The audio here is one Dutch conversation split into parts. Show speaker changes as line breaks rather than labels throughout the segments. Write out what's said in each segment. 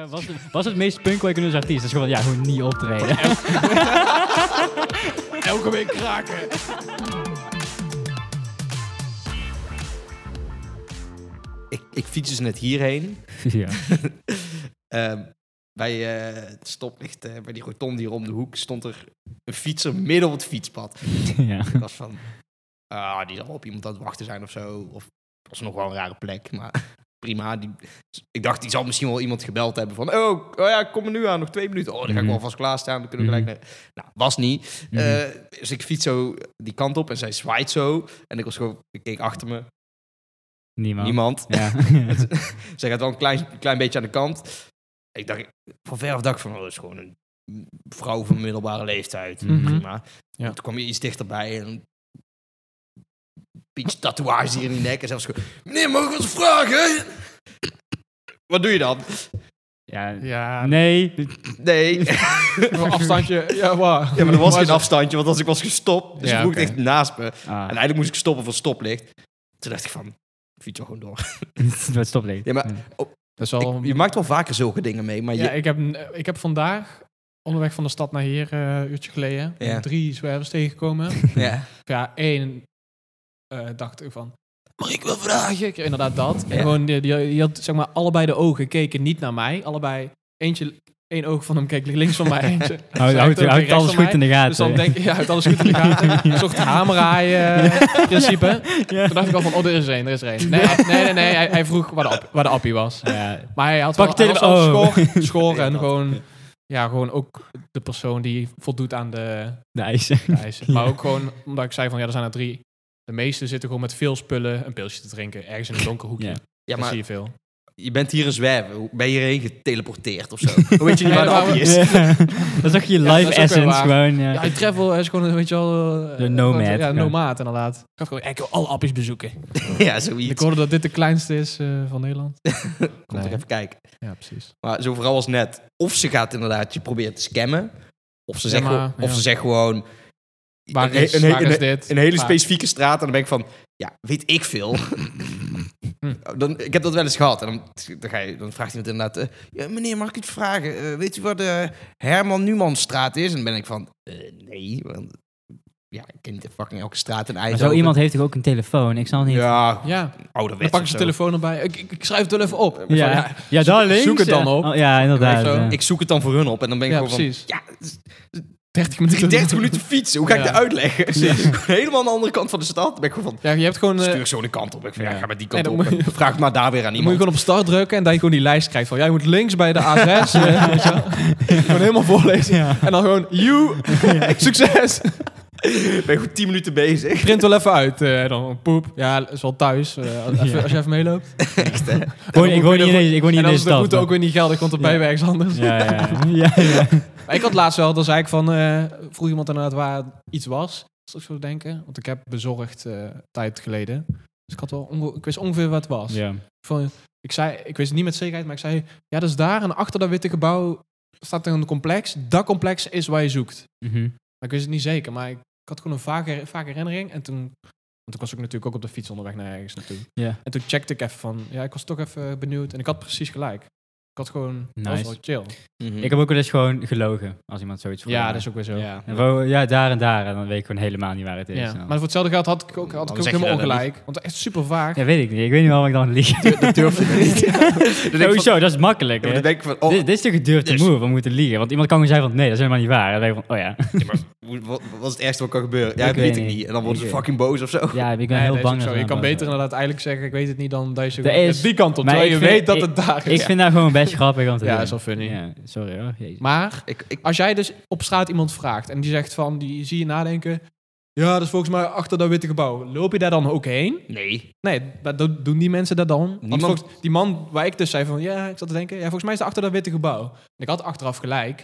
Ja, was, het, was het meest punkweek als artiest? Dat is gewoon, ja, gewoon niet optreden.
Elke week kraken. Ik, ik fiets dus net hierheen.
ja.
Ehm, bij eh, het stoplicht, eh, bij die rotonde hier om de hoek, stond er een fietser midden op het fietspad.
ja.
Ik was van, ah, die zal op iemand aan het wachten zijn of zo. Of het was nog wel een rare plek, maar prima. Die, ik dacht, die zal misschien wel iemand gebeld hebben van, oh, oh ja, ik kom er nu aan, nog twee minuten. Oh, dan ga ik
Mhm.
wel vast klaarstaan, dan kunnen we gelijk naar... Nou, was niet.
Mhm.
Eh, dus ik fiets zo die kant op en zij zwaait zo. En ik was gewoon, ik keek achter me,
Niemand.
niemand.
Ja.
Zij gaat wel een klein, klein beetje aan de kant. Ik dacht, van ver af dacht ik van, oh, dat is gewoon een vrouw van middelbare leeftijd.
Mhm.
Prima.
Ja.
Toen kwam je iets dichterbij en pinch tatoeages hier in die nek. En zelfs gewoon, meneer, mogen we wat vragen? Wat doe je dan?
ja.
Ja,
Nee.
Nee.
een afstandje. Ja, waar.
Ja, maar er was
Maar
geen
ze-
afstandje, want als ik was gestopt, dus
Ja,
ik broek
oké.
echt naast me.
Ah,
En eigenlijk moest ik stoppen voor stoplicht. Toen dacht ik van, ik fiets wel gewoon door.
het stoplicht.
Ja, maar
Dat is wel
ik- je maakt wel vaker zulke dingen mee, maar
ja,
je...
ik, heb, ik heb vandaag onderweg van de stad naar hier, eh, een uurtje geleden,
Ja.
drie zwervers tegengekomen.
Ja.
ja, één eh, dacht ik van, mag ik wel vragen? Ik- Inderdaad dat. En
Ja.
gewoon, die, die, die had zeg maar allebei de ogen keken niet naar mij. Allebei, eentje, één oog van hem keek links van mij, eentje.
Houd, houd,
Zij
houd
keek
alles
rechts van
goed in
mij.
de gaten.
Dus dan denk ik, ja, het alles goed in de gaten. Ik zocht hamerhaaien, eh, principe. Toen dacht ik al van, oh, er is er één, er is er één. Nee, hij- nee, nee, nee, hij, hij vroeg waar de, app- waar de appie was.
Ja.
Maar hij had
Pak
wel,
de oh.
hij was wel
telefoon.
schoor, schoor en
Ja, dat.
gewoon, ja, gewoon ook de persoon die voldoet aan de
Nice.
eisen. Maar
Ja.
ook gewoon omdat ik zei van, ja, er zijn er drie. De meeste zitten gewoon met veel spullen een pilsje te drinken. Ergens in een donker hoekje.
Ja.
Ja,
Dat zie
maar
je veel.
je bent hier een zwerver. Hoe- Ben je hierheen geteleporteerd of zo? Hoe weet je niet waar de
Ja,
appie is?
Ja. Dat is toch je live
Ja, dat is ook weer
essence
waar.
gewoon. Ja.
Ja, hij travel hij is gewoon een beetje al...
De nomad,
Ja,
ja.
een nomaad inderdaad. Ik had gewoon, ik wil alle appies bezoeken.
Ja,
Ik
zoiets.
hoorde dat dit de kleinste is eh, van Nederland.
Kom toch
Nee.
even kijken.
Ja, precies.
Maar zo vooral als net. Of ze gaat inderdaad je proberen te scammen. Of ze
Ja,
zegt,
maar,
gewoon- of
ja.
ze zegt gewoon...
Waar is,
he-
waar
een,
is dit?
een hele
Waar-
specifieke straat. En dan ben ik van... Ja, weet ik veel. Oh,
Hm.
Dan, ik heb dat wel eens gehad. En dan, dan, ga je, dan vraagt iemand inderdaad... eh, ja, meneer, mag ik u iets vragen? Eh, weet u waar de Herman Numanstraat is? En dan ben ik van... eh, nee, want... Ja, ik ken de fucking elke straat in
Maar
IJsland.
zo iemand heeft toch ook een telefoon? Ik zal niet...
Ja,
Ja, dan
ouderwets
pak
of
ze
Ah, zo.
de telefoon erbij. Ik, ik, ik schrijf het wel even op.
Ja, ja. daar links.
zoek het
ja.
dan op.
Oh, ja, inderdaad.
Zo.
ja.
Ik zoek het dan voor hun op. En dan ben ik
Ja,
gewoon
precies.
van... Ja, het is
30 minuten.
30 minuten fietsen. Hoe ga ik
Ja.
dat uitleggen? Helemaal aan de andere kant van de stad. Dan ben ik gewoon van...
Ja, je hebt gewoon... eh,
Stuur zo de kant op. Ik van, ja,
Ja.
ga maar die kant
Nee,
op.
dan moet
en Vraag het maar daar weer aan
dan moet je
iemand.
gewoon op start drukken en dat je gewoon die lijst krijgt van... Ja, je moet links bij de A6. eh, weet je wel. Gewoon helemaal voorlezen.
Ja.
En dan gewoon, you, succes.
Ben je goed 10 minuten bezig.
Print wel even uit. eh, dan poep. Ja, is wel thuis. eh, als,
Ja.
als je even meeloopt.
Echt, hè?
Gewoon, ik woon
word
niet in deze, ik woon niet
en
in deze
dan is de
stad.
route ook weer niet geldig, want dan ben je weer ergens anders.
Ja, ja, ja. ja.
Maar ik had laatst wel, dan zei ik van, eh, vroeg iemand inderdaad waar iets was. Als ik zo denken, want ik heb bezorgd eh, tijd geleden. Dus ik, had wel onge- ik wist ongeveer wat het was.
ja.
Van, ik, zei, ik wist het niet met zekerheid, maar ik zei, ja, dat is daar en achter dat witte gebouw staat een complex. Dat complex is waar je zoekt.
Mhm.
Maar ik wist het niet zeker, maar ik, ik had gewoon een vage, vage herinnering. En toen, want ik was ook natuurlijk ook op de fiets onderweg naar ergens naartoe.
Ja.
En toen checkte ik even van, ja, ik was toch even benieuwd. En ik had precies gelijk. Ik had gewoon, dat
Nice.
was wel chill.
Ik heb ook wel eens gewoon gelogen als iemand zoiets vroeg.
Hm. Ja, dat is ook weer zo.
Ja.
En gewoon, ja, daar en daar. En dan weet ik gewoon helemaal niet waar het is.
Ja,
En dan-
maar voor hetzelfde geld had ik ook, had
Dan
ik ook
zeg je
helemaal
dat dan
ongelijk. Want het is echt super vaag.
Ja, weet ik niet. Ik weet niet waarom ik dan lieg.
Dat durf ik niet. Dan denk ik van-
Sowieso, dat is makkelijk.
Ja, maar
hè.
dan denk ik van... Oh,
dit, dit is toch een durfde
dus-
move, we moeten liegen. Want iemand kan gewoon zeggen van, nee, dat is helemaal niet waar. En dan denk ik van, oh ja.
ja, maar hoe- wat, wat is het ergste wat kan gebeuren? Ja,
Ik
ik weet
weet
het
niet.
niet. En dan worden ze
Ik-
fucking boos of zo.
Ja, ik ben
Nee,
heel
dat is
bang.
ook
dat
zo.
ze
Je kan
dan-
beter inderdaad eigenlijk zeggen, ik weet het niet, dan dat je zo
Er is-
die kant op.
maar
Terwijl
ik
je
vind-
weet dat
ik-
het daar
Ik
is.
vind dat gewoon best grappig om te
Ja,
doen.
is wel funny.
Ja, sorry hoor. Jezus.
Maar
Ik, ik,
als jij dus op straat iemand vraagt en die zegt van, die zie je nadenken... Ja, dat is volgens mij achter dat witte gebouw. Loop je daar dan ook heen?
nee.
Nee, dat do- doen die mensen dat dan? Want
Niemand-
volgens- die man waar ik dus zei van, ja, ik zat te denken, ja, volgens mij is het achter dat witte gebouw. En ik had achteraf gelijk,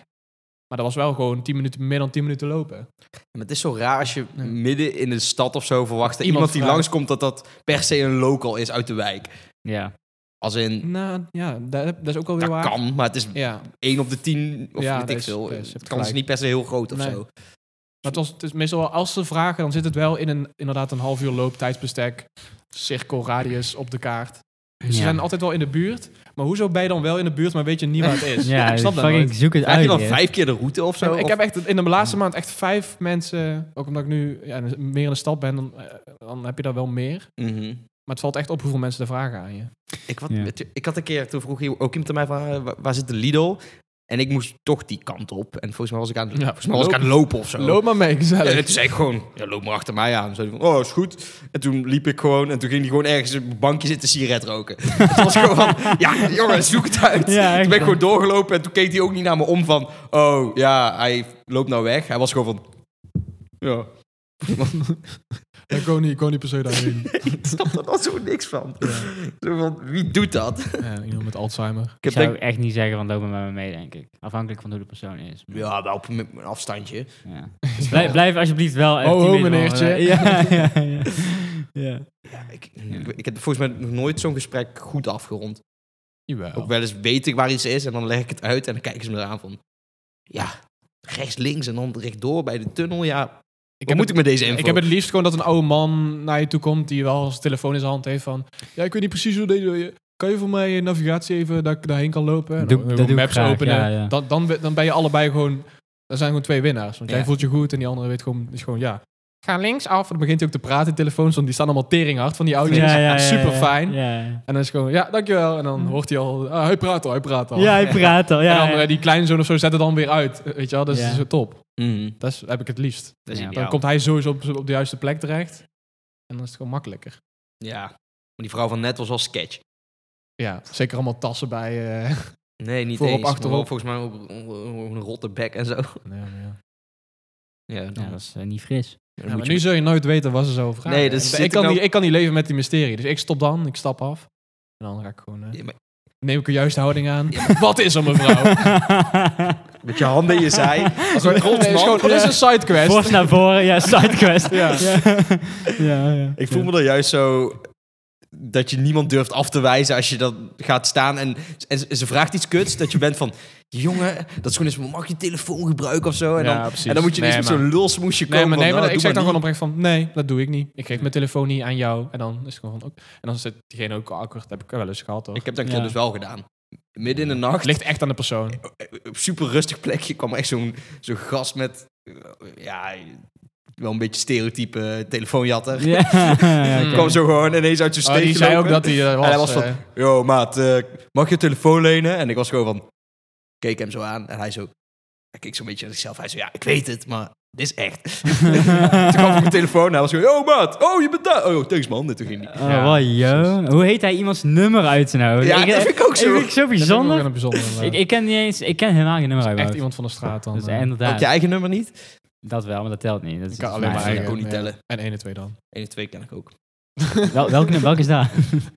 maar dat was wel gewoon 10 minuten, meer dan 10 minuten lopen.
Maar het is zo raar als je
Nee.
midden in de stad of zo verwacht... dat
Iemand
iemand die
vraagt.
langskomt dat dat per se een local is uit de wijk.
Ja.
Als in...
Nou, ja, dat, dat is ook alweer
Dat
waar.
kan, maar het is
Ja, maar
1 op de 10 of
Ja,
weet
dat
ik
is-
veel.
dat is-
Het
hebt
kan is
gelijk.
niet per se heel groot of
Nee. Dus
zo.
het, was, het is meestal wel, als ze vragen, dan zit het wel in een, inderdaad een half uur looptijdsbestek, cirkelradius op de kaart. Dus Ze
Ja.
zijn altijd wel in de buurt, maar Maar hoezo ben je dan wel in de buurt, maar weet je niet waar het is?
Ja,
ik snap dat
fucking
nooit.
zoek het
Vraag je
uit.
dan
hè.
vijf keer de route of zo?
ik
Of-
heb echt in de laatste maand echt vijf mensen, ook omdat ik nu ja, meer in de stad ben, dan, eh, dan heb je daar wel meer.
Mhm.
Maar het valt echt op hoeveel mensen er vragen aan je.
Ik, wat,
Ja.
ik had een keer, toen vroeg hier ook iemand aan mij van, eh, wa- waar zit de Lidl? En ik moest toch die kant op. En volgens mij was ik aan, volgens mij was ik aan het lopen of zo.
Loop maar mee,
En
gezellig.
toen zei ik gewoon, ja, loop maar achter mij aan. Zo van, oh, is goed. En toen liep ik gewoon en toen ging hij gewoon ergens op een bankje zitten sigaret roken. het was gewoon van, ja, jongen, zoek het uit.
Ja,
toen
echt,
ben ik gewoon
hè.
doorgelopen en toen keek hij ook niet naar me om van, oh, ja, hij loopt nou weg. Hij was gewoon van, ja.
Ik kon niet, ik kon niet per se daarheen.
ik snap er dan zo niks van. Zo van, wie doet dat?
ja, iemand met Alzheimer.
Ik
Ik
heb
zou
denk-
echt niet zeggen van loop maar met me mee, denk ik. Afhankelijk van hoe de persoon is. Maar,
ja, wel op een een afstandje.
ja. Blijf, blijf alsjeblieft wel. echt
Ho,
tien
ho,
meter van me
meneertje.
weg. Ja, ja, ja. ja.
Ja, ik, ik, ik heb volgens mij nog nooit zo'n gesprek goed afgerond.
Jawel.
Ook wel eens weet ik waar iets is en dan leg ik het uit en dan kijken ze me eraan van... Ja, rechts, links en dan rechtdoor bij de tunnel. Ja,
ik
wat moet ik met deze info?
Ik heb het liefst gewoon dat een oude man naar je toe komt die wel zijn telefoon in zijn hand heeft van... Ja, ik weet niet precies hoe deze... Kan je voor mij je navigatie even, dat ik daarheen kan lopen? En
Doe-
dan
dat
gewoon
doe ik
maps
graag,
openen.
ja, ja.
Dan, dan, ben- dan ben je allebei gewoon... Dan zijn gewoon twee winnaars. Want
Ja.
jij voelt je goed en die andere weet gewoon... Is gewoon ja, ga links af. En dan begint hij ook te praten in telefoons, want die staan allemaal teringhard van die auto's.
Oh, Ja, ja, ja, ja,
Super fijn.
Ja, ja.
En dan is het gewoon, ja, dankjewel. En dan hoort hij al, ah, hij praat al, hij praat al.
Ja, hij praat al.
en
Ja,
dan,
ja.
eh, die kleinzoon of zo zet het dan weer uit. Eh, Weet je wel, dat is
Ja.
dat is top.
Mhm,
Dat is, heb ik het liefst.
dat is
Ja.
ideaal.
Dan komt hij sowieso op, op de juiste plek terecht. En dan is het gewoon makkelijker.
Ja, maar die vrouw van net was al sketch.
Ja, zeker allemaal tassen bij. eh,
Nee, niet
Voorop,
eens. maar
achterop.
Volgens mij ook een- een rotte bek en zo. Ja, dan-
Ja, dat is eh, niet fris.
dan
Ja,
moet
maar
je-
nu zul je nooit weten wat ze zo vragen.
Nee, dus
En
zit
ik,
ik
kan
nou-
niet, ik kan niet leven met die mysterie. Dus ik stop dan, ik stap af. En dan ga ik gewoon... eh,
Ja, maar-
Neem ik een juiste houding aan. Wat is er, mevrouw?
Met je handen in je zij. Als een
Nee, het is
rotsman.
gewoon- Het is een sidequest.
Fors naar voren, ja, sidequest.
Ja.
Ja. Ja, ja.
Ik voel me dan juist zo dat je niemand durft af te wijzen als je dan gaat staan en, en ze- ze vraagt iets kuts, dat je bent van, jongen, dat is gewoon eens, mag je telefoon gebruiken of zo? En,
Ja,
dan,
precies.
en dan moet je
Nee,
eens
maar-
met zo'n lulsmoesje komen.
Nee, maar,
van,
nee, maar
"Nou,
ik
doe
zeg dan gewoon
maar
oprecht van... Nee, dat doe ik niet. Ik geef mijn telefoon niet aan jou. En dan is het gewoon van... ook. En dan zit diegene ook awkward. Dat heb ik wel eens gehad, hoor.
niet." Ik heb dat een keer
Ja.
dus wel gedaan. Midden in de
Het
nacht, eh,
ligt echt aan de persoon.
op super rustig plekje, kwam echt zo'n zo'n gast met, eh, ja, wel een beetje stereotype telefoonjatter.
Ja, ja, oké.
Kwam zo gewoon ineens uit zijn
Oh,
steek
die zei ook
gelopen.
dat hij eh, was.
En hij was van,
eh,
yo maat, eh, mag je telefoon lenen? En ik was gewoon van, keek hem zo aan. En hij zo, hij keek zo'n beetje naar zichzelf. Hij zo, ja, ik weet het, maar dit is echt. toen kwam ik op mijn telefoon en hij was gewoon, yo maat, oh je bent daar. Oh, thanks man. En toen ging hij.
Oh,
Ja,
wel, yo. Hoe heet hij iemands nummer uit zijn hoofd?
Ja, dat vind ik ook zo.
vind ik zo
dat is ook nog
bijzonder.
een bijzonder. eh,
Ik, ik ken niet eens, ik ken helemaal geen nummer uit mijn
echt
hoofd.
iemand van de straat dan.
Dus
eh.
inderdaad,
Ook je eigen nummer niet?
dat wel, maar dat telt niet. Dat is
Ik kan
dat is
alleen
maar
mijn
eigen.
eigen.
kon niet
ja.
tellen.
En 1 en 2 dan.
1 en 2 ken ik ook.
Wel, welk, nummer- welk is dat?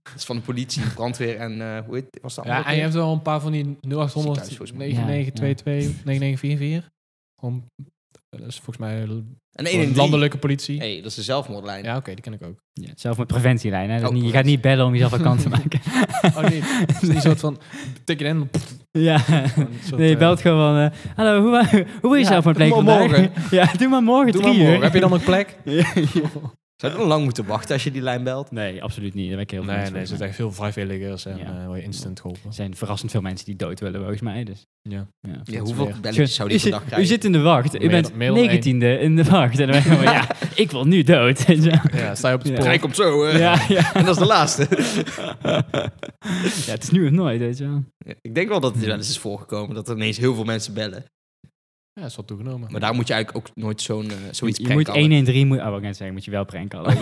Dat is van de politie, brandweer en eh, hoe heet was dat?
Ja, en je hebt wel een paar van die 0800
Ziekenhuis, volgens mij.
9922 9944. Gewoon, eh, Dat is volgens mij een
en 1 en drie.
landelijke politie.
hey, dat is de zelfmoordlijn.
Ja, oké, die ken ik ook.
Ja, zelf met preventielijn. Hè? Dus
Oh,
niet, je gaat
preventie.
niet bellen om jezelf aan kant te maken.
Oh nee, het is die soort van tik je in. pff,
ja.
gewoon een soort,
Nee, je
eh,
belt gewoon van... eh, Hallo, hoe, wa- hoe wil je
Ja,
zelf mijn plek
doe maar
vandaag? ja, doe maar morgen
Doe maar
drie
morgen.
uur.
Heb je dan een plek?
Zou je dan lang moeten wachten als je die lijn belt?
Nee, absoluut niet. Daar ben ik heel
Nee,
van.
nee, er zitten echt veel vrijwilligers en
Ja.
eh, word je instant geholpen.
Er zijn verrassend veel mensen die dood willen, volgens mij. Dus.
Ja.
ja.
Ja, hoeveel
weer.
Zo,
belletjes zou die
u
per
zit-
dag krijgen?
U zit in de wacht. U
Meer
bent
dan- meer dan één.
19e in de wacht. En dan ben je van, ja, ik wil nu dood. weet je wel.
Ja, sta je op het
Ja.
spoor.
Hij komt zo. eh,
Ja, ja.
En dat is de laatste.
ja, het is nu of nooit, weet je wel.
Ja, Ik denk wel dat het
Hmm.
wel eens is voorgekomen dat er ineens heel veel mensen bellen.
Ja, is wat toegenomen.
Maar daar moet je eigenlijk ook nooit zo'n, eh, zoiets
je moet
prankallen.
113... Moet, oh, wat ik net zeggen, moet je wel prankallen.
nee,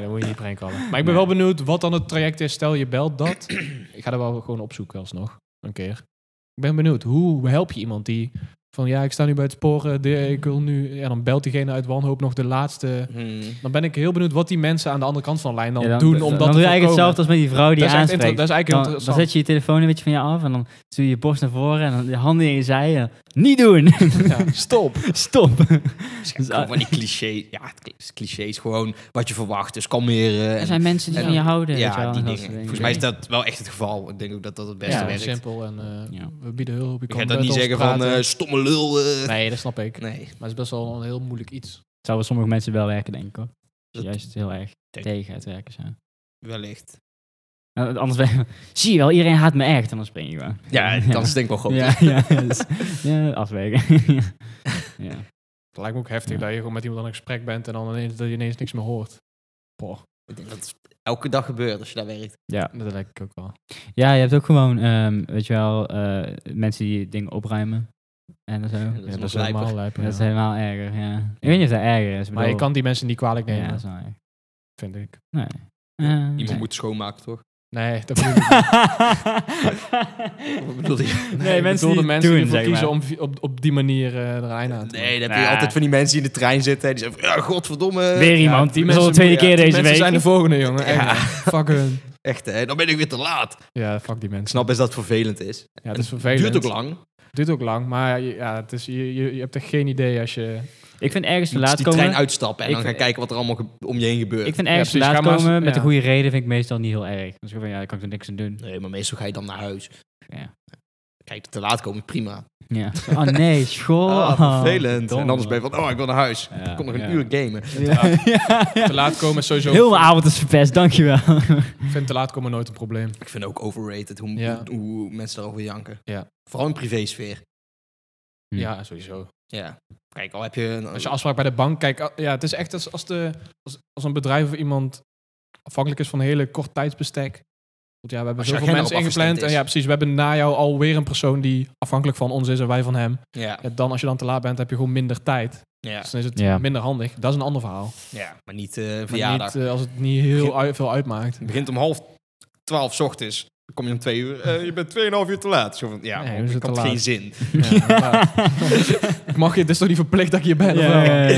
dat moet je niet prankallen. Maar ik ben wel benieuwd wat dan het traject is. Stel je belt dat. Ik ga er wel gewoon opzoeken alsnog. Een keer. Ik ben benieuwd. Hoe help je iemand die van ja, ik sta nu bij het sporen. De, ik wil nu. Ja, dan belt diegene uit wanhoop nog de laatste.
Hmm.
Dan ben ik heel benieuwd wat die mensen aan de andere kant van de lijn dan
Ja, dan-
doen.
dan-
om
dan
dat
doe
te
je eigenlijk
voorkomen.
hetzelfde als met die vrouw die
dat, is
je
echt inter-
aanspreekt.
dat is eigenlijk
Dan, dan
heel interessant.
zet je je telefoon een beetje van je af en dan doe je je borst naar voren en dan je handen in je zij. en dan, niet doen!
Ja, stop.
Stop!
Dus
Dus,
ja, gewoon van die clichés. Ja, het kli- is clichés gewoon wat je verwacht. Dus kalmeren.
Er
En,
zijn mensen die
en-
van je houden. weet je
ja,
wel,
die
en dat
dingen.
soort
Volgens mij is dat wel echt het geval. Ik denk ook dat dat het beste
Ja,
werkt.
simpel. En eh,
Ja.
we bieden hulp. Je
Ik
kan
ga dat
met
niet
ons
zeggen van
praten.
eh, stomme lul. eh.
nee, dat snap ik. Maar
nee.
het is best wel een heel moeilijk iets.
zou bij sommige mensen wel werken, denk ik hoor.
Dat-
Juist heel erg
Denk-
tegen het werken zijn.
Wellicht.
Eh, Anders ben je, zie je wel, iedereen haat me echt. En dan spring je gewoon.
Ja, de kans is denk ik wel groot.
Ja, ja, dus- ja, afwegen. ja. Ja.
Het lijkt me ook heftig
Ja.
dat je gewoon met iemand aan een gesprek bent en dan ineens, dat je ineens niks meer hoort. Boah,
Ik denk dat het elke dag gebeurt als je daar werkt.
dat lijkt ik ook wel.
ja, je hebt ook gewoon, ehm, weet je wel, eh, mensen die dingen opruimen. En zo.
Ja, dat is
Ja, dat
nog
is helemaal
lijper.
lijper.
Dat is
ja.
helemaal erger, ja. Ik weet niet of dat erger is.
Maar je kan die mensen niet kwalijk
Nee,
nemen,
ja, dat is wel erg.
vind ik.
Nee. Eh,
Iemand
nee.
moet schoonmaken, toch?
Nee, dat bedoel ik niet.
Wat bedoel je?
Nee,
ik
mensen
bedoelde
die het
mensen
doen,
die ervoor
zeg
kiezen
maar.
om vi- op, op die manier eh er een aan te maken.
Nee, dan heb je
Nah.
altijd van die mensen die in de trein zitten. en Die zeggen, van, ja, godverdomme.
Weer
Ja,
iemand.
die
dat is al de
mensen-
tweede
ja,
keer
die
deze
mensen
week.
zijn de volgende, jongen. Echt,
Ja.
Fuck hun.
Echt, hè? Dan ben ik weer te laat.
Ja, fuck die mensen.
Ik snap best dat het vervelend is.
Ja, het is
Het
vervelend.
duurt ook lang.
Duurt ook lang, maar je- ja, het is, je, je, je hebt er geen idee als je...
Ik vind ergens te
Je moet
laat
die trein
komen.
uitstappen en
Ik
dan gaan
vind-
kijken wat er allemaal ge- om je heen gebeurt.
Ik vind ergens
Ja, precies,
te laat
ga maar eens-
komen met de
ja.
goede reden vind ik meestal niet heel erg. Dus ik van ja, daar kan ik er niks aan doen.
Nee, maar meestal ga je dan naar huis.
Ja.
Kijk, te laat komen, prima.
Ja. Oh nee, school.
Ah, vervelend.
Verdomme.
en anders ben je van, oh, ik wil naar huis.
Ja,
ik kom nog een
ja.
uur gamen.
Ja. Ja.
Te laat komen is sowieso...
Heel mijn avond is verpest, dankjewel.
Ik vind te laat komen nooit een probleem.
Ik vind ook overrated hoe,
Ja.
hoe, hoe mensen daarover janken.
Ja.
Vooral in privésfeer.
Hm.
Ja, sowieso.
Ja. Kijk, al heb je een...
Als je afspraak bij de bank, kijk, ah, ja, het is echt als, als, de, als, als een bedrijf of iemand afhankelijk is van een hele kort tijdsbestek. Want ja, we hebben
Als je
zoveel
agenda
mensen
op afgestemd
ingepland.
is.
En ja, precies, we hebben na jou alweer een persoon die afhankelijk van ons is en wij van hem.
ja.
Ja, dan als je dan te laat bent, heb je gewoon minder tijd.
Ja.
Dus dan is het
Ja.
minder handig. Dat is een ander verhaal.
ja, maar niet eh
Maar
verjaardag.
niet eh, als het niet heel ui- veel uitmaakt.
Het begint om half twaalf 's ochtends. Dan kom je om twee uur. Eh, je bent tweeënhalf uur te laat. Zo van, ja,
Nee,
man,
we
ik
zijn
had
te
geen
laat.
zin.
Ja, inderdaad. ik mag je, het is toch niet verplicht dat ik hier ben? of wel?
Echt,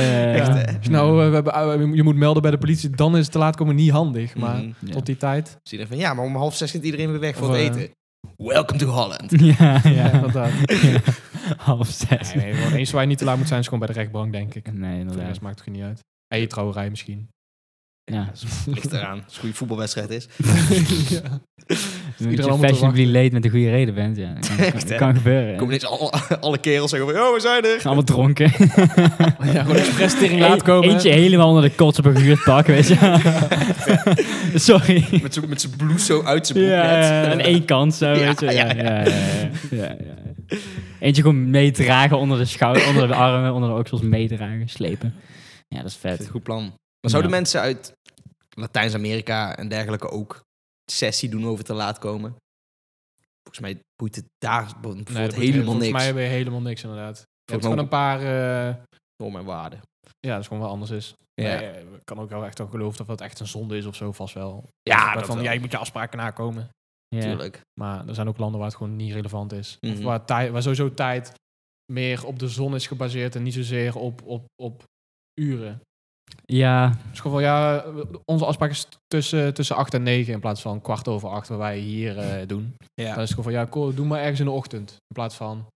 ja.
hè?
Als je nou, eh, we hebben, eh, je moet melden bij de politie, dan is het te laat komen niet handig. Maar
Mhm.
Ja.
tot die tijd,
Zie je dan van, ja, maar om half zes zit iedereen weer weg voor
Of,
het
eh,
eten. Welcome to Holland.
Ja,
ja,
ja.
inderdaad.
Half zes.
Nee, gewoon eens waar je niet te laat moet zijn, is gewoon bij de rechtbank, denk ik.
Nee,
Voor de
inderdaad.
rest maakt het niet uit. En je trouwerij misschien.
Ja.
Ligt eraan. Als het een goede voetbalwedstrijd is.
ja.
Als
Iedereen
je
allemaal te
fashionably late met de goede reden bent, ja. Dat kan,
Echt,
kan-
hè?
kan gebeuren.
Kom
hè.
ineens alle, alle kerels zeggen van, oh, we zijn er.
Allemaal dronken.
gewoon expres tering
Eén-
laat komen.
Eentje helemaal onder de kots op een gehuurd pak, weet je. Sorry.
Met z'n- Met zijn blouse zo uit zijn
Ja,
broek net.
ja, aan één kant zo,
Ja,
weet je. Ja,
ja,
ja, ja, ja, ja, ja. Eentje gewoon meedragen onder de schouder, onder de armen, onder de oksels meedragen, slepen. Ja, dat is
Dat is
vet.
een goed plan. Maar zouden
Ja.
mensen uit Latijns-Amerika en dergelijke ook sessie doen over te laat komen? Volgens mij boeit het daar bijvoorbeeld
Nee, dat moet-
helemaal
volgens
niks.
mij hebben we helemaal niks, inderdaad. Je hebt
me ook-
gewoon een paar... eh,
Normen en waarden.
ja, dat is gewoon wel anders is.
Ja.
Maar, eh, ik kan ook wel echt wel geloven dat dat echt een zonde is of zo, vast wel.
Ja, dat
van,
wel.
ja, je moet je afspraken nakomen.
Ja.
Tuurlijk.
Maar er zijn ook landen waar het gewoon niet relevant is. Of
Mhm.
waar, tij- waar sowieso tijd meer op de zon is gebaseerd en niet zozeer op, op, op uren.
ja,
Het is gewoon van, ja, onze afspraak is tussen, tussen 8 en 9 in plaats van kwart over 8, wat wij hier eh, doen.
Ja.
Dan is het gewoon van, ja, cool, doe maar ergens in de ochtend. In plaats van...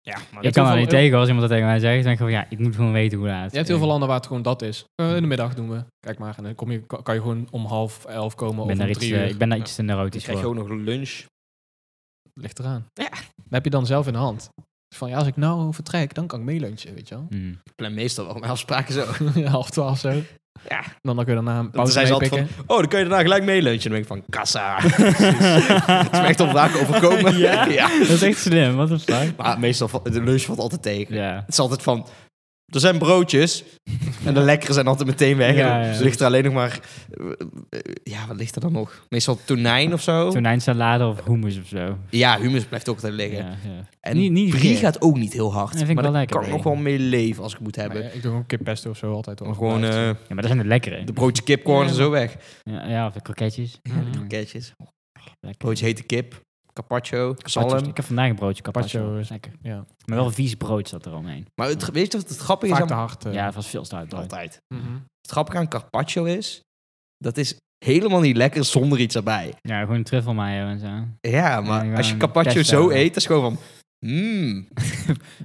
Ja, maar
ik
hebt
kan
heel
daar
veel-
niet tegen als iemand dat tegen mij zegt. Dan denk ik van, ja, ik moet gewoon weten hoe laat.
Je hebt heel veel landen waar het gewoon dat is. Eh, in de middag doen we. Kijk maar, en dan kom je, ka- kan je gewoon om half elf komen
Ik
of
ben daar
om
iets,
drie
eh,
uur.
ik ben daar iets te
dan
neurotisch
krijg je
voor.
ook nog lunch.
Ligt eraan.
Ja.
Dat heb je dan zelf in de hand. Dus van, ja, als ik nou vertrek, dan kan ik meelunchen, weet je wel.
Mm.
Ik plan meestal wel mijn afspraken zo.
Ja, half twaalf zo.
Ja.
En dan, dan kun je daarna een
Dan
pauze
zijn ze altijd
meepikken.
van, oh, dan kan je daarna gelijk meelunchen. Dan denk ik van, kassa. Het is me echt op waken overkomen.
Ja? Dat is echt slim, wat een fuck.
Maar meestal, valt- de lunch valt altijd tegen.
Ja.
Het is altijd van, er zijn broodjes en de lekkere zijn altijd meteen weg.
Ja,
En dan
ja.
ligt er alleen nog maar, eh, eh, ja, wat ligt er dan nog? Meestal tonijn of zo.
Tonijnsalade of hummus of zo.
Ja, humus blijft ook altijd
Ja,
liggen.
ja.
En
Niet- niet
brie
gek.
gaat ook niet heel hard.
Dat vind ik
maar
wel
daar
lekker,
kan ik nog
brie.
wel mee leven als ik het moet hebben.
Nee, ik doe gewoon kip pesto of zo altijd.
Dan gewoon
overblijft.
eh,
Ja, maar dat zijn de lekkere.
de broodje kipcorn en zo weg.
Ja, ja of de kroketjes. Ja,
Kroketjes,
lekker.
broodje hete kip, carpaccio,
Carpaccio's.
salm.
Ik heb vandaag een broodje carpaccio.
Carpaccio is-
Lekker.
eh,
ja.
Maar wel een vies brood zat er omheen.
Maar het, weet je wat het grappige is
Vaak te
aan...
hard. eh.
Ja, het was veel te hard. brood.
Altijd.
Mhm.
Het grappige aan carpaccio is, dat is helemaal niet lekker zonder iets erbij.
Ja, gewoon truffel mayo en zo.
Ja, maar
Ja,
als je
een
carpaccio
pesto,
zo
ja.
eet, dat is gewoon van... Mmm,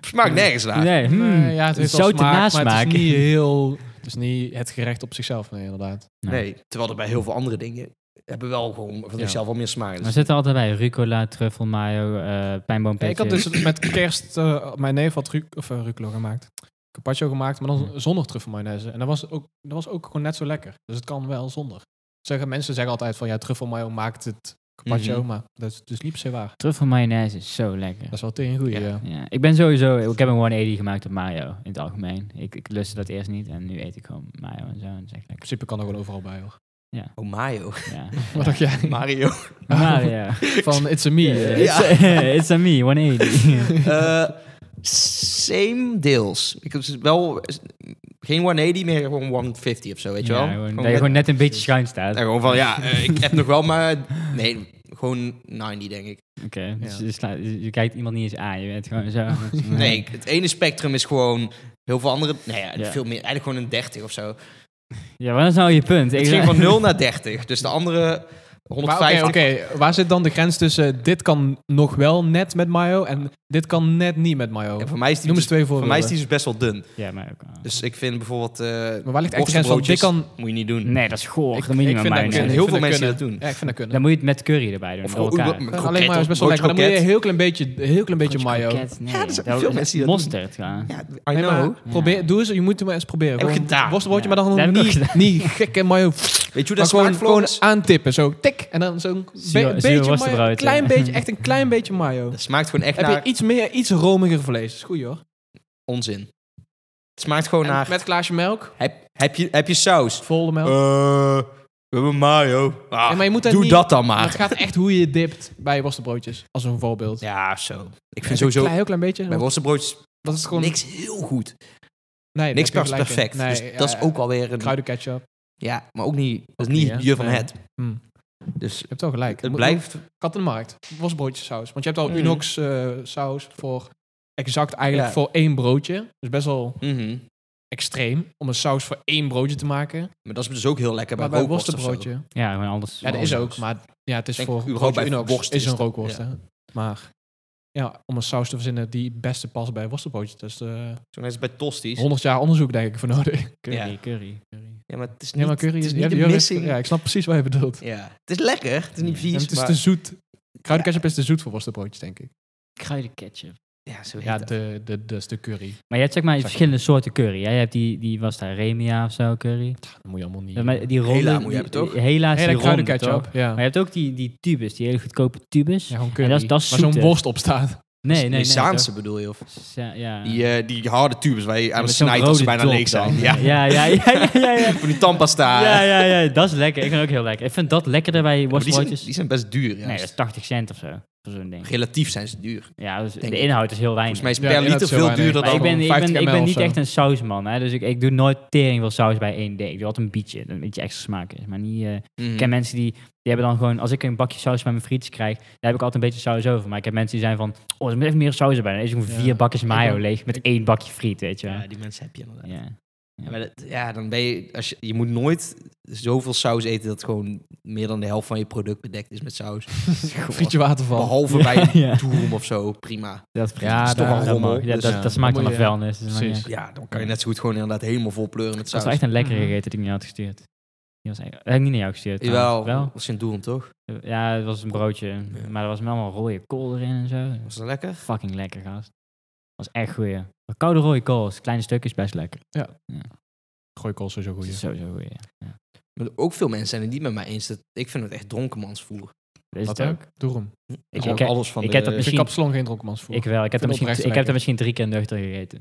smaakt nergens naar.
Nee, hmm,
Nee, eh, ja, het heeft wel
zoute
smaak, maar
nasmaak.
het is niet heel... Het is niet het gerecht op zichzelf, nee, inderdaad.
Nee, terwijl er bij heel veel andere dingen... hebben wel gewoon van
Ja.
zichzelf wel meer smaak.
Maar
Dus
zit er altijd bij rucola, truffel mayo, eh pijnboompetje.
ik had dus met kerst... eh, mijn neef had ru of, eh, rucola gemaakt. Hmm. Carpaccio gemaakt, maar dan zonder truffelmayonaise. En dat was, ook, dat was ook gewoon net zo lekker. Dus het kan wel zonder. zeggen, mensen zeggen altijd van ja, truffelmayo maakt het carpaccio,
Mhm.
maar dat is dus niet per se waar.
Truffel mayonaise is zo lekker.
Dat is wel tegen goeie.
Ja.
Ja.
Ja, ik ben sowieso, ik heb een 180 gemaakt op mayo in het algemeen. Ik, ik lustte dat eerst niet en nu eet ik gewoon mayo en zo. En dat is echt
In
lekker.
principe kan er gewoon overal bij hoor.
Oh, Mayo.
Ja.
Wat dacht jij?
Mario.
Mayo.
Van It's a Me. eh.
It's, it's a me, 180.
Eh, same deels. Ik heb dus wel eh, geen 180 meer, gewoon 150 of zo, weet je
Ja,
wel?
gewoon, dat je
net-
gewoon net een beetje schuin staat.
Ja, gewoon van, ja, eh, ik heb nog wel maar... Nee, gewoon 90, denk ik.
Oké, dus je, slaat- je kijkt iemand niet eens aan. Je bent gewoon zo.
Nee, ik- het ene spectrum is gewoon heel veel andere... Nee, ja,
Ja.
veel meer. Eigenlijk gewoon een 30 of zo.
Ja, wat is nou je punt?
Het ging van 0 naar 30. Dus de andere
Maar oké,
150...
oké, waar zit dan de grens tussen dit kan nog wel net met mayo en dit kan net niet met mayo?
Ja, voor mij is die,
Noem eens
dus,
twee
voor
voorbeelden.
mij is die dus best wel dun.
Ja, maar ook. ah.
Dus ik vind bijvoorbeeld... eh
Maar waar ligt echt de grens van dit
worstenbroodjes
kan...
Moet je niet doen.
Nee, dat is goor.
Ik-
Dan moet je
ik
niet met
vind dat
mayonaise.
kunnen.
ik
Heel
vind
veel mensen
kunnen.
dat doen.
Ja, ik vind dat kunnen.
Dan moet je het met curry erbij doen.
Of
Of elkaar.
gewoon-
Ja, alleen maar is best wel lekker. Dan moet je een heel klein beetje, heel klein beetje mayo.
Kroket, nee,
Ja, er zijn
dat-
veel mensen die dat doen.
mosterd, ja.
Ja, I
Nee, maar
know.
probeer, doe eens, je moet het maar eens proberen.
nou Heb ik
Gewoon
gedaan.
Worstenbroodje,
Ja.
maar dan
Dat heb
gewoon
ik ook
niet, niet gekke mayo.
Weet je hoe
Maar
dat
gewoon,
smaakt,
gewoon
Floris?
aantippen, zo tik. En dan zo'n be-
Zuur- zuur
beetje mayo,
worstenbrood,
een klein
ja.
beetje, echt een klein beetje mayo.
Dat smaakt gewoon echt
Heb je
naar
iets meer, iets romiger vlees. Is goed hoor.
onzin. Het smaakt gewoon
En
naar...
Met glaasje melk,
Heb, heb, je, heb je saus?
volle melk.
Eh, we hebben mayo. Ah,
Ja, maar je moet dat
doe
niet-
dat dan
Maar
maar.
het gaat echt hoe je dipt bij worstenbroodjes. Als een voorbeeld.
Ja, zo. Ik
Een
vind sowieso
klein, heel klein beetje.
bij worstenbroodjes
Dat is gewoon...
niks heel goed.
nee, daar
niks
heb je
per-
gelijk in.
perfect.
Nee,
dus
ja,
dat is
ja.
ook alweer een...
Kruidenketchup.
Ja, maar ook niet... Dat
Ook
is niet
niet, hè?
je van
Nee.
het.
Hm.
Dus
Je hebt wel gelijk.
het
Moet-
blijft...
Kat in de markt. Worstbroodjesaus. Want je hebt al
Mm.
Unox eh, saus voor exact eigenlijk
Ja.
voor één broodje. Dus best wel
Mhm.
extreem om een saus voor één broodje te maken.
Maar dat is dus ook heel lekker bij
maar bij
rookworst of zo.
worstenbroodje.
Ja, gewoon anders.
Ja, dat is ook. Maar ja, het is
Denk
voor
überhaupt
broodje
bij
Unox
worst
is
is
een
dat,
rookworst.
ja.
hè. Maar ja, om een saus te verzinnen die het beste past bij worstenbroodjes. Dat is eh,
Zo net als bij tosties.
100 jaar onderzoek denk ik voor nodig.
Curry,
Ja.
curry, curry.
Ja, maar het is niet,
Ja, maar curry
het is
is,
niet
ja,
de
Jurre heeft-
missing.
Ja,
Ja.
ik snap precies wat je bedoelt.
Het is lekker. Het is niet
Ja,
vies,
En het is dus-
maar...
te zoet. Kruidenketchup is te zoet voor worstenbroodjes, denk ik.
Kruidenketchup.
Ja, zo heet
Ja,
dat.
de, de, de, de curry.
Maar je hebt zeg maar
Zeg-
verschillende soorten curry. Hè? Je hebt die, die was daar Remia of zo curry.
Dat moet je allemaal niet.
Ja, maar die ronde,
Hela moet je
die-
hebben, toch?
Hela is
Hele
die ronde,
kruidenketchup.
toch?
Ja.
Maar je hebt ook die, die tubes, die hele goedkope tubes.
Ja, gewoon curry.
dat is- dat is
waar zo'n
zoete.
worst op staat.
Nee, nee, nee.
die Saanse
toch?
bedoel je? Of?
Sa- ja.
Die, eh, die harde tubes waar je aan
Met
de
zo'n
snijdt als ze
rode
bijna
top
leeg zijn.
dan.
Ja.
Ja, ja, ja, ja, ja, ja.
Voor die tandpasta.
Ja,
Maar
ja, ja, dat is lekker. Ik vind ook heel lekker. Ik vind dat lekkerder bij
die, zijn,
worstbroodjes.
die zijn best duur. Ja. Dus
Nee, dat is 80 cent of zo. Voor zo'n ding.
Relatief zijn ze duur.
Ja, dus
Denk
de
ik.
inhoud is heel weinig.
Volgens mij is
Ja,
per
inderdaad,
liter
zo
veel
weinig.
duurder
Maar
dan...
ik ben, ik ben,
50
ik
ml
ben
of
niet
zo.
echt een sausman, hè? dus ik, ik doe nooit tering veel saus bij één ding. Ik doe altijd een bietje, dat een beetje extra smaak is. Maar niet, eh,
Mhm.
Ik
Hm.
ken mensen die, die hebben dan gewoon, als ik een bakje saus bij mijn frietjes krijg, daar heb ik altijd een beetje saus over. Maar ik heb mensen die zijn van, oh, er moet even meer saus bij. Dan is gewoon
Ja.
vier bakjes mayo
ook.
leeg met
Ik-
één bakje friet, weet je wel.
Ja, die mensen heb je inderdaad. Ja.
Ja.
Maar dat, ja, dan ben je... Als je, je moet nooit zoveel saus eten dat gewoon meer dan de helft van je product bedekt is met saus.
Frietje waterval.
Behalve
Ja,
bij een
ja.
toerom of zo, prima.
Dat,
Ja,
dat
is toch wel
dat
rommel,
mag. Ja,
dus,
dat,
ja.
dat smaakt wel
Moet
naar
je-
vuilnis. Dat, is maar niet
Precies.
uit.
Ja, dan kan je net zo goed gewoon inderdaad helemaal vol pleuren met
Dat
saus.
was echt een lekkere
Mhm.
gegeten die ik niet had gestuurd. Die was echt, heb ik niet naar jou gestuurd.
Jawel,
trouwens.
dat was in Doerum toch?
Wel? Ja, het was een broodje. Maar er was wel allemaal rode kool erin en zo.
Was dat lekker?
Fucking lekker, gast. Dat was echt goeie. Maar koude rode kool, als kleine stukjes best lekker.
Gooi kool sowieso
Dat
goed.
is sowieso goeie. Ja.
Maar ook veel mensen zijn het niet met mij eens. Dat, ik vind het echt dronkenmansvoer.
Dat is
Dat
het
ook. Doe hem.
Ik,
Gewoon
ik, heb-
alles van
ik
de-
heb dat
Ik
misschien-
heb kapsalon geen dronkenmansvoer.
ik wel. Ik heb, er
vind
misschien,
oprecht
ik heb
lekker.
er misschien drie keer nuchter gegeten.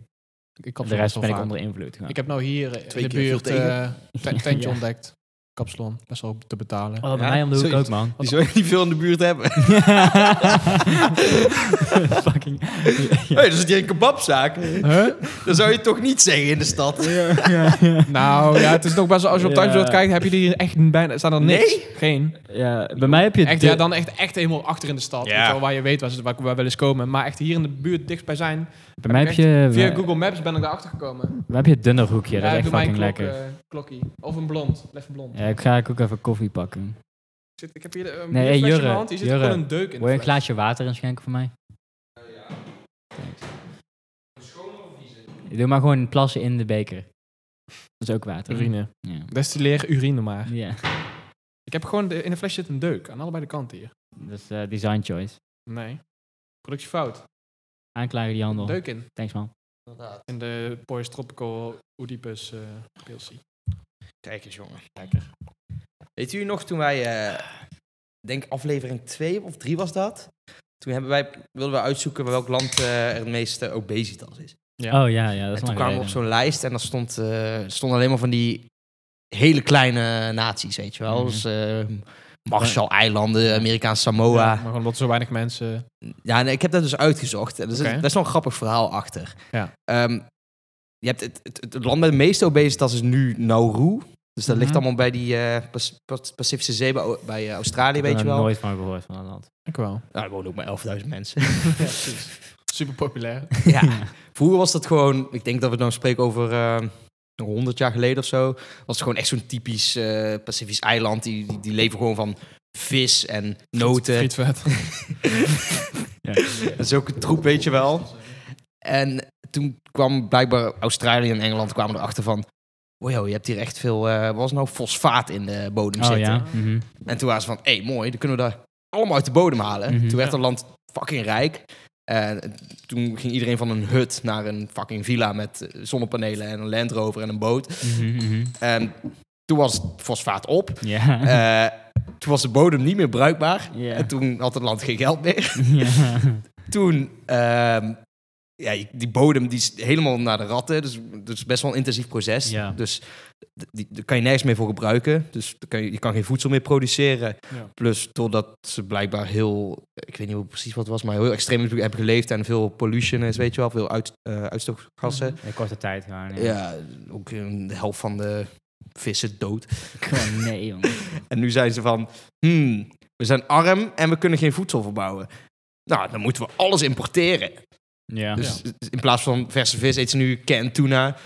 Ik
de
kapsalon
rest
wel
ben ik
vaak.
onder invloed. gewoon.
Ik heb nou hier
Twee
in de
keer
buurt
veel tegen.
eh ten-
Ja,
tentje
ja.
ontdekt. Kapsalon. Best wel te betalen.
Oh, bij
Ja,
mij om de hoek
zoiets.
ook, man.
Die zou je niet veel in de buurt hebben.
Fucking...
Hey, dan zit hier een kebabzaak.
Huh?
Dat zou je toch niet zeggen in de stad?
Nou ja, het is nog best wel- als je op
Ja.
thuisbeeld kijkt, heb je die echt bijna, staan er niks. Geen.
Ja, bij mij heb je...
Echt,
de-
ja, dan echt, echt helemaal achter in de stad,
Ja.
weet je wel, waar je weet waar ze waar, waar wel eens komen. Maar echt hier in de buurt dichtstbij zijn,
bij mij heb
echt
je...
via
bij-
Google Maps ben ik daarachter gekomen.
Waar heb je het dunner hoekje?
Ja,
dat eh, is echt
doe mij
fucking
een klok,
lekker.
eh, klokkie. Of een blond, lekker blond.
Ja, ik ga ook even koffie pakken.
Ik Zit, ik heb hier eh, een
Nee,
nee,
hey,
in
Jurre,
mijn hand, hier zit
Jurre.
gewoon een deuk
Wil
in
je
de
een
fles.
glaasje water inschenken voor mij? Thanks. Doe maar gewoon plassen in de beker. Dat is ook water. hè?
Urine.
Ja.
Destilleer urine maar.
ja.
Ik heb gewoon, de, in de fles zit een deuk, aan allebei de kanten hier.
Dat is eh, design choice.
Nee. Productje fout.
Aanklagen die handel.
Deuk in.
Thanks man.
In de Poyes Tropical Oedipus eh, PLC.
Kijk eens, jongen.
Lekker.
Weet u nog toen wij, eh, denk aflevering 2 of 3 was dat? Toen hebben wij, wilden we uitzoeken welk land eh, er het meeste obesitas is.
Oh ja, ja, dat
En
is
toen
lang
kwamen we op
geleden.
zo'n lijst en daar stond, eh, stonden alleen maar van die hele kleine naties, weet je wel.
Mhm.
Dus eh, Marshall-eilanden, Amerikaanse Samoa.
maar gewoon omdat zo weinig mensen...
Ja, nee, ik heb dat dus uitgezocht. En Er zit
Oké.
best wel een grappig verhaal achter.
Ja.
Ehm, je hebt het, het, het land met de meeste obesitas is nu Nauru. Dus dat ligt
Mhm.
allemaal bij die eh, Pas- Pas- Pacifische Zee, bij, bij eh, Australië,
Ik heb
weet je
er
wel.
nooit van gehoord van dat land.
Ik wel.
Nou, er wonen ook maar 11.000 mensen.
Super populair.
ja. Vroeger was dat gewoon, ik denk dat we dan spreken over eh, 100 jaar geleden of zo. Was het gewoon echt zo'n typisch eh, Pacifisch eiland. Die, die, die leven gewoon van vis en noten.
Frietvet.
Ja.
Dat is ook een troep, weet je wel. En toen kwam blijkbaar Australië en Engeland kwamen erachter van... Wow, je hebt hier echt veel, eh, wat was het nou, fosfaat in de bodem
Oh
zitten.
ja. mhm.
En toen waren ze van, hé, hey, mooi, dan kunnen we dat allemaal uit de bodem halen.
Mhm.
Toen werd
Ja.
het land fucking rijk. En toen ging iedereen van een hut naar een fucking villa met eh, zonnepanelen en een Land Rover en een boot.
Mhm, mhm.
En toen was het fosfaat op.
Ja.
Eh, toen was de bodem niet meer bruikbaar.
Mhm. Ja.
En toen had het land geen geld meer
Ja.
toen, ehm, ja, die bodem die is helemaal naar de ratten. Dus dat is best wel een intensief proces.
Ja.
Dus d- die, daar kan je nergens meer voor gebruiken. Dus daar kan je, je kan geen voedsel meer produceren.
Ja.
Plus, doordat ze blijkbaar heel, ik weet niet hoe precies wat het was, maar heel extreem natuurlijk hebben geleefd en veel pollution is, weet je wel, veel uit, eh, uitstootgassen.
In korte tijd gewoon. Ja.
Ja, ook eh, de helft van de vissen dood.
Gewoon nee, jongen.
En nu zijn ze van, hmm, we zijn arm en we kunnen geen voedsel verbouwen. Nou, dan moeten we alles importeren.
Ja.
Dus in plaats van verse vis eet ze nu canned tuna.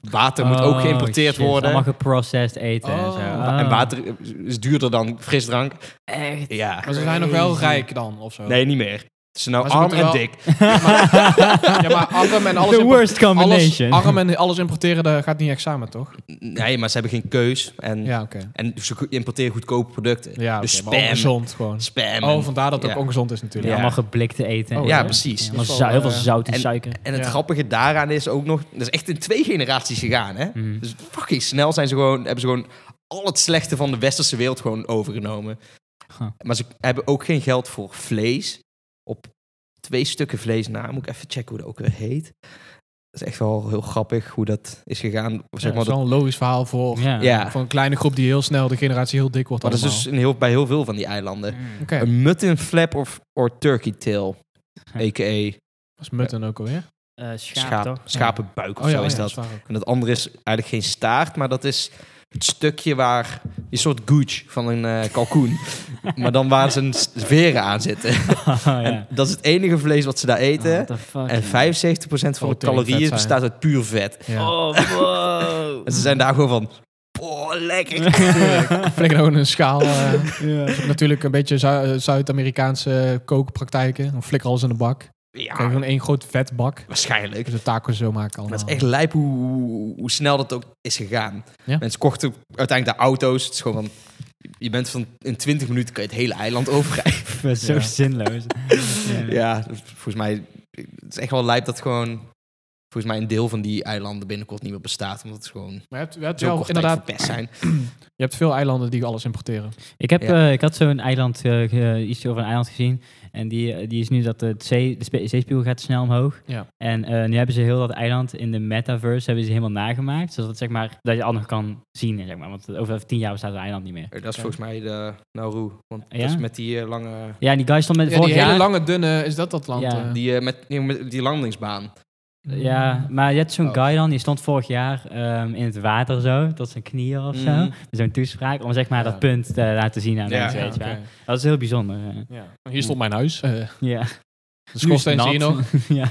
Water moet ook
Oh,
geïmporteerd
shit.
worden.
Allemaal geprocessed eten en
Oh.
zo.
En
En
Oh.
water is duurder dan frisdrank.
Echt?
Ja.
Maar ze zijn nog wel rijk dan, of zo.
Nee, niet meer. Ze zijn nou
Maar ze
arm en
moeten wel-
dik.
Ja, maar arm en alles...
The
impor-
worst combination.
Alles, arm en alles importeren, dat gaat niet echt samen, toch?
Nee, maar ze hebben geen keus. En,
Ja, oké.
en ze go- importeren goedkope producten.
Ja,
dus
oké, maar
spam.
ongezond gewoon.
Spam.
Oh,
en-
vandaar dat het
ja.
ook ongezond is
Ja,
natuurlijk.
Allemaal geblikte eten.
Oh,
en
ja,
zo.
precies.
Allemaal
Dat is
zu-
wel,
heel veel
eh,
zout en,
en-
suiker.
En het
Ja.
grappige daaraan is ook nog... Dat is echt in twee generaties gegaan, hè?
Mhm.
Dus fucking snel zijn ze gewoon, hebben ze gewoon al het slechte van de westerse wereld gewoon overgenomen.
Huh.
Maar ze hebben ook geen geld voor vlees. Op twee stukken vlees na. Moet ik even checken hoe dat ook weer heet. Dat is echt wel heel grappig hoe dat is gegaan. Of Zeg maar
Ja, dat is
dat,
wel een logisch verhaal voor,
Ja.
ja,
voor een kleine groep die heel snel, de generatie heel dik wordt
maar dat is
allemaal.
dus in heel, bij heel veel van die eilanden.
Mm.
Oké,
Een mutton flap of or turkey tail.
Huh.
A.k.a.
dat is mutton ook alweer.
Eh, schaap,
Schaap,
toch?
schapenbuik of
Oh
zo
ja,
is
ja,
dat.
is waar ook.
En dat andere is eigenlijk geen staart, maar dat is het stukje waar een soort gooch van een eh, kalkoen, maar dan waar zijn s- veren aan zitten.
Oh, ja.
En dat is het enige vlees wat ze daar
Ah,
Oh,
eten.
what the fuck,
en
man.
75% van de
Oh, tegen vet
calorieën
zijn.
bestaat uit puur vet.
Ja.
Oh, wow.
En ze zijn daar gewoon van, oh lekker.
Flikker ook in een schaal. eh,
ja.
natuurlijk een beetje Zu- eh, Zuid-Amerikaanse kookpraktijken. Dan flikker alles in de bak. Krijg je
Ja,
gewoon één groot vetbak.
waarschijnlijk.
Dus de tacos zo maken
Maar
allemaal.
het is echt lijp hoe, hoe- hoe snel dat ook is gegaan.
Ja.
Mensen kochten uiteindelijk de auto's. Het is gewoon van, je bent van in 20 minuten kan je het hele eiland overrijden.
Dat is zo
Ja.
zinloos. ja.
Ja, dus volgens mij het is echt wel lijp dat gewoon volgens mij een deel van die eilanden binnenkort niet meer bestaat, omdat het gewoon
Maar je hebt, je hebt
zo
wel,
kort
inderdaad,
tijd verpest zijn.
je hebt veel eilanden die alles importeren.
Ik, heb,
Ja.
eh, ik had zo'n eiland, eh, ge- iets over een eiland gezien. En die, eh, die is nu dat het zee, de spe- zeespiegel gaat snel omhoog.
Ja.
En eh, nu hebben ze heel dat eiland in de metaverse hebben ze helemaal nagemaakt. Zodat zeg maar, dat je al nog kan zien. Zeg maar, want over tien jaar bestaat het eiland niet meer.
Dat is volgens mij de Nauru, want
Ja?
dat is met die eh, lange,
Ja, en die guy stond met
Ja, die
vorig
hele
jaar.
lange, dunne, is dat dat land?
Ja.
eh?
die, eh, met, nee, met die landingsbaan.
Ja, maar je had zo'n
Oh.
guy dan, die stond vorig jaar ehm, in het water zo, tot zijn knieën of zo.
Mhm.
Zo'n toespraak, om zeg maar
Mm. Ja.
dat punt te laten zien aan
Ja,
mensen,
Ja,
weet je wel.
oké.
Dat is heel bijzonder. eh.
Ja. Hier stond mijn huis. eh
Ja.
de schoorsteen zie je
Nu is
nog.
het nat. ja.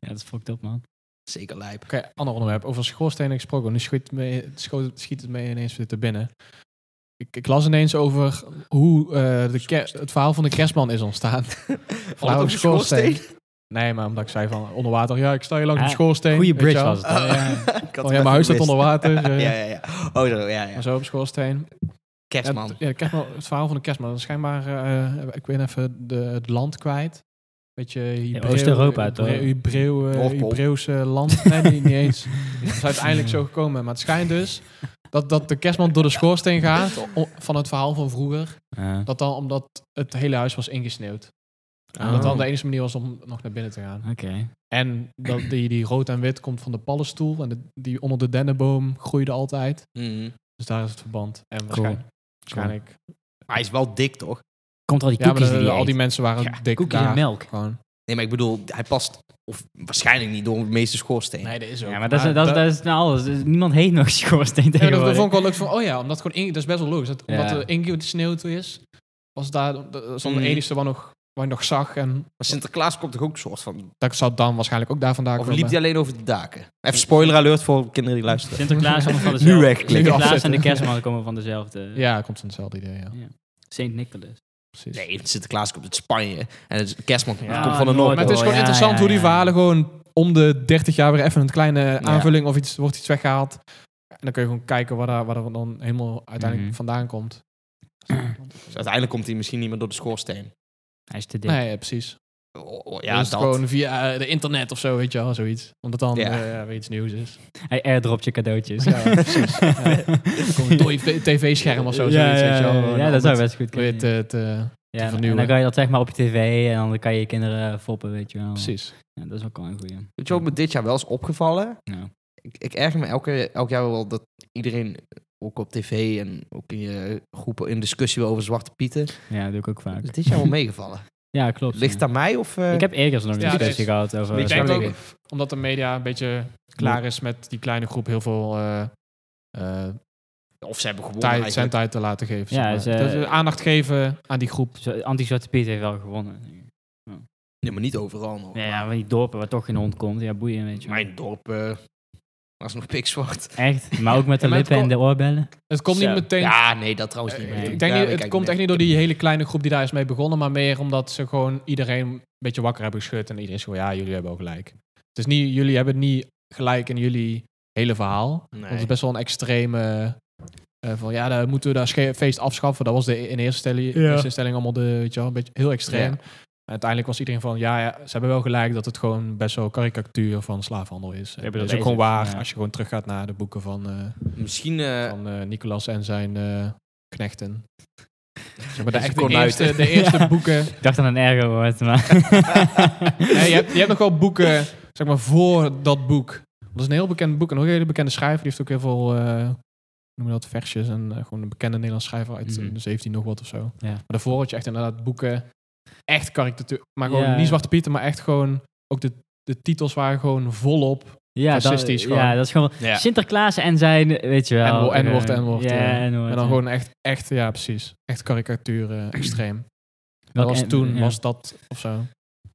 ja, dat is fucked up, man.
Zeker lijp.
Oké, ander onderwerp. Over schoorstenen gesproken. Nu schiet, me, scho- schiet het mee ineens weer te binnen. Ik, ik las ineens over hoe eh, de ker- het verhaal van de kerstman is ontstaan.
Valt het op je schoorsteen?
Nee, maar omdat ik zei van onder water. Ja, ik sta hier langs
Ah,
de schoorsteen.
Goede
weet je
bridge
wel.
was het. dan, ja.
Ik had het
Van,
even
Oh, ja, mijn huis staat
gemist.
onder water. eh,
Ja, ja, ja. Oh, zo, ja, ja.
Maar zo op schoorsteen. Ja,
Kerstman.
t- Ja, de kerstman, het verhaal van de kerstman. Dat is Schijnbaar, eh, ik weet even de, het land kwijt. Beetje Hebreeuw-
Oost-Europa,
Hebreeuw-
toch?
Hebreeuw, eh,
Noordpool.
Hebreeuwse land. Nee, niet, niet eens. Het is uiteindelijk zo gekomen. Maar het schijnt dus Dat, dat de kerstman door de schoorsteen gaat o- van het verhaal van vroeger.
Ja.
Dat dan omdat het hele huis was ingesneeuwd. En
Oh.
dat dan de enige manier was om nog naar binnen te gaan.
Oké.
En dat die, die rood en wit komt van de pallenstoel. En de- die onder de dennenboom groeide altijd.
Mhm.
Dus daar is het verband. En waarschijnlijk... waarschijnlijk
Maar hij is wel dik, toch?
Komt er al die
ja, maar
koekjes
de-
die die
al die
eet?
mensen waren
Ja,
dik
Koekjes en
daar.
melk.
Gewoon.
Nee, maar ik bedoel, hij past of waarschijnlijk niet door de meeste schoorsteen.
Nee, dat is ook.
Ja, maar dat is, dat, is- dat is nou alles. Dus Niemand heeft nog schoorsteen
Ja, dat, dat
tegenwoordig.
vond ik wel leuk van, oh ja, omdat gewoon in, dat is best wel logisch. Dat,
Ja.
Omdat er ingesneeuwd is, was daar dat was dan
Mhm.
de enige wat nog, wat ik nog zag. En
Maar Sinterklaas komt toch ook een soort van...
dat zou dan waarschijnlijk ook daar vandaan
Of
komen.
liep hij alleen over de daken? Even spoiler alert voor kinderen die luisteren.
Sinterklaas komt van dezelfde.
wegklikken.
Sinterklaas en de
Afzetten.
kerstman komen van dezelfde.
Ja, komt van hetzelfde idee, ja.
Sint Nicholas.
Precies.
Nee, Sinterklaas komt uit Spanje. En de kerstman
Ja,
komt van de
Noord-
Noord.
Maar het
Oh,
is gewoon
ja,
interessant
ja,
hoe die
ja.
verhalen gewoon om de 30 jaar weer even een kleine aanvulling of iets, wordt iets weggehaald. En dan kun je gewoon kijken waar, daar, waar dat dan helemaal uiteindelijk
Mhm.
vandaan komt.
Dus uiteindelijk komt hij misschien niet meer door de schoorsteen.
Hij is te dik.
Nee, ja, precies.
Oh, oh,
Ja,
ja,
dus
dat.
gewoon via eh, de internet of zo, weet je wel, zoiets. Omdat dan
Ja.
eh, ja, weer iets nieuws is.
Hij airdropt je cadeautjes.
Ja, precies. Ja. Gewoon een dooi tv-scherm of zo,
Ja,
zoiets,
ja,
weet je wel.
ja,
Gewoon
ja,
om
dat zou
het
best goed
weer
kunnen.
te- te-
ja, en
vernieuwen.
dan kan je dat zeg maar op je tv en dan kan je je kinderen foppen, weet je wel.
Precies.
Ja, dat is ook wel een goeie.
Weet je wat me dit jaar wel is opgevallen?
Nou.
Ik, ik erger me elke, elk jaar wel dat iedereen, ook op tv en ook in je groepen, in discussie wil over Zwarte Pieten.
Ja, dat doe ik ook vaak.
Dat is dit jaar wel meegevallen.
Ja, klopt.
Ligt het
ja.
aan mij of... eh,
Ik heb eerder nog een
Ja,
discussie
dus-
gehad over...
Ik
Ik
zou
denk
het
ook, omdat de media een beetje klaar is met die kleine groep heel veel eh, eh,
Of ze hebben gewonnen
tijd,
eigenlijk.
zendtijd te laten geven.
Ja,
zeg maar.
dus, eh,
Dat we aandacht geven aan die groep.
Zo- Anti-Zwarte Piet heeft wel gewonnen.
Ja, maar niet overal nog.
Ja, ja, van die dorpen waar toch geen hond komt. Ja, boeien, weet je wel.
Mijn dorp eh, was nog pikzwart.
Echt? Maar ook met de
Ja, maar het
lippen en de oorbellen?
Het komt
Zo.
niet meteen...
Ja, nee, dat trouwens niet.
eh,
meer.
nee.
ik
Daar
denk niet,
ben
het
ik
komt
eigenlijk
echt niet door die hele kleine groep die daar is mee begonnen, maar meer omdat ze gewoon iedereen een beetje wakker hebben geschud en iedereen is gewoon, ja, jullie hebben ook gelijk. Het is niet, jullie hebben niet gelijk in jullie hele verhaal.
Nee.
Want het is best wel een extreme. eh, van ja, dan moeten we daar sche- feest afschaffen. Dat was de, e-, in eerste stelling,
Ja.
eerste stelling allemaal de, weet je wel, een beetje heel extreem. En uiteindelijk was iedereen van ja, ja, ze hebben wel gelijk dat het gewoon best wel karikatuur van slaafhandel is.
hebben
Dat,
dat
is ook gewoon
bezig,
waar
ja.
als je gewoon teruggaat naar de boeken van, eh,
Misschien... eh,
van eh, Nicolas en zijn eh, knechten. Zeg maar de,
Dat is
echt de
gewoon uit,
eerste,
hè?
de eerste
Ja.
boeken.
Ik dacht aan een ergo woord, maar...
Nee, je, hebt, je hebt nog wel boeken, zeg maar, voor dat boek. Want Dat is een heel bekend boek. En ook een hele bekende schrijver. Die heeft ook heel veel, eh, hoe noem je dat, versjes. En eh, gewoon een bekende Nederlandse schrijver uit
Mhm.
de 17 nog wat of zo.
Ja.
Maar daarvoor had je echt inderdaad boeken, echt karikatuur. Maar gewoon
Ja.
niet Zwarte Pieten, maar echt gewoon, ook de, de titels waren gewoon volop.
Ja, dat-
Racistisch gewoon.
Ja, dat is gewoon...
ja.
Sinterklaas en zijn, weet je wel...
En- N-woord,
eh,
N-woord,
Ja,
eh.
N-woord,
En dan
ja.
gewoon echt, echt ja precies. Echt karikatuur, eh, extreem. Dat
Welk
was
en-
toen,
ja.
was dat of zo. Als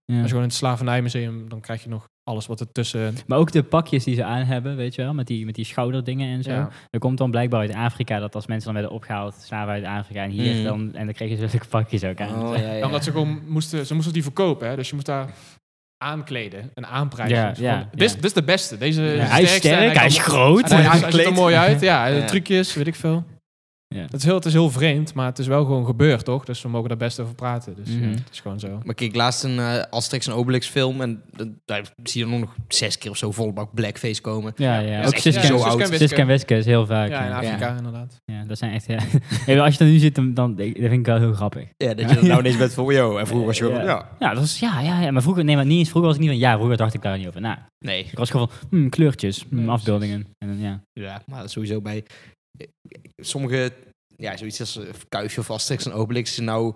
Ja.
je gewoon in het slavernijmuseum, dan krijg je nog alles wat er tussen...
Maar ook de pakjes die ze aan hebben, weet je wel, met die, met die schouderdingen en zo.
Ja.
Dat komt dan blijkbaar uit Afrika, dat als mensen dan werden opgehaald, slaven uit Afrika en hier
Mm.
dan, en dan kregen ze zulke pakjes ook aan.
Oh, ja, ja.
Ja, omdat ze gewoon moesten, ze moesten die verkopen, hè? dus je moest daar aankleden en aanprijzen.
Ja,
Dus
ja,
gewoon, dit, is,
ja.
dit is de beste. Deze
Ja,
is de
hij is
sterkste en
sterk,
kan-
hij is
en
groot.
hij-
Ja,
hij ziet er mooi uit, ja,
Ja.
trucjes, weet ik veel.
Ja.
Het is heel, het is heel vreemd, maar het is wel gewoon gebeurd, toch? Dus we mogen daar best over praten. Dus ja,
Mhm.
het is gewoon zo.
Maar ik keek laatst een eh Asterix en Obelix film en eh, daar zie je dan nog zes keer of zo volle bak blackface komen.
ja,
Ja,
ook
echt
Siska
zo
en-
oud.
Siska en Wiske.
Siska en Wiske is heel vaak.
Ja, in
Ja, ja.
Afrika inderdaad.
dat zijn echt... Ja. Ja, als je er nu zit, dan, dan dat vind ik wel heel grappig.
Ja, dat je dat nou ineens bent van, yo, en vroeger was je wel-
Ja.
ja.
Ja, dat was, ja, ja, ja, maar vroeger, nee, maar niet eens, vroeger was ik niet van, ja, vroeger dacht ik daar niet over. Nou,
Nee,
ik was gewoon van, hmm, kleurtjes, hmm,
Ja,
afbeeldingen. En dan, ja.
ja, maar dat is sowieso bij eh, sommige, ja, zoiets als eh, Kuifje of Asterix en Obelix is nou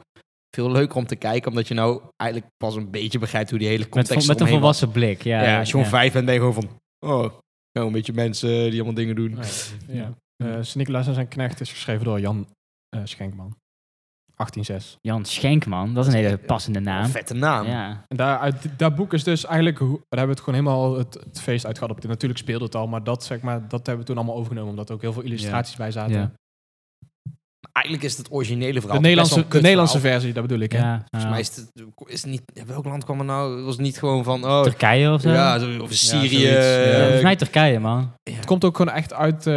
veel leuker om te kijken, omdat je nou eigenlijk pas een beetje begrijpt hoe die hele
Met,
context
vo- met een
eromheen was.
volwassen blik, ja.
Ja, als je gewoon vijf bent, ben je gewoon van, oh, nou, een beetje mensen die allemaal dingen doen.
Ja. ja. Eh, Sint Nicolaas en zijn knecht is geschreven door Jan eh, Schenkman. 1806.
Jan Schenkman, dat is een hele passende naam.
Oh, Vette naam.
Ja.
En daar, uit dat boek is dus eigenlijk, hoe- daar hebben we het gewoon helemaal het, het feest uit gehad. Natuurlijk speelde het al, maar dat, zeg maar dat hebben we toen allemaal overgenomen, omdat er ook heel veel illustraties bij zaten.
Ja.
Eigenlijk is het het originele verhaal. best wel
De, Nederlandse,
een
de
kut
Nederlandse
verhaal.
versie, dat bedoel ik. Hè?
ja.
Volgens mij is het, is het niet, ja, welk land kwam er nou? Was het niet gewoon van, oh,
Turkije of zo?
ja, zo- of Syrië.
zoiets, ja.
Ja,
eh,
volgens mij Turkije, man.
Het komt ook gewoon echt uit, eh,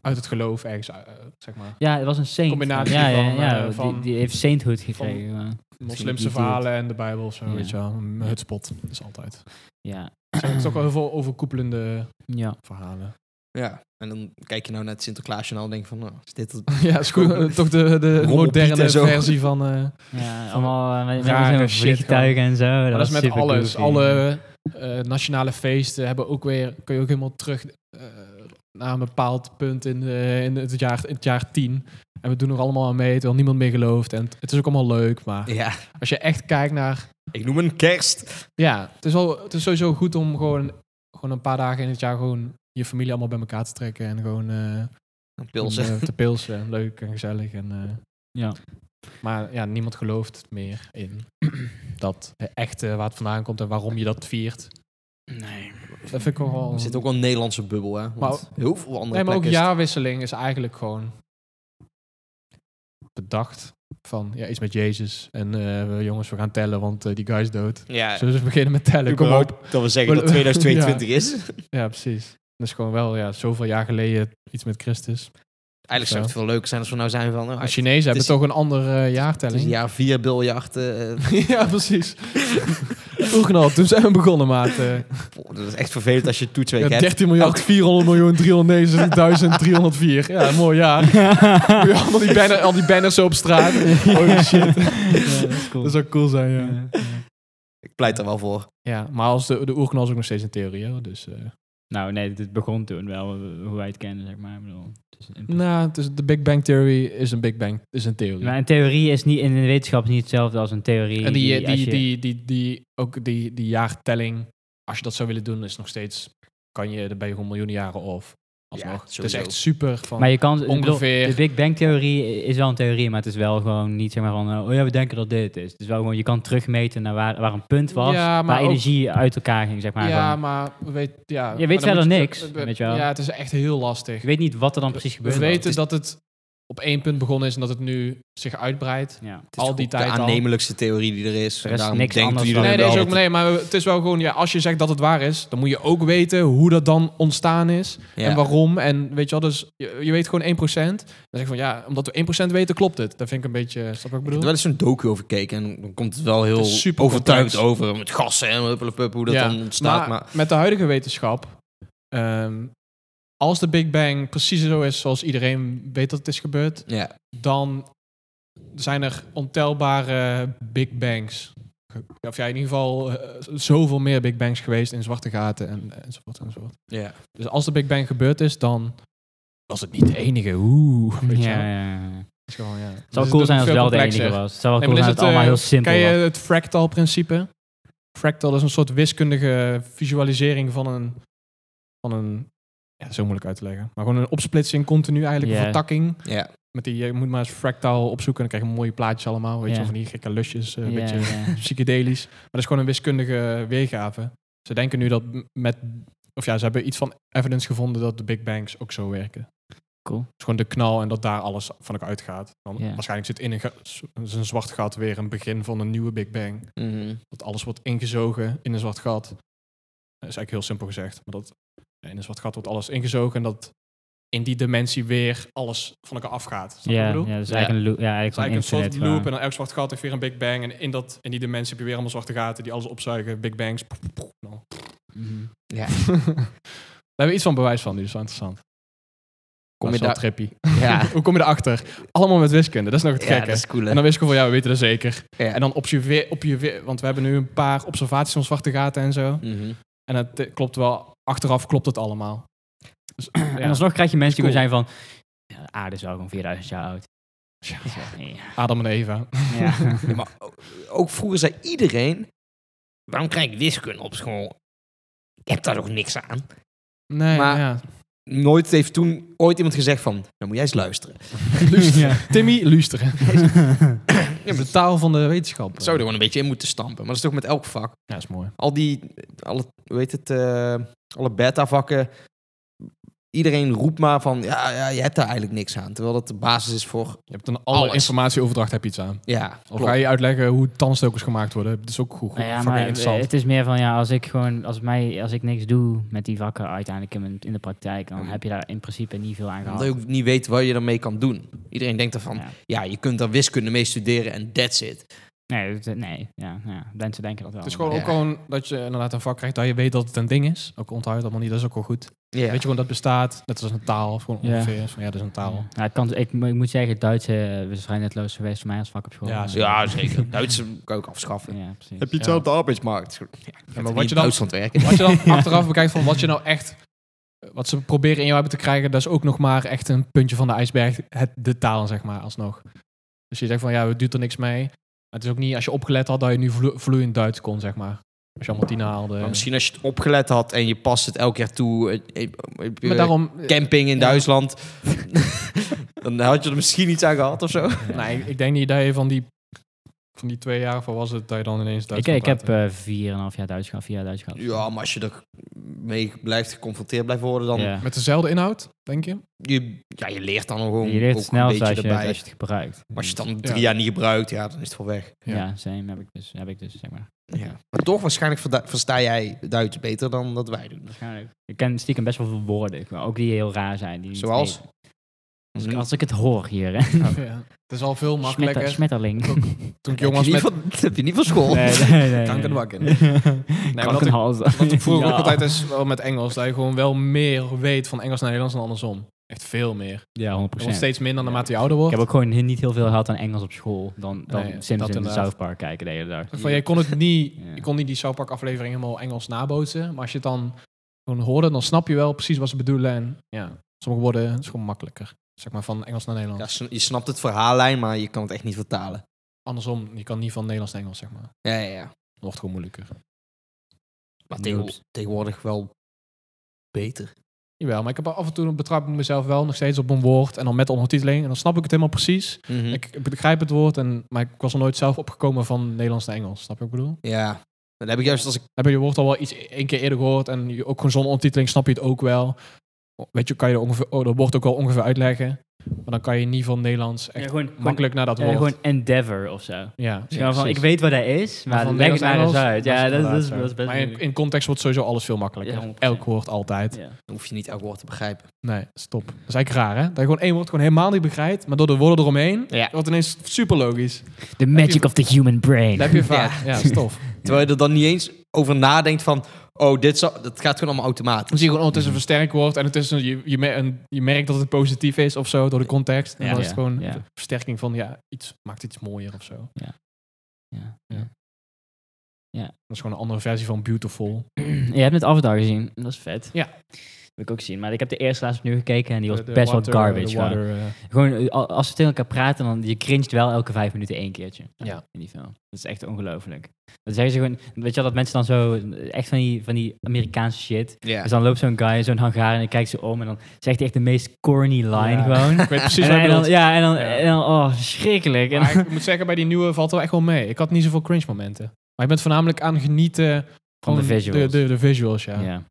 uit het geloof ergens, eh, zeg maar.
Ja, het was een saint.
Combinatie
ja, ja,
van,
ja,
eh,
die-
van-
die, heeft sainthood gekregen. maar- die
Moslimse
doet.
verhalen en de Bijbel of zo,
Ja.
weet je wel. Een hutspot, dat is altijd.
ja.
Er zijn toch wel heel veel overkoepelende
ja.
verhalen.
Ja. En dan kijk je nou naar het Sinterklaasjournaal en denk van, nou, is dit het?
ja, is goed, eh, toch de, de
Rommelpiet
moderne
en zo.
versie van... eh,
Ja, allemaal eh, met, met
Rare
zo'n
shit
vliegtuigen en zo. Dat,
Maar dat is
was
met
super
alles.
goofy.
Alle eh, nationale feesten hebben ook weer, kun je ook helemaal terug eh, naar een bepaald punt in, eh, in, het jaar, in het jaar 10. En we doen er allemaal aan mee, terwijl niemand meer gelooft. En het, het is ook allemaal leuk, maar
Ja,
als je echt kijkt naar...
ik noem een kerst.
Ja, het is, wel, het is sowieso goed om gewoon, gewoon een paar dagen in het jaar gewoon je familie allemaal bij elkaar te trekken. En gewoon eh, om,
Pilsen.
eh, te pilsen. Leuk en gezellig. En, eh,
Ja.
Maar ja, niemand gelooft meer in dat echte waar het vandaan komt en waarom je dat viert.
Nee.
Dat vind ik wel wel...
Er zit ook wel een Nederlandse bubbel, hè. Want heel veel andere
nee, maar ook
plekken is-
jaarwisseling is eigenlijk gewoon bedacht van ja, iets met Jezus. En eh, we- jongens, we gaan tellen, want eh, die guy is dood.
Ja,
Zullen we beginnen met tellen? Kom
überhaupt
op.
dat we zeggen dat
Ja.
2022 is.
Ja, precies. Dat is gewoon wel ja, zoveel jaar geleden iets met Christus.
Eigenlijk zou het veel leuker zijn als we nou zijn van...
Maar
Nou,
Chinezen hebben
is-
toch een andere eh,
het is
jaartelling.
jaar Dus vier biljart. eh,
ja, precies. Vroeger al, toen zijn we begonnen, maat. eh.
boh, dat is echt vervelend als je toetsweek
Ja,
hebt.
13
Oh.
miljard, 400 miljoen, 369.304. Ja, mooi jaar. Ja, al, die banner, al die banners zo op straat. Oh shit.
Ja, dat is cool.
Dat zou cool zijn, ja.
Ja, ja.
Ik pleit er wel voor.
Ja, maar als de, de oerknal is ook nog steeds een theorie, hoor, dus... eh.
Nou, nee, dit begon toen wel, eh, hoe wij het kennen, zeg maar. Ik bedoel, het is in-
nou, het is, de Big Bang Theory is een Big Bang, is een theorie.
Maar een theorie is niet in de wetenschap is niet hetzelfde als een theorie.
en die, die,
als
die,
je-
die, die, ook die, die jaartelling, als je dat zou willen doen, is nog steeds, kan je, dan ben je gewoon miljoenen jaren of.
Ja,
Alsnog. het is
sowieso.
echt super van...
maar je kan, ik bedoel,
ongeveer-
de Big Bang theorie is wel een theorie, maar het is wel gewoon niet zeg maar van, eh, oh ja, we denken dat dit het is. Het is wel gewoon, je kan terugmeten naar waar, waar een punt was,
Ja, maar
waar
ook-
energie uit elkaar ging, zeg maar.
ja,
Gewoon,
maar we weten... Ja,
weet
maar dan
verder
moet je-
niks, weet je wel.
Ja, het is echt heel lastig.
je weet niet wat er dan precies
We
gebeurde.
weten dat het op één punt begonnen is en dat het nu zich uitbreidt.
Ja.
Het is
Al die
de
tijd al.
aannemelijkste theorie die er is.
Er
en
is
daarom
niks
denkt
anders
iedereen
dan-
Nee,
wel
nee, is ook,
dat-
nee, maar het is wel gewoon, ja, als je zegt dat het waar is, dan moet je ook weten hoe dat dan ontstaan is
Ja.
en waarom. En weet je wel, dus je, je weet gewoon 1%. Dan zeg ik van ja, omdat we 1% weten, klopt het. Dat vind ik een beetje, snap je wat ik
Ik heb
bedoel?
er wel eens een docu over gekeken en dan komt het wel heel
Het is super
overtuigd
complex.
over met gassen en huppelepup, hoe dat
Ja,
dan ontstaat. Maar,
met de huidige wetenschap, ehm, als de Big Bang precies zo is zoals iedereen weet dat het is gebeurd,
ja,
dan zijn er ontelbare Big Bangs. Of ja, in ieder geval eh, zoveel meer Big Bangs geweest in zwarte gaten en, enzovoort enzovoort.
ja.
Dus als de Big Bang gebeurd is, dan was het niet de enige. Oeh.
Ja,
Weet je
ja,
wel.
ja.
Het is gewoon, ja. Dus
Het zou cool
doet
zijn
het
als het wel de
veel complexer.
enige was. Het zou wel
Nee,
cool zijn als
maar is
het allemaal heel
het, eh,
simpel
Ken
was.
je het fractal-principe? Fractal is een soort wiskundige visualisering van een... Van een ja, zo moeilijk uit te leggen. Maar gewoon een opsplitsing continu eigenlijk,
Ja.
een vertakking.
ja.
Met die, je moet maar eens fractal opzoeken en dan krijg je mooie plaatjes allemaal. Weet
Ja.
je wel, van die gekke lusjes, eh, een
Ja,
beetje
ja.
psychedelisch. Maar dat is gewoon een wiskundige weergave. Ze denken nu dat m- met... Of ja, ze hebben iets van evidence gevonden dat de Big Bangs ook zo werken.
Cool.
Dus gewoon de knal en dat daar alles van elkaar uitgaat. Dan
Ja.
Waarschijnlijk zit in een, ga- s- is een zwart gat weer een begin van een nieuwe Big Bang.
Mhm.
Dat alles wordt ingezogen in een zwart gat. Dat is eigenlijk heel simpel gezegd. Maar dat, in een zwart gat wordt alles ingezogen en dat in die dimensie weer alles van elkaar afgaat. Snap je
Ja,
wat ik
ja,
bedoel?
dat is
Ja.
eigenlijk een loop. Ja, eigenlijk
Het is
zo'n
eigenlijk een
internet.
soort loop
gewoon.
en dan elk zwart gat heeft weer een Big Bang. En in, dat, in die dimensie heb je weer allemaal zwarte gaten die alles opzuigen. Big Bangs. poef, poef, poef, nou.
Mhm.
ja.
Daar hebben we iets van bewijs van, dus dat is wel interessant.
Kom
Dat
je
is wel
daar...
trippy.
Ja,
Hoe kom je erachter? Allemaal met wiskunde, dat is nog het
ja
gekke.
dat is cool, hè?
En dan wist ik gewoon van, ja, we weten dat zeker.
Ja.
En dan op je, weer- op je weer- want we hebben nu een paar observaties van zwarte gaten en zo.
Mhm.
En het eh, klopt wel, achteraf klopt het allemaal. Dus, ja.
En alsnog krijg je mensen
Is
die gewoon zijn van... "Ja, de aarde is wel gewoon 4000 jaar oud.
Ja.
Ja.
Adam en Eva.
Ja.
Ja, maar o- ook vroeger zei iedereen, waarom krijg ik wiskunde op school? Ik heb daar nog niks aan.
Nee,
Maar-
ja.
Nooit heeft toen ooit iemand gezegd van, dan moet jij eens luisteren.
Luisteren. Timmy, luisteren.
Ja, maar
de taal van de wetenschap.
dat zou je er gewoon een beetje in moeten stampen. Maar dat is toch met elk vak.
Ja, is mooi.
al die, alle, hoe heet het, eh, alle beta-vakken. Iedereen roept maar van, ja, ja, je hebt daar eigenlijk niks aan. Terwijl dat de basis is voor,
Je hebt een alle
Alles.
informatieoverdracht heb je iets aan.
ja,
Of
klopt.
ga je uitleggen hoe tandstekers gemaakt worden? Dat is ook goed. goed
Nou ja,
fucking
maar
interessant.
het is meer van ja, als ik gewoon, als mij, als ik niks doe met die vakken uiteindelijk in, mijn- in de praktijk, dan heb je daar in principe niet veel aan
Omdat je
gehad.
ook niet weet wat je ermee kan doen. Iedereen denkt ervan, ja,
Ja.
je kunt daar wiskunde mee studeren en that's it.
Nee, dat- nee, ja, ja, mensen denken dat wel.
Het is gewoon
Ja.
ook gewoon dat je inderdaad een vak krijgt dat je weet dat het een ding is. Ook onthoud je dat maar niet, dat is ook wel goed.
Ja.
Weet je gewoon dat bestaat, net als een taal, of gewoon
Ja.
ongeveer. Is van, ja, dat is een taal.
Ja, ik, kan, ik, mo- ik moet zeggen, Duits eh, is vrij netloos geweest voor mij als vak op school.
Ja,
Eh,
zeker.
ja, zeker. Duitse kan ik afschaffen.
ja, precies.
Heb je iets
Ja.
op de arbeidsmarkt? Ja,
Ja,
maar
maar wat je, dan,
Duitsland werken.
wat je dan achteraf bekijkt van wat je nou echt... Wat ze proberen in jou hebben te krijgen, dat is ook nog maar echt een puntje van de ijsberg. Het, de taal, zeg maar, alsnog. Dus je zegt van, ja, het doet er niks mee. Maar het is ook niet, als je opgelet had, dat je nu vlo- vloeiend Duits kon, zeg maar. Als je allemaal tien haalde.
Maar misschien als je het opgelet had en je past het elke keer toe. eh, eh, eh,
maar daarom...
Camping in
Ja.
Duitsland. dan had je er misschien iets aan gehad of zo.
Nee, ik, ik denk niet dat je van die, van die twee jaar, of wat was het, dat je dan ineens Duits
Ik,
kon
ik heb
praten.
eh, vier en een half jaar Duits gehad, vier jaar Duits gehad.
Ja, maar als je er mee blijft geconfronteerd blijft worden, dan...
Ja.
Met dezelfde inhoud, denk je?
Je, ja, je leert dan gewoon
Je leert
ook
het snel
een
als je,
beetje
als je
erbij.
het gebruikt.
Maar als je het dan drie
Ja.
jaar niet gebruikt, ja, dan is het wel weg.
Ja,
Ja.
same heb ik dus, heb ik dus zeg maar.
Ja. Maar toch, waarschijnlijk verda- versta jij Duits beter dan dat wij doen.
Waarschijnlijk. Ik ken stiekem best wel veel woorden, maar ook die heel raar zijn. Die niet Mm.
Zoals?
weten. Als ik, als ik het hoor hier, hè.
Hm? Ja. Het is al veel makkelijker.
Smetter, smetterling.
Ook- Toen ik jong was met...
van, dat heb je niet van school.
Nee, nee, nee.
Kankerbakken.
Nee, maar dat ik-
Kankerhals.
Want ik vroeger
Ja.
ook altijd is wel met Engels, dat je gewoon wel meer weet van Engels naar Nederlands dan andersom. Echt veel meer.
Ja, 100%.
Er wordt steeds minder naarmate je ouder wordt.
Ik heb ook gewoon niet heel veel gehad aan Engels op school. Dan, dan
Nee, dat
Simpsons en
inderdaad.
South Park kijken de hele dag.
van, je kon het niet,
Ja.
je kon niet die South Park aflevering helemaal Engels nabootsen, maar als je het dan gewoon hoorde, dan snap je wel precies wat ze bedoelen en ja, sommige woorden is gewoon makkelijker. Zeg maar van Engels naar Nederlands.
Ja, sn- je snapt het verhaallijn, maar je kan het echt niet vertalen.
Andersom, je kan niet van Nederlands naar Engels, zeg maar.
Ja, ja, ja.
Dat wordt gewoon moeilijker.
Maar
Noobs.
tegenwo- tegenwoordig wel beter.
Jawel, maar ik heb af en toe betrap ik mezelf wel nog steeds op een woord en dan met ondertiteling en dan snap ik het helemaal precies.
Ik-
Ik begrijp het woord, en, maar ik was er nooit zelf opgekomen van Nederlands naar Engels. Snap je wat ik bedoel?
Ja. Dat heb ik juist als ik...
Heb je je woord al wel iets e-, één keer eerder gehoord en je, ook gewoon zonder ondertiteling snap je het ook wel. Weet je, kan je er ongeveer, oh, dat woord ook wel ongeveer uitleggen. Maar dan kan je niet van Nederlands echt
Ja, gewoon, gewoon,
makkelijk naar dat
eh,
woord.
gewoon Endeavor of zo.
ja,
Dus gewoon van, ik
precies.
weet wat hij is, maar,
van
leg het
Nederlands
maar eens
Engels,
uit. Ja, dat, dat,
inderdaad
is,
zo.
dat is best
Maar in,
moeilijk.
in context wordt sowieso alles veel makkelijker.
Ja, 100%.
Elk woord altijd.
Ja.
Dan hoef je niet elk woord te begrijpen.
Nee, stop. Dat is eigenlijk raar, hè? Dat je gewoon één woord gewoon helemaal niet begrijpt, maar door de woorden eromheen
Ja.
wordt ineens super logisch.
The magic of the human brain.
Dat heb je vaak. Ja, dat is tof.
Terwijl je er dan niet eens over nadenkt van... Oh, dit zal, dat gaat gewoon allemaal automatisch.
Dan zie je gewoon, oh, het is een versterk woord en het is een, je, je, mer- een- je merkt dat het positief is of zo door de context. En
Ja.
dan is het
Ja,
gewoon
ja.
een versterking van, ja, iets maakt iets mooier of zo. Dat
Ja, ja.
is gewoon een andere versie van beautiful.
Je hebt net Avatar gezien, dat is vet.
Ja.
Wil ik ook zien, maar ik heb de eerste laatst opnieuw gekeken en die was
De- de
best
water-
wel
de
garbage. gewoon.
water, eh,
Gewoon, eh, al- als we tegen elkaar praten, dan je cringet wel elke vijf minuten één keertje.
Ja.
In die film. Dat is echt ongelooflijk. Dan zeggen ze gewoon, weet je wel, dat mensen dan zo, eh, echt van die, van die Amerikaanse shit.
Ja.
Dus dan loopt zo'n guy, zo'n hangaar en dan kijkt ze om en dan zegt hij echt de meest corny line
Ja.
gewoon.
ik weet precies
En,
wat je
en dan,
bedoelt.
ja, en dan,
Ja.
en dan- oh, schrikkelijk. En
Maar ik moet zeggen, bij die nieuwe valt wel echt wel mee. Ik had niet zoveel cringe momenten. Maar je bent voornamelijk aan genieten
van de
gewoon
visuals.
De, de, de visuals, ja.
ja.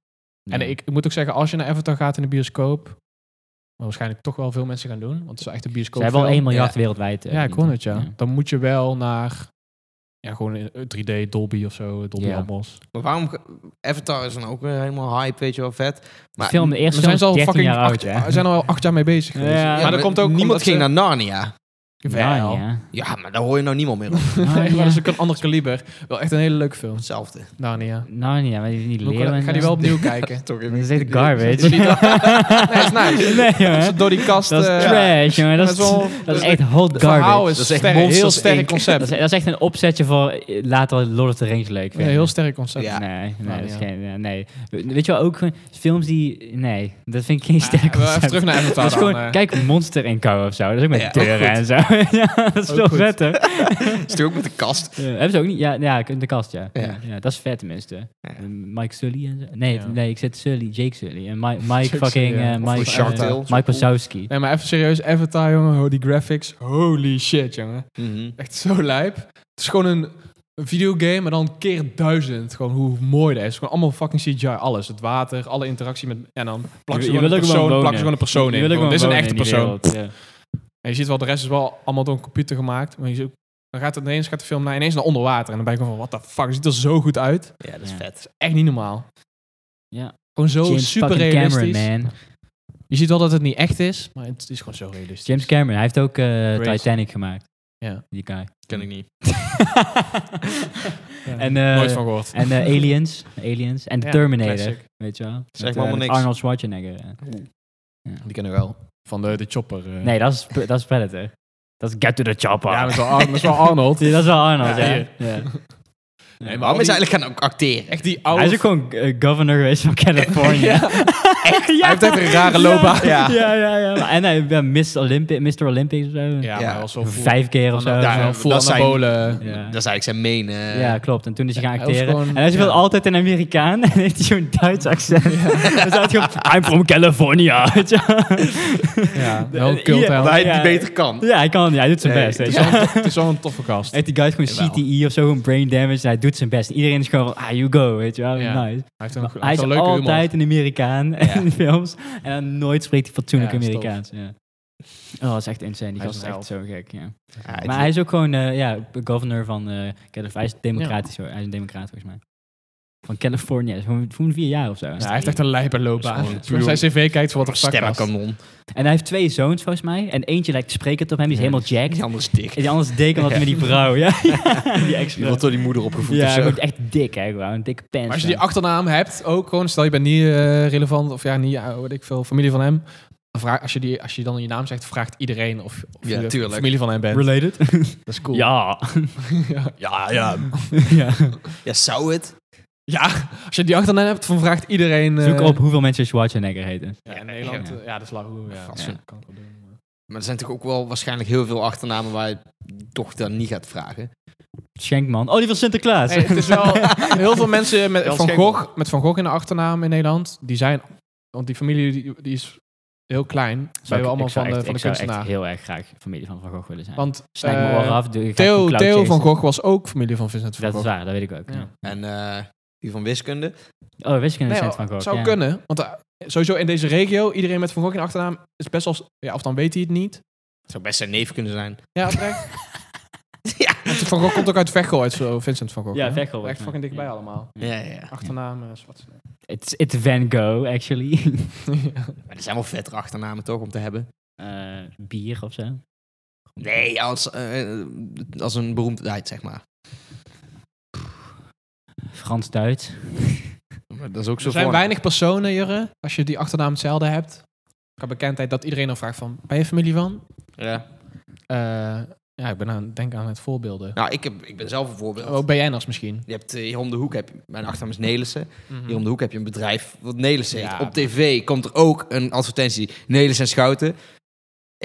En ik, ik moet ook zeggen, als je naar Avatar gaat in de bioscoop, wat waarschijnlijk toch wel veel mensen gaan doen, want het is wel echt een
Ze
bioscoop.
hebben al 1 miljard wereldwijd. eh,
Ja, ik
verdiend,
hoor
hè?
het, ja. Dan moet je wel naar... Ja, gewoon in- eh, 3D Dolby of zo. Dolby
Ja.
Atmos.
Maar waarom... ge- Avatar is dan ook weer helemaal hype, weet je wel, vet.
De
Maar
film, de eerste
We
film
zijn
is
ze
13
al fucking
jaar oud,
acht,
hè?
we zijn al acht jaar mee bezig geweest.
Ja,
maar,
Ja,
dat komt ook
Niemand
omdat
ging
ze-
naar Narnia.
Jawel.
Ja, ja.
Ja, maar daar hoor je nou niemand meer op.
Nee,
Ah,
maar dat is
ja.
ook een ander kaliber. Wel echt een hele leuke film.
Hetzelfde.
Narnia.
Narnia, maar die is niet
Moet Ik wel-
leren.
ik ga die wel opnieuw kijken.
Toch
Dat is echt garbage.
die-
nee,
is nice.
Nee,
Als
jongen.
het door die kast...
Dat is
eh,
trash, jongen. Dat
met
is,
zo'n-
dat is
dus
echt hot
Het verhaal
garbage.
is,
Dat is echt
sterk, heel
monsters,
sterk
Inc.
Dat
concept.
is, dat is echt een opzetje voor eh, later Lord of the Rings leuk
Een
vinden.
heel sterk concept.
Ja.
Nee, nee, dat is
ja.
geen, eh, nee. Weet je wel, ook gewoon films die... Nee, dat vind ik geen
Ja,
sterk
wel even
concept.
terug naar Avatar
Dat is
dan,
gewoon,
eh.
kijk, Monster Co. of zo. Dat is ook met
Ja, ook
deuren en
goed.
zo. ja, dat is
Ook
veel
goed.
vetter.
Stuk ook met de kast.
Ja, hebben ze ook niet? Ja, ja in de kast, ja.
Ja.
Ja. dat is vet tenminste.
Ja.
En Mike Sully en zo. Nee,
Ja.
nee, ik zet Sully, Jake Sully. En Mike, Mike
Jake
fucking...
Sully, ja.
eh,
Of
Mike,
Shark
eh,
Tale.
Mike Wazowski.
Nee, maar even serieus. Avatar, jongen. Holy graphics. Holy shit, jongen. Echt zo lijp. Het is gewoon een, een videogame, maar dan keer duizend. Gewoon hoe mooi dat is. Gewoon allemaal fucking CGI. Alles. Het water, alle interactie met... En dan plakken ze
Je- je
gewoon een
wil ook gewoon
persoon, plakken
wonen.
ze gewoon een persoon in.
Die wil ik
Gewoon,
gewoon
dit is
wonen
een echte
in die
persoon.
wereld, ja.
En je ziet wel, de rest is wel allemaal door een computer gemaakt. Maar je ziet ook- dan gaat het ineens, gaat de film naar, ineens naar onder water. En dan ben ik gewoon van, what the fuck, het ziet er zo goed uit. Dat
Ja, dat
is
is
Ja.
vet.
is echt niet normaal.
Ja.
Gewoon zo
James
super
fucking
realistisch.
Cameron, man.
Je ziet wel dat het niet echt is, maar het is gewoon zo realistisch.
James Cameron, hij heeft ook eh,
Crazy.
Titanic gemaakt.
Ja.
Die guy.
Ken ik niet.
En, eh,
Nooit van gehoord.
en eh, Aliens. Aliens. En The
Ja,
Terminator.
classic.
Weet je wel?
Zeg
Met,
maar
eh,
maar
met
niks.
Arnold Schwarzenegger. eh.
Die kennen we wel. Van de, de chopper. eh.
Nee, dat is, dat is Predator. Dat is Get to the Chopper.
Ja, maar dat is wel Ar- dat is wel Arnold.
Ja, dat is wel Arnold,
Ja,
ja.
hier.
Ja.
Nee, maar
Waarom
al
is hij
die-
eigenlijk gaan ook acteren?
Echt die oude...
Hij is ook gewoon eh, governor geweest van California. Ja.
Hij heeft echt een rare loopbaan.
Ja, ja, ja. Maar- En hij ja, Miss Olympi Mr. Olympics of zo.
Ja, maar
Ja.
hij was wel vol-
Vijf keer of zo.
Ja,
Ja,
Ja,
wel vol
dat zijn-
anabolen.
ja.
Dat is eigenlijk zijn main... eh,
klopt. En toen is hij gaan
hij was
acteren.
gewoon-
en hij speelt
ja.
altijd een Amerikaan. En heeft hij zo'n Duits accent. Dan staat hij gewoon, I'm from California. weet je wel.
Ja, wel een
Ja,
cult
Dat
held.
maar-
hij het
Ja.
niet beter kan.
ja, hij kan. Ja, hij doet zijn
Nee,
best.
Het
Weet
is
je. wel.
wel een- het is wel een toffe gast.
Heeft die guy gewoon
Jawel.
CTE of zo, gewoon brain damage. En hij doet zijn best. En iedereen is gewoon van, ah, you go, weet je wel.
Ja.
Nice.
Hij heeft een,
Maar
hij
hij
heeft
is
een leuke humor.
altijd een Amerikaan in de films. En dan nooit spreekt hij fatsoenlijk
Ja, dat is tof.
Amerikaans. Ja. Oh, dat is echt insane. Die
Hij is
gast is
een
echt zo gek, ja.
Ja, het-
Maar hij is ook gewoon eh, ja, governor van eh California. Hij is democratisch hoor. Hij is een democrat volgens mij. Van California. Is Gewoon gewoon vier jaar of zo.
Ja, hij heeft echt een lijpe loopbaan.
Dat is gewoon
Als je op zijn cv kijkt voor wat er
Stemmen
straks was.
kanon.
En hij heeft twee zoons volgens mij. En eentje lijkt sprekend op hem. Die is
Ja.
helemaal jacked.
Die
En
anders dik.
die anders dik omdat
Ja.
hij met die vrouw. Ja, ja, die
Die
extra.
wordt door die moeder opgevoed
Ja,
of
hij
zo.
wordt echt dik hè. Gewoon. Een dikke pens.
Maar als je die achternaam hebt, ook gewoon, stel je bent niet eh, relevant of ja, niet, ja, weet ik veel, familie van hem. Dan vraag, als, je die, als je dan je naam zegt, vraagt iedereen of, of
Ja,
je
tuurlijk.
familie van hem bent.
Related?
Dat is cool.
Ja.
ja.
Ja, ja.
ja.
Ja, zou het?
Ja, als je die achternaam hebt, dan vraagt iedereen... eh,
Zoek op hoeveel mensen Schwarzenegger heten.
Ja, in Nederland, eh, ja, dat is lagoe. Ja,
Vast.
ja. kan ik wel doen, maar-
Maar er zijn toch ook wel waarschijnlijk heel veel achternamen waar je toch dan niet gaat vragen.
Schenkman. Oh, die van Sinterklaas.
Hey, het is wel heel veel mensen met
Wel
Van,
schenkel.
Gogh, met Van Gogh in de achternaam in Nederland, die zijn, want die familie die, die is heel klein, zijn we allemaal
Ik zou
van de,
echt-
van de
Ik zou
kunstenaar.
echt heel erg graag familie van Van Gogh willen zijn.
Want
Snij ik mijn
eh,
oren af. doe- ik ga
Theo,
gewoon cloud
Theo van
chasen.
Gogh was ook familie van Vincent van
Dat is
Gogh.
waar, dat weet ik ook. ja.
En eh, die van wiskunde.
Oh, wiskunde
Nee,
Vincent van Gogh.
zou
ja.
kunnen, want eh, sowieso in deze regio, iedereen met Van Gogh in de achternaam is best wel, s- ja, of dan weet hij het niet.
Zou best zijn neef kunnen zijn.
Ja, oprecht. Want Van Gogh komt ook uit Veghel, uit zo, Vincent van Gogh.
Ja,
hè?
Veghel, volgens
Echt
mij.
fucking dichtbij
Ja.
allemaal.
Ja,
ja.
Achternaam, eh, zwart.
It's, it's Van Gogh, actually.
Ja.
Maar er zijn wel vettere achternamen toch om te hebben.
Eh, bier of zo.
Nee, als, eh, als een beroemdheid, zeg maar.
Frans-Duits.
Maar dat is ook zo
Er zijn
voor-
weinig personen, Jurre, als je die achternaam hetzelfde hebt. Qua bekendheid, dat iedereen dan vraagt van, ben je familie van?
Ja.
Eh, ja, ik ben aan, denk aan het voorbeelden. Oh,
Nou, ik, heb, ik ben zelf een voorbeeld.
Ook ben jij misschien.
Je hebt eh, hier om de hoek, heb je, mijn achternaam is Nelissen.
Mhm.
Hier om de hoek heb je een bedrijf wat Nelissen heet.
Ja,
Op tv komt er ook een advertentie, Nelissen en Schouten.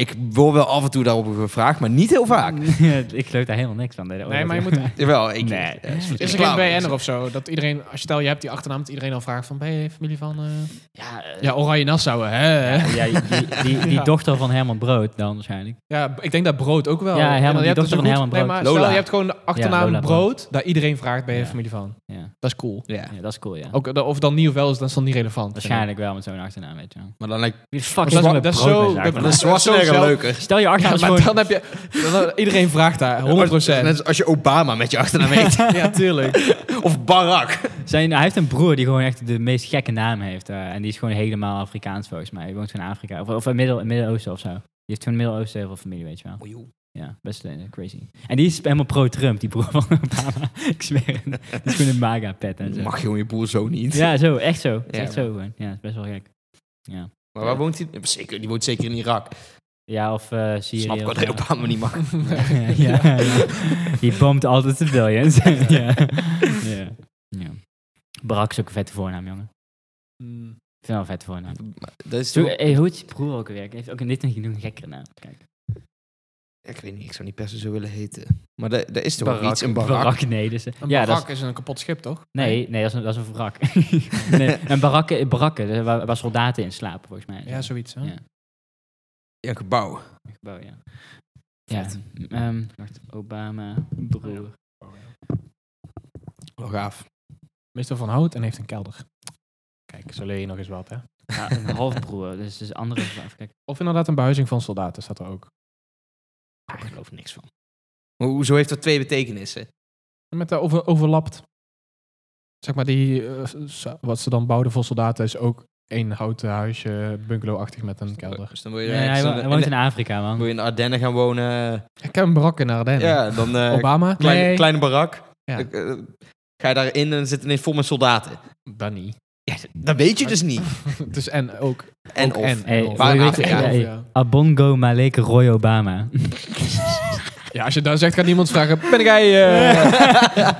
Ik word wel af en toe daarop gevraagd, maar niet heel vaak.
ik leuk daar helemaal niks van. Nee,
Nee, maar je moet
Jawel, ik...
Nee.
eh, soms
Is er
reclame.
geen BN'er of zo? Dat iedereen, als je stel je hebt die achternaam, dat iedereen al vraagt van, ben je familie van... eh,
Ja, eh,
Ja, Oranje Nassau, hè? Ja,
ja, die, die, die, die
Ja.
dochter van Herman Brood dan waarschijnlijk.
ik denk dat Brood ook wel.
Ja, Herman,
En dan-
die
je hebt
dochter van
dus een
Herman
Nee,
Brood.
maar stel,
Lola.
je hebt gewoon de achternaam
Lola Brood.
Brood, daar iedereen vraagt, ben je
Ja.
familie van?
Ja.
Dat is cool.
Ja,
ja, dat is cool, ja.
Ook, eh, of dan niet of wel is, dat is dan niet relevant.
Waarschijnlijk wel met zo'n achternaam, weet je wel.
maar dan lijkt
Wie de fuck
Maar
is er
dat-
met
dat is
Brood
zo-
bezig,
dat-
man?
dat is
dat is zo
Schwarzenegger
zelf-
leuker.
Stel je
Ja,
achternaam is
maar
gewoon...
dan heb je... dan- iedereen vraagt daar, 100
Net als als je Obama met je achternaam heet.
Ja, tuurlijk.
of Barack.
Zijn, hij heeft een broer die gewoon echt de meest gekke naam heeft. eh, en die is gewoon helemaal Afrikaans volgens mij. Hij woont gewoon in Afrika. Of, of in Middel- in Midden-Oosten of zo. Die heeft gewoon Midden-Oosten heel veel familie, weet je wel. Ja, best eh, crazy. En die is helemaal pro-Trump, die broer van Obama. Ik zweer het. Die is gewoon een MAGA-pet en zo.
Mag je je boer zo niet.
Ja, zo. Echt zo.
Ja.
Echt zo gewoon. Ja, is best wel gek. Ja,
Maar waar woont hij? Zeker, die woont zeker in Irak.
ja of eh Syrië.
Snap ik
of
wat
zo.
hij Obama niet mag.
ja, ja, ja. Die bomt altijd civilians. ja. Ja. ja. Barack is ook een vette voornaam, jongen.
Hmm.
Ik vind wel een vette voornaam.
Maar Dat is
Zo,
toch...
hey, hoe heet je broer ook weer? Hij heeft ook een, dit een, een gekkere naam. Kijk.
Ik weet niet, ik zou niet per se zo willen heten. Maar dat, dat is toch ook iets, een Barack.
nee. Dus,
Een
ja, dat
barak
is,
is een kapot schip, toch?
nee, nee, dat is een, dat is een wrak. nee, een barakken, barakken dus waar, waar soldaten in slapen, volgens mij.
Ja, zoiets. Hè?
Ja.
Ja, een gebouw.
Een gebouw, ja. Ja, ehm, Oh, wacht, Obama, broer.
Wel gaaf.
Meestal van hout en heeft een kelder. Kijk, zo leer je nog eens wat, hè?
Ja, een halfbroer, dus, dus andere... Even kijken.
Of inderdaad een behuizing van soldaten staat er ook.
Ah, ik geloof niks van. Maar hoezo heeft dat twee betekenissen?
Met de over, overlapt. Zeg maar die, eh, s- wat ze dan bouwden voor soldaten is ook één houten huisje, bungalowachtig met een kelder.
Dus dan wil je,
Nee,
er
hij,
ergens
wo-
in,
hij
de-
woont
in,
in Afrika,
de-
man.
wil je in de Ardennen gaan wonen.
Ik heb een barak in Ardennen.
Ja, dan eh,
Obama?
kleine,
nee,
kleine barak.
Ja.
Ik, eh, ga je daarin en zit ineens vol met soldaten.
dat niet.
Ja, d- dat weet je dus niet.
dus en ook.
En
ook
of.
En,
Hey,
of.
waar
wil je
in
weten-
Afrika?
hey, hey,
Ja.
Abongo Maleke Roy Obama.
Ja, als je daar zegt, gaat niemand vragen, ben jij... eh,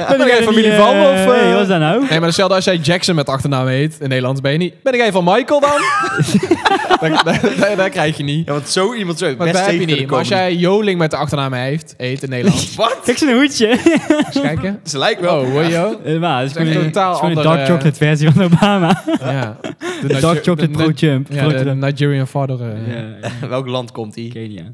Ben
jij familie van, of, eh?
Hey, wat is dat nou?
Nee, maar hetzelfde als jij Jackson met achternaam heet. In Nederland ben je niet. Ben jij van Michael dan? dat, dat- dat- dat krijg je niet.
Ja, want zo iemand zou je
Maar
best
dat heb je
tegen kunnen
niet. Maar als
komen.
jij Joling met de achternaam heeft, heet in Nederland.
Wat?
Kijk zijn hoedje.
Eens kijken.
Ze lijkt wel.
Oh, hoor je?
Eh, Maar het is
Dat
gewoon
is echt
een
totaal
totaal gewoon een
andere-
dark chocolate versie van Obama.
Ja. De
De dark chocolate pro jump.
Ja, de Nigerian father. eh,
Welk land komt die?
Kenia.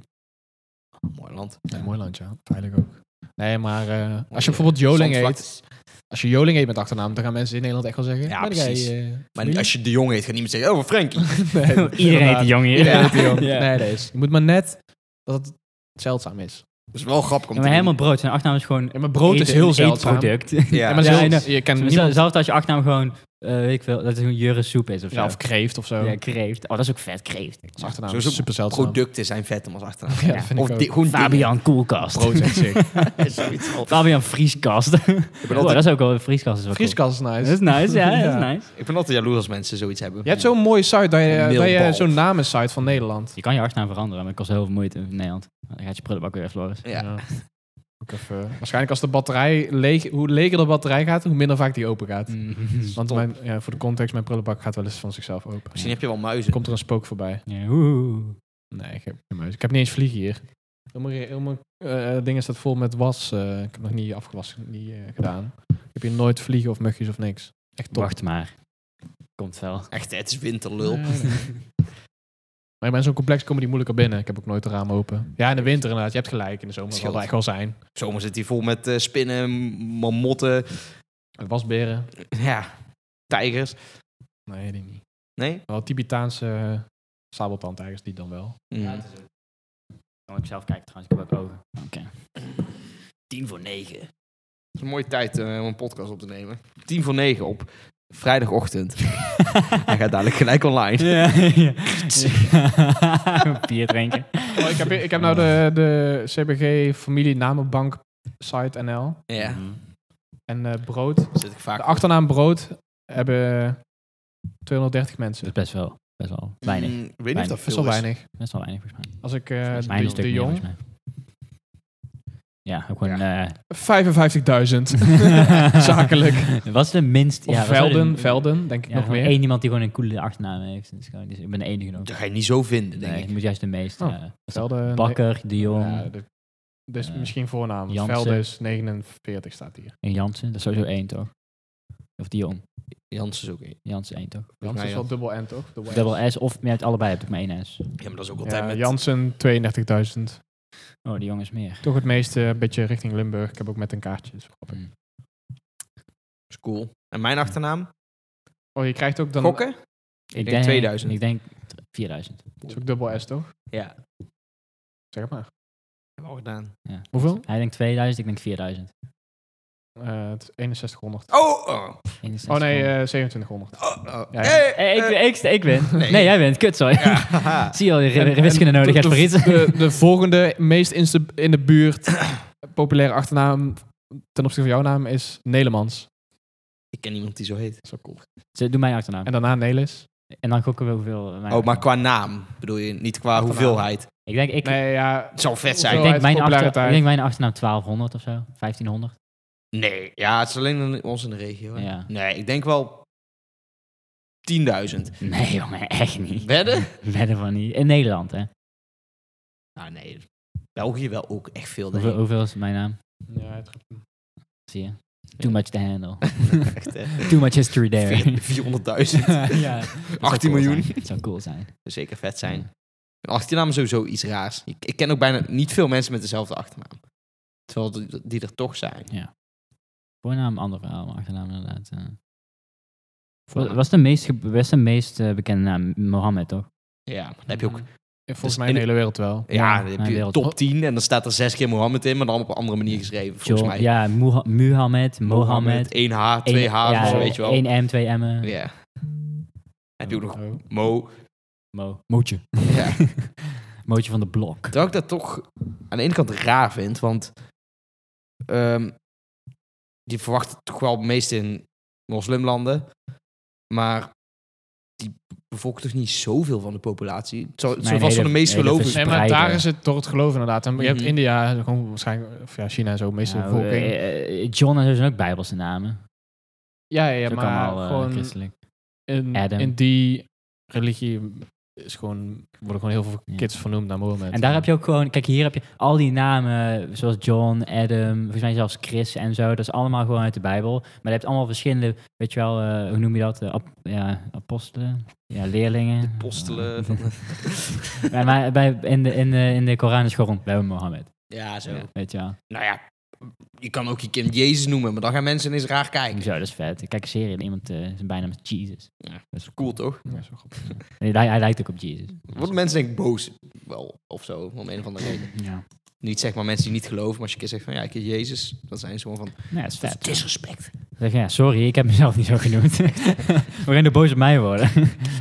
Mooi land.
ja, mooi land, ja. Veilig ook. Nee, maar eh, als je bijvoorbeeld Joling heet, als je Joling heet met achternaam, dan gaan mensen in Nederland echt wel zeggen.
Ja,
ben jij,
precies.
eh,
Maar
familie?
als je de jong heet, gaat niemand zeggen, oh, Frankie.
Nee,
Iedereen heet
inderdaad.
die jongen hier.
Iedereen
Ja.
heet die jongen.
Ja.
Nee, dat is. Je moet maar net dat het zeldzaam is.
Dat is wel grappig om
Ja,
te
maar helemaal
doen.
brood. Zijn achternaam is gewoon
Ja, maar brood is
eten-
heel
een
zeldzaam.
eetproduct.
Ja.
Ja, maar
Ja, eh,
zelfs-
inderdaad.
je kent
Zelfs-
niemand
Zelfs als je achternaam gewoon, eh, weet ik veel, dat het een jurensoep is of zo.
ja, of kreeft of zo.
Ja, kreeft. Oh, dat is ook vet, kreeft.
Als achternaam
Sowieso
is super zeldzaam.
Producten zijn vet om als achternaam.
Ja, dat vind
Of
ik ook.
di- gewoon
Fabian Koelkast.
Brood is echt sick.
dingen. Zoiets.
Fabian Vrieskast.
Ik ben
Wow,
altijd-
dat is ook wel, een Vrieskast is wel cool.
Vrieskast is nice.
Dat is nice, ja,
Ja.
dat is nice.
Ik ben altijd jaloers als mensen zoiets hebben.
Je hebt zo'n mooie site, dat
Een
je, dat je
mailbal.
zo'n namensite van Nederland.
Je kan je achternaam veranderen, maar het kost heel veel moeite in Nederland. Dan gaat je prullenbak weer verloren.
Ja.
Ook even- eh, waarschijnlijk als de batterij leeg, hoe leger de batterij gaat, hoe minder vaak die open gaat.
Mm,
Mhm.
Want mijn, ja, voor de context, mijn prullenbak gaat wel eens van zichzelf open.
Misschien heb je wel muizen.
Komt er een spook voorbij?
Ja, oeh.
Nee, ik heb geen muis. Ik heb niet eens vliegen hier. Helemaal, helemaal eh dingen staat vol met was. eh, ik heb nog niet afgewassen, niet eh, gedaan. Ik heb hier nooit vliegen of mugjes of niks. Echt top.
Wacht maar. Komt wel.
Echt, het is winterlul.
Nee, nee. Maar ik ben zo'n complex komen die moeilijker binnen. Ik heb ook nooit de ramen open. Ja, in de winter inderdaad. Je hebt gelijk. In de zomer zal
Scheelt.
dat echt wel zijn.
Zomer zit hij vol met eh, spinnen, mammotten,
Wasberen.
ja, tijgers.
Nee, die niet.
Nee?
Wel Tibetaanse eh, sabeltandtijgers, die dan wel.
Hm.
Ja, het is ook. Dan moet ik zelf kijken trouwens, ik heb ook ogen.
Tien voor negen. Het is een mooie tijd eh, om een podcast op te nemen. Tien voor negen op vrijdagochtend. Hij gaat dadelijk gelijk online.
Ja, ja. Gewoon Bier drinken.
Oh, ik, heb, hier- ik heb nou de, de CBG Familie Namenbank site NL.
Ja,
Mhm.
En eh, brood.
zit ik vaak.
De achternaam brood hebben 230 mensen.
Dat is best wel, best wel Hm, weinig.
Mm, ik weet niet of
Weinig.
dat
Dat is
veel
wel
is.
weinig.
Best wel weinig volgens mij.
Als ik eh
Volgens mij een
de,
stuk
de
meer,
jong...
volgens mij. Ja, ook gewoon... eh
55.000. Zakelijk.
Wat is de minst...
Of
ja, wat zou de-
velden, velden, denk ik
Ja,
nog
gewoon
meer.
één iemand die gewoon een coole achternaam heeft. Dus, gewoon, dus ik ben de enige nog.
Dat ga je niet zo vinden, denk
Nee, ik
ik.
moet juist de meeste.
Oh,
eh, wat is dat?
velden,
Bakker, De
nee,
Jong
ja, de- dus
eh,
misschien voornaam. want
Jansen.
Velden is 49 staat hier.
en Jansen. Dat is sowieso één, toch? Of De Jong.
Jans is ook één.
Jansen één, toch?
Jansen
mij
is wel
Jan-
dubbel N toch? Dubbel S.
Dubbel S of je hebt allebei hebt ook maar één S.
Ja, maar dat is ook altijd
Ja,
met...
Jansen 32.000.
Oh, die jongens meer.
Toch het meeste, een beetje richting Limburg. Ik heb ook met een kaartje. Dus- is grappig.
Mm.
is cool. En mijn achternaam?
Oh, je krijgt ook dan...
Gokken?
Ik,
denk 2000.
Ik denk t- 4000.
Het is ook dubbel S toch?
Ja.
Zeg het maar.
Hebben we al gedaan.
Ja.
Hoeveel?
Hij denkt 2000, ik denk 4000.
Eh, het is 6100.
Oh! Oh!
Oh nee, eh, 2700.
oh, oh.
Ja, ja.
Hey,
Hey, ik,
eh,
ik, ik win. Nee.
Nee.
jij wint. Kut, sorry.
ja, haha.
Zie je al, je re-
En-
re-
en
wiskunde nodig
de-
hebt voor
de-
iets.
De, de volgende meest in, de- in de buurt populaire achternaam ten opzichte van jouw naam is Nelemans.
Ik ken iemand die zo heet.
Zo cool.
Ze- Doe mijn achternaam.
En daarna Nelis.
En dan gokken we hoeveel... eh, Mijn
Oh, maar qua naam bedoel je niet qua
Achternaam.
hoeveelheid.
Ik denk, ik,
Nee, ja.
Het zou vet
ik,
zijn.
denk mijn achter,
populariteit.
ik denk mijn achternaam 1200 of zo. 1500.
Nee, ja, het is alleen in- ons in de regio. hè?
Ja.
Nee, ik denk wel 10.000.
Nee, jongen. Echt niet.
Wedden?
Wedden van niet. In Nederland, hè.
Nou, nee. België wel ook echt veel. Denk
Hoeveel,
ik.
hoeveel is mijn naam?
Ja, het-
Zie je? Too much to handle.
Echt, hè.
Too much history there.
Veer- 400.000.
ja. Dat zou
18 miljoen.
Cool zijn. Dat zou cool zijn.
Zou Zeker vet zijn. Een achternaam is sowieso iets raars. Ik, ik ken ook bijna niet veel mensen met dezelfde achternaam. Terwijl die, die er toch zijn.
Voornaam, ander verhaal, maar achternaam inderdaad. eh. Wat was de meest, ge- was de meest eh, bekende naam? Mohammed, toch?
Ja, dan heb je ook...
Ja, Volgens
Dus
mij in de
in-
hele wereld wel.
Ja,
Ja, dan heb
mijn
je
wereld.
top 10 en dan staat er zes keer Mohammed in, maar dan op een andere manier geschreven, volgens
John-
mij.
Ja, Muha- Muhammad, Mohammed.
Eén H, dus twee
één-
H,
ja,
zo, weet je wel.
1 M, 2 M.
Ja. Heb je ook nog
Oh.
Mo.
Mo. Mootje.
Ja.
Mootje van de blok.
Terwijl ik dat toch aan de ene kant raar vind, want ehm, je verwacht het toch wel het meest in moslimlanden, maar die bevolken toch niet zoveel van de populatie. Het zou, het
Nee,
zou vast
nee,
van de
dat-
meest
nee, dat
gelovigen.
is-
Nee, maar
Spreiden.
daar is het door het geloof inderdaad. En je hebt
Mhm.
India, gewoon waarschijnlijk, of ja, China en zo, meeste
Nou,
bevolking.
eh, eh, John en zo zijn ook bijbelse namen.
ja, ja,
Ze
maar
allemaal eh,
gewoon
christelijk.
in,
Adam.
in die religie is gewoon, worden gewoon heel veel
Ja.
kids vernoemd naar Mohammed.
En daar heb je ook gewoon, kijk hier heb je al die namen, zoals John, Adam, volgens mij zelfs Chris en zo. Dat is allemaal gewoon uit de Bijbel. Maar je hebt allemaal verschillende, weet je wel, eh, hoe noem je dat? Eh, ap- ja, apostelen? Ja, leerlingen.
Apostelen.
Ja. Maar- maar bij, in, de, in, de, in de Koran is gewoon bij Mohammed.
Ja, zo.
Weet je wel.
Nou ja, je kan ook je kind Jezus noemen, maar dan gaan mensen eens raar kijken.
Zo, dat is vet. Ik kijk een serie en iemand, eh zijn bijnaam is Jesus.
Ja,
dat is
Cool toch?
Ja, zo grappig.
Nee, Hij, hij lijkt ook op Jesus.
Worden mensen denk ik boos wel of zo, om een of andere reden.
Ja.
Niet zeg maar mensen die niet geloven, maar als je kind zegt van ja, ik heb Jezus, dan zijn ze gewoon van
Nee, dat is vet.
disrespect.
Zeg, ja, sorry, ik heb mezelf niet zo genoemd. We gaan er boos op mij worden.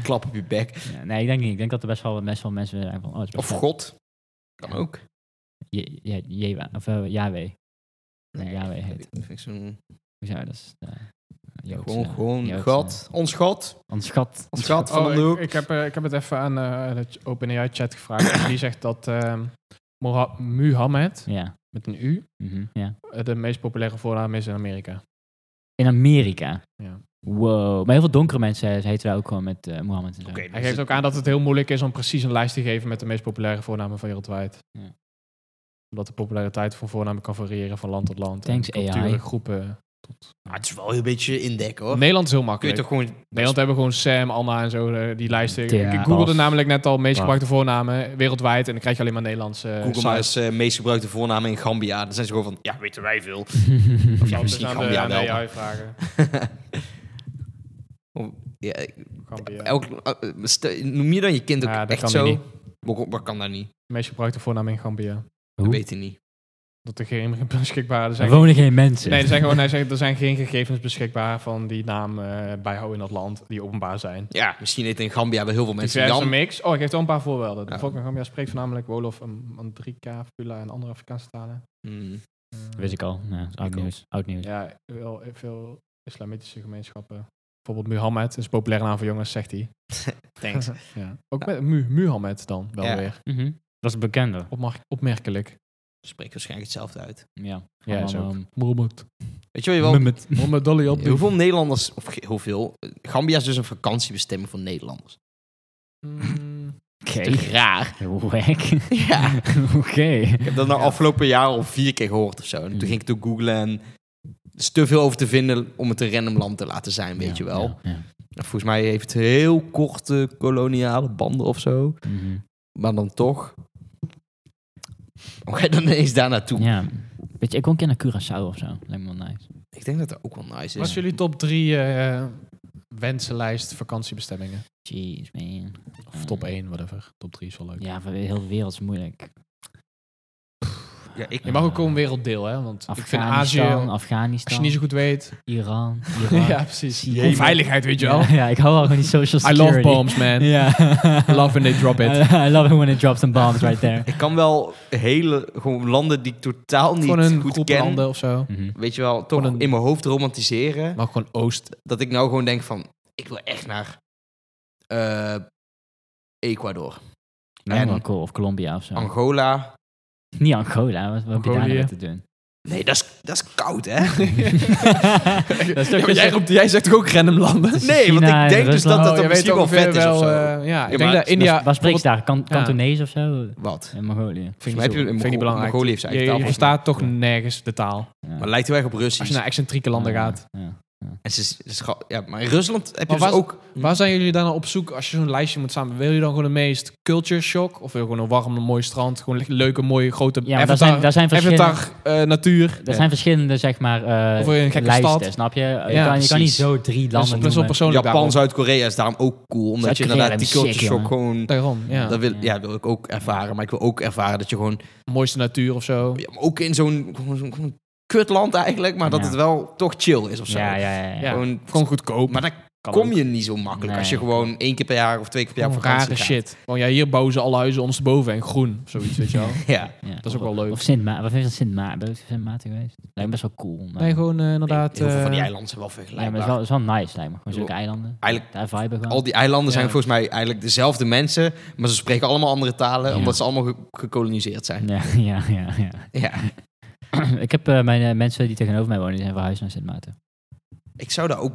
Klap op je bek.
Ja, nee, ik denk niet. Ik denk dat er best wel, best wel mensen zijn van... Oh, het is
Of
best wel-
God. Kan ook.
Je- je- Jewa- of eh, Yahweh. Nee, Yahweh heet.
dat vind ik- vind ik zo'n-
Hoezo? Dat is... eh, Joodse-
Gewoon, gewoon
Joodse-
God. Ons God.
Ons God.
Ons God van
Oh,
de
ik,
hoek.
ik, heb, eh, ik heb het even aan eh, de ch- OpenAI-chat gevraagd. En die zegt dat ehm, Moha- Muhammad,
Ja.
met een U,
mhm, ja.
eh, de meest populaire voornaam is in Amerika.
In Amerika.
Ja.
Wow. Maar heel veel donkere mensen eh, heten daar ook gewoon met eh Mohammed en zo.
Oké,
Hij
dus
geeft
het-
ook aan dat het heel moeilijk is om precies een lijst te geven met de meest populaire voornamen wereldwijd.
Ja.
Omdat de populariteit van voornamen kan variëren van land tot land. en
Thanks, AI.
culturen, groepen.
Maar het is wel een beetje indekken hoor.
Nederland is heel
Kun je
makkelijk.
toch gewoon...
Nederland hebben we gewoon Sam, Anna en zo, eh, die lijsten.
Ja,
ik googelde
Bas.
namelijk net al meest
Bas.
gebruikte voornamen eh, wereldwijd. En dan krijg je alleen maar Nederlandse eh,
Google
sites.
maar eens eh, meest gebruikte voornamen in Gambia. Dan zijn ze gewoon van, ja, weten wij veel.
Of
Ja,
anders
misschien
aan de-
Gambia
aan de
wel.
AI vragen.
Of- ja, ik-
Gambia.
elk, eh, stel- noem je dan je kind ook
Ja, dat
echt
kan
zo?
nu niet.
Maar, maar kan dat niet.
De meest gebruikte voornaam in Gambia.
Dat
Hoe?
weet ik niet.
Dat er geen beschikbare
Er
zijn.
wonen geen mensen.
Nee, er zijn, gewoon, hij zegt, er zijn geen gegevens beschikbaar van die naam eh, bijhouden in dat land die openbaar zijn.
Ja, misschien eten in Gambia wel heel veel mensen.
Diverse
Jan,
mix. Oh, ik geef wel een paar voorbeelden. De
Ja.
bevolking van Gambia spreekt voornamelijk Wolof, um, Mandrika, Fula en andere Afrikaanse talen.
Hmm.
Eh,
Wist ik al. Ja, dat is oud
Ik ook.
nieuws. Oud nieuws.
Ja, wel veel islamitische gemeenschappen. Bijvoorbeeld Muhammad is een populaire naam voor jongens, zegt hij.
thanks.
Ja. Ook met Mu Muhammad dan wel
Ja.
weer.
Mhm. Dat is bekender.
Opmar- opmerkelijk.
Spreekt waarschijnlijk hetzelfde uit.
Ja.
Ja, is ook.
Allemaal,
Mohammed.
Weet je wat je wel...
ehm, Mummet.
Mohammed Ali Abdi.
Hoeveel Nederlanders, of ge- hoeveel, eh, Gambia is dus een vakantiebestemming voor Nederlanders.
Mm,
Oké.
Te raar.
Wack.
Ja.
Oké.
Ik heb dat nou afgelopen jaar al vier keer gehoord of zo. En toen
Mm.
ging ik het ook googlen en er is te veel over te vinden om het een random land te laten zijn, weet je wel.
Ja, ja.
En Volgens mij heeft het heel korte koloniale banden of zo.
Mhm.
Maar dan toch. Hoe ga je dan ineens daar naartoe?
Ja. Weet je, ik kon een keer naar Curaçao of zo. Lijkt me wel nice.
Ik denk dat dat ook wel nice
Wat is
is.
jullie top drie eh, wensenlijst vakantiebestemmingen?
Jeez, man.
Of top 1, whatever. Top 3 is wel leuk.
Ja, voor de hele wereld is moeilijk.
Ja, ik,
Je mag ook een werelddeel, hè? Want ik vind Azië,
Afghanistan,
als
Afghanistan,
je niet zo goed weet.
Iran, Iran.
ja, precies.
Jemen.
Onveiligheid, weet je wel.
Ja, ja, ik hou wel van die social
I
security.
love bombs, man.
Ja.
Love when they drop it.
I, I love it when they drop some bombs right there.
ik kan wel hele gewoon landen die ik totaal niet
Gewoon een
goed
groep
ken.
landen of zo.
Mhm.
Weet je wel, toch
Gewoon een-
in mijn hoofd romantiseren.
Maar ook gewoon Oost.
dat ik nou gewoon denk van, ik wil echt naar eh, Ecuador,
Lijkt me wel
En-
cool. Of Colombia of zo.
Angola.
Niet Angola, wat, wat heb je daar nou
Mongolië.
mee te doen?
Nee, dat is, dat is koud, hè?
dat is toch
Ja, maar jij, roept, jij zegt toch ook random landen?
is
Nee, want
China,
ik denk dus dat
Rusland.
dat
Oh, jij
dan
weet
misschien wel
ongeveer
vet is of zo.
eh, ja, ik denk
maar-
dat
Waar-
India...
waar spreekt ze daar? Kan,
Ja.
Kantonees of zo?
Wat?
In Mongolië.
Vind
Volgens mij heb je in
vind ik niet
Mongo-
belangrijk.
Mongolië heeft zijn
Je,
eigen
je
taal,
verstaat toch nergens de taal.
Ja.
Maar het lijkt heel erg op
Als
Russisch.
je naar excentrieke landen
Ja,
gaat.
ja.
En ze, ze is ga- ja, maar in Rusland heb je
Maar
dus
was-
ook...
Waar zijn jullie dan nou op zoek als je zo'n lijstje moet samen? Wil je dan gewoon de meest culture shock? Of wil je gewoon een warm, mooi strand? Gewoon le- leuke, mooie, grote
Ja, maar daar
avatar,
zijn, daar zijn verschillende...
avatar eh, natuur?
Er zijn verschillende, zeg maar, eh,
Of wil je een gekke
lijsten,
stad?
snap je? je,
Ja,
kan, je kan niet
precies.
zo drie
Dat
landen
is best wel
noemen.
persoonlijk
Japan,
daarom.
Zuid-korea is daarom ook cool. Omdat je
Zuid-Korea
inderdaad die
lijkt me
culture
sick,
shock
jongen.
gewoon...
Daarom, ja.
Dat wil,
Ja.
ja, wil ik ook ervaren. Maar ik wil ook ervaren dat je gewoon...
Mooiste natuur of zo.
ja, maar ook in zo'n gewoon zo'n- gewoon kutland eigenlijk. Maar dat
Ja.
het wel toch chill is of zo.
Ja, ja, ja. ja.
Ja.
Gewoon,
Gewoon goedkoop.
maar dat
Kan
kom
ook.
je niet zo makkelijk
Nee.
als je gewoon één keer per jaar of twee keer per jaar op
Oh,
vakantie
rare
gaat.
shit. Want ja, hier bouwen ze alle huizen ondersteboven en groen. Of zoiets, weet je wel.
Ja.
Ja,
Dat is ook wel leuk.
Of Sint Maarten. Wat is dat Sint Maarten? Ben je op Sint Maarten geweest? Lijkt me best wel cool. maar-
Nee, gewoon eh, inderdaad...
Heel veel van die
eh,
eilanden zijn wel
Ja, maar
vergelijkbaar.
het is wel, het is wel nice, lijkt me. Gewoon zulke eilanden.
Eigenlijk-
Daar vibe ik wel.
Al die eilanden zijn
Ja.
volgens mij eigenlijk dezelfde mensen, maar ze spreken allemaal andere talen,
Ja.
omdat ze allemaal ge- gekoloniseerd zijn.
Ja, ja, ja, ja.
Ja.
ik heb eh, mijn eh, mensen die tegenover mij wonen, die zijn verhuisd naar Sint Maarten.
Ik zou daar ook...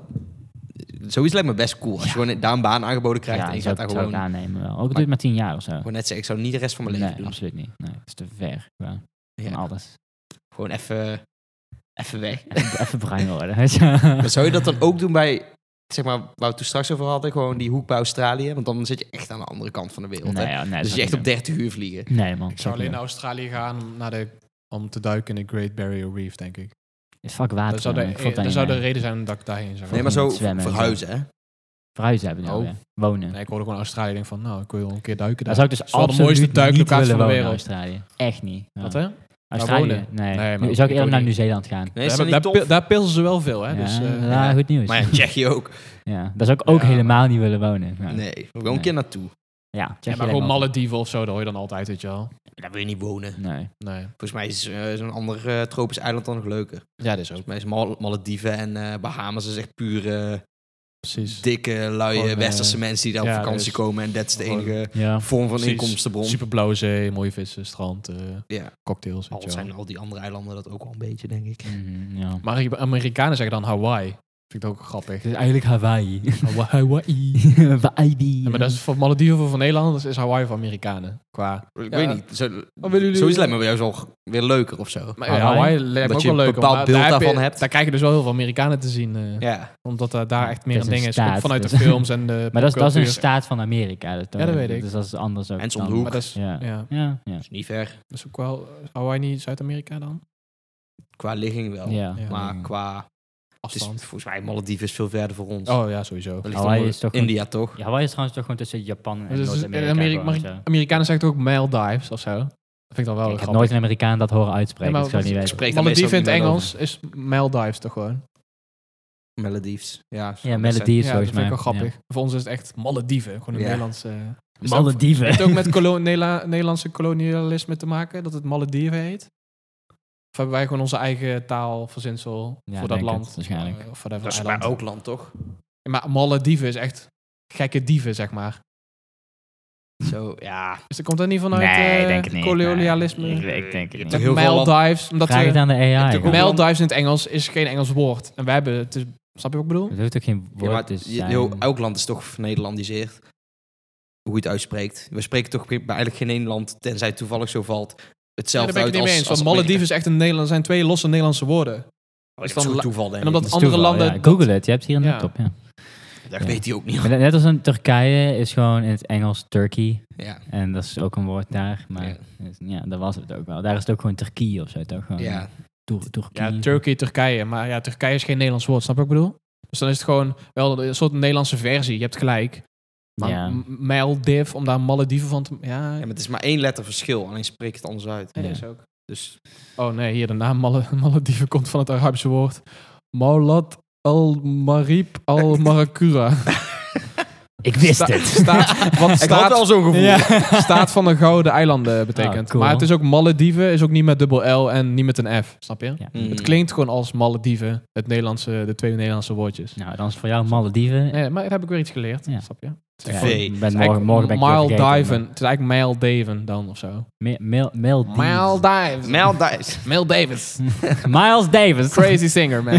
Zoiets lijkt me best cool. Als je gewoon daar een baan aangeboden krijgt
ja,
en je
ik
gaat
zou,
daar
ik- zou ik
gewoon... Ik
aannemen wel. Ook doe het maar tien jaar of zo.
wou net zeggen, ik zou niet de rest van mijn leven
nee,
doen.
absoluut niet. Nee, dat is te ver. Ja.
Ja.
Van alles.
Gewoon even, even weg.
Even, even bruin worden. weet je.
Maar zou je dat dan ook doen bij, zeg maar, waar we het toen straks over hadden, gewoon die hoek bij Australië? Want dan zit je echt aan de andere kant van de wereld.
Nee,
hè?
ja, nee,
dus
dat
je echt
zou
op
ik
30 uur vliegen.
niet doen. Nee, man.
Ik zou
zou
alleen naar
ik
Australië gaan om, naar de, om te duiken in de Great Barrier Reef, denk ik.
niet doen. Fuck water.
Dat zou,
man. Ik
de,
vond dat
dat
niet
zou de
leuk.
reden zijn dat ik daarheen zou
Nee,
gaan.
maar
niet
zo
zwemmen en zo.
verhuizen, hè?
Verhuizen hebben die
Oh.
alweer. Wonen.
Nee, ik hoorde gewoon Australië denk van, nou, ik wil wel een keer duiken
Daar
daar.
zou ik
Dat
dus
is wel de
absoluut
mooiste duiklocatie
niet
van
willen
de
wonen in
wereld.
Australië. Echt niet. Ja.
Wat hè?
Australië?
wonen?
Nee.
Nee,
Nu zou
maar ik
ik eerder
ook
naar
niet.
Nieuw-Zeeland gaan.
Nee, is
Daar,
dat
daar,
niet
pil-
tof?
daar pilsen ze wel veel, hè?
Ja, nou,
dus, eh,
ja, goed nieuws.
Maar ja, Tsjechië ook.
Ja, dat zou ik ook
Ja,
helemaal niet willen wonen. Ja.
Nee, gewoon
Nee.
een keer naartoe.
Ja,
ja,
Tsjechië lijkt
maar gewoon
me altijd-
Malediven of zo, daar hoor je dan altijd, weet je wel.
Daar wil je niet wonen.
Nee.
Nee.
Volgens mij is eh, zo'n ander eh, tropisch eiland dan nog leuker.
Ja, dat is ook
Volgens mij is Mal- Malediven en eh Bahamas is echt pure,
precies.
dikke, luie
Gewoon, eh,
westerse mensen die daar
ja,
op vakantie
dus-
komen. En dat is de
Gewoon-
enige
Ja.
vorm van
Precies.
inkomstenbron.
Super blauwe zee, mooie vissen, strand, eh,
Ja.
cocktails, weet
Al
je wel.
zijn al die andere eilanden dat ook wel een beetje, denk ik.
Mhm, ja.
Maar Ameri- Amerikanen zeggen dan Hawaii. Vind ik dat ook grappig.
Het is eigenlijk Hawaii.
Hawa- Hawaii.
Hawaii.
Ja, maar dat is voor Malediven voor van Nederlanders is Hawaii voor Amerikanen. Qua.
Ik
Ja.
weet niet. Zo,
willen jullie-
Sowieso lijkt me bij jou zo weer leuker of zo.
Maar
Hawaii.
Hawaii, Hawaii lijkt me
Dat
ook
je
wel
een
leuk.
bepaald
omdat
beeld
daar heb je-
daarvan hebt.
Daar krijg je dus wel heel veel Amerikanen te zien. eh,
Ja.
Omdat dat daar echt meer
Dat
een
is een
ding is. ook
staat,
Vanuit de
dus.
films en de.
Maar dat is, dat is een
popcultuur.
staat van Amerika. Dat,
Ja, dat weet ik.
Dus dat is anders ook.
En zo'n
dan-
hoek.
Maar dat is, ja.
Ja. Ja. Ja.
is niet ver.
Dat is ook wel. Hawaii niet Zuid-Amerika dan?
Qua ligging wel.
Ja.
Ja.
Maar qua... Het is,
Afstand.
volgens mij Malediven is veel verder voor ons.
Oh ja, sowieso.
Dat ligt
Hawaii
allemaal-
is toch... gewoon-
India toch?
Ja, Hawaii is trouwens toch gewoon tussen Japan en
Dus het is-
Noord-Amerika.
Ameri-
gewoon,
Ameri-
zo.
Amerikanen zeggen toch ook Maldives of zo? Dat vind ik dan wel
ik heb
grappig.
nooit een Amerikaan dat horen uitspreken. dus
Nee,
ik
maar
zou het niet
wat-
weten.
Spreekt daar meestal
Malediven in
ook
het
niemand
Engels is Maldives toch gewoon?
over. Maledives. Ja,
Ja, Maledives
ja, dat
volgens
vind
mij.
ik wel grappig. Voor ons is het echt Malediven. Gewoon een
Ja.
Nederlandse...
Ja.
Is dat-
Malediven.
Heeft het ook met kolo- Nela- Nederlandse kolonialisme te maken? Dat het Malediven heet? Of hebben wij gewoon onze eigen taalverzinsel
Ja,
voor dat
denk
land?
het, waarschijnlijk.
Eh, Of voor dat
Dat is
eiland.
maar ook land toch?
Maar Malediven is echt gekke dieven, zeg maar.
Zo, ja.
Dus dat komt dat niet vanuit eh, kolonialisme?
Nee, ik, ik denk het
Je
niet.
hebt
Met
Heel veel landen-
Maldives, omdat
Vraag
we-
het aan de AI.
hebt ook
man.
wel-
Maldives in het Engels is geen Engels woord. En wij hebben... Het is, snap je wat ik bedoel?
Het hoeft ook geen
Ja, maar
woord te
het-
zijn.
heel, elk land is toch vernederlandiseerd. Hoe je het uitspreekt. We spreken toch bij eigenlijk geen één land, tenzij het toevallig zo valt,
Ja,
hetzelfde
daar ben
uit
ik het niet mee
als,
eens.
als
Want Malediven is echt een Nederland, zijn twee losse Nederlandse woorden.
is
dan
dan
la-
toeval, denk
En omdat
Dat is
andere
toeval,
landen.
ja. Google het, je hebt hier een
Ja.
laptop. Ja.
ik. Dat
Ja.
weet hij ook niet.
Maar net- Net als in Turkije is gewoon in het Engels Turkey.
Ja.
En dat is ook een woord daar. Maar
Ja.
Dus, ja, dat was het ook wel. Daar is het ook gewoon Turkije of zo. Toch? Gewoon,
Ja.
Tur- Turkije.
Ja, Turkije, Turkije. Maar ja, Turkije is geen Nederlands woord, snap je wat ik bedoel? Dus dan is het gewoon wel een soort Nederlandse versie. Je hebt gelijk. Maar
Ja.
M- Maldiv, om daar Malediven van te... Ja,
Ja, maar het is maar één letter verschil, alleen spreek het anders uit.
nee, dat
Ja.
is ook.
Dus
Oh nee, hier de naam Mal- Malediven komt van het Arabische woord. Maulat al-Marib al-Marakura.
Ik wist
Sta-
het.
Staat, wat
ik had
staat,
al zo'n gevoel.
staat van de Gouden Eilanden eh, betekent.
Ah, cool.
Maar het is ook Malediven, is ook niet met dubbel L en niet met een F, snap je?
Ja.
Mm.
Het klinkt gewoon als Malediven, het Nederlandse, de twee Nederlandse woordjes.
Nou, dan is voor jou Malediven.
Nee, maar daar heb ik weer iets geleerd.
Ja.
Snap je? Het
Ja,
Tv.
gewoon-
ik
het
ben
is
morgen,
eigenlijk
morgen ben ik weer vergeten,
Maldiven. Het is eigenlijk Maldiven dan of zo.
maar- Ma- Mil- Maldives.
Maldives.
Maldives.
Mel Davis.
Miles Davis.
Crazy singer, man.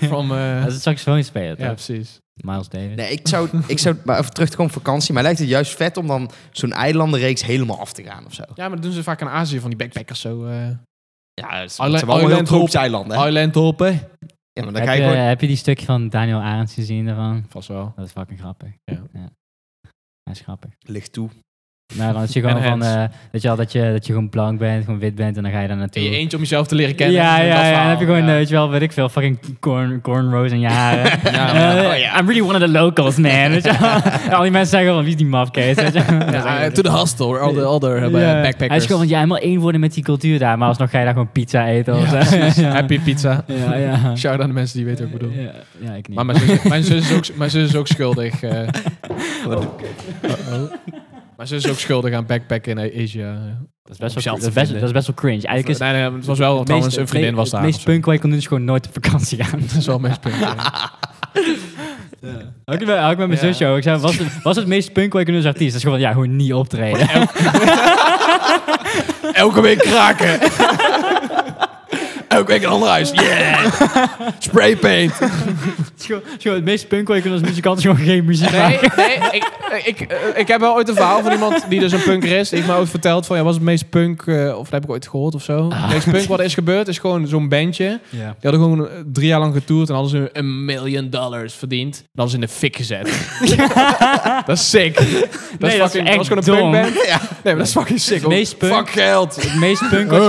From, eh,
Dat is een saxofoon spelen,
ja,
toch?
precies.
Miles Davis.
Nee, ik zou, ik zou maar even terug te komen op vakantie. Mij lijkt het juist vet om dan zo'n eilandenreeks helemaal af te gaan of zo.
Ja, maar dat doen ze vaak in Azië, van die backpackers zo. eh
Ja, het
Island-
zijn wel heel
Island Hop.
tropisch eilanden. hè?
Island hoppen.
Ja, maar dan
heb,
ga
je,
je gewoon...
heb je die stukje van Daniel Arends gezien daarvan?
Vast wel.
Dat is fucking grappig.
Ja.
Dat is grappig.
Ligt toe.
Maar dan is je
En
gewoon van,
hands.
eh, weet je wel, dat je, dat je gewoon blank bent, gewoon wit bent en dan ga je daar naartoe.
In je eentje om jezelf te leren kennen.
Ja,
Dat
ja, ja.
verhaal.
Dan heb je gewoon,
Ja.
eh, weet je wel, weet ik veel, fucking corn, cornrows in je haren.
Ja,
Eh,
maar- oh ja.
I'm really one of the locals, man. Weet je wel? En al die mensen zeggen van, wie is die mafkees? Weet je wel?
Ja,
Ja,
eh, to the hostel, where all the other eh,
ja.
backpackers.
Hij is gewoon van, ja, helemaal één worden met die cultuur daar, maar alsnog ga je daar gewoon pizza eten of
Ja,
zo.
precies.
Ja.
Happy pizza.
Ja, ja.
Shout out aan de mensen die weten wat ik bedoel.
Ja, ja, ik niet.
Maar mijn zus, mijn zus is, ook, mijn zus is ook schuldig. eh. Oh. Uh-oh. Mijn zus is ook schuldig aan backpacken in Asia.
dat, is best wel,
om zelf
dat, is
te
best,
vinden.
dat is best wel cringe. Eigenlijk is
nee, nee, het was wel
het
trouwens
meest-
een vriendin
het
was daar.
Het meest
of zo.
punk wat je kon doen is gewoon nooit op vakantie gaan.
Dat is wel het meest punk. ja.
Ook met, ook met mijn
Ja.
zusje ook. Ik zei, was het, was het meest punk wat je kon doen als artiest? Dat is gewoon, ja, gewoon niet optreden.
Elke week kraken. Elke week een ander huis. Yeah! Spray paint.
Het is gewoon- het is gewoon het meest punk wat je kunt als muzikant is gewoon geen muziek
Nee,
maken.
nee ik, ik, eh, ik heb wel ooit een verhaal van iemand die dus een punker is. Die heeft mij ooit verteld van, ja, was het meest punk, eh, of dat heb ik ooit gehoord of zo. Het meest punk wat er is gebeurd is gewoon zo'n bandje.
Ja.
Die hadden gewoon eh, drie jaar lang getoerd en hadden ze een miljoen dollars verdiend. En hadden ze in de fik gezet. dat is sick. Dat,
Nee, dat is
fucking-
echt
was gewoon
dom.
een punkband. Nee, maar dat is fucking sick. hoor.
meest punk-
Fuck geld.
Het meest punk was...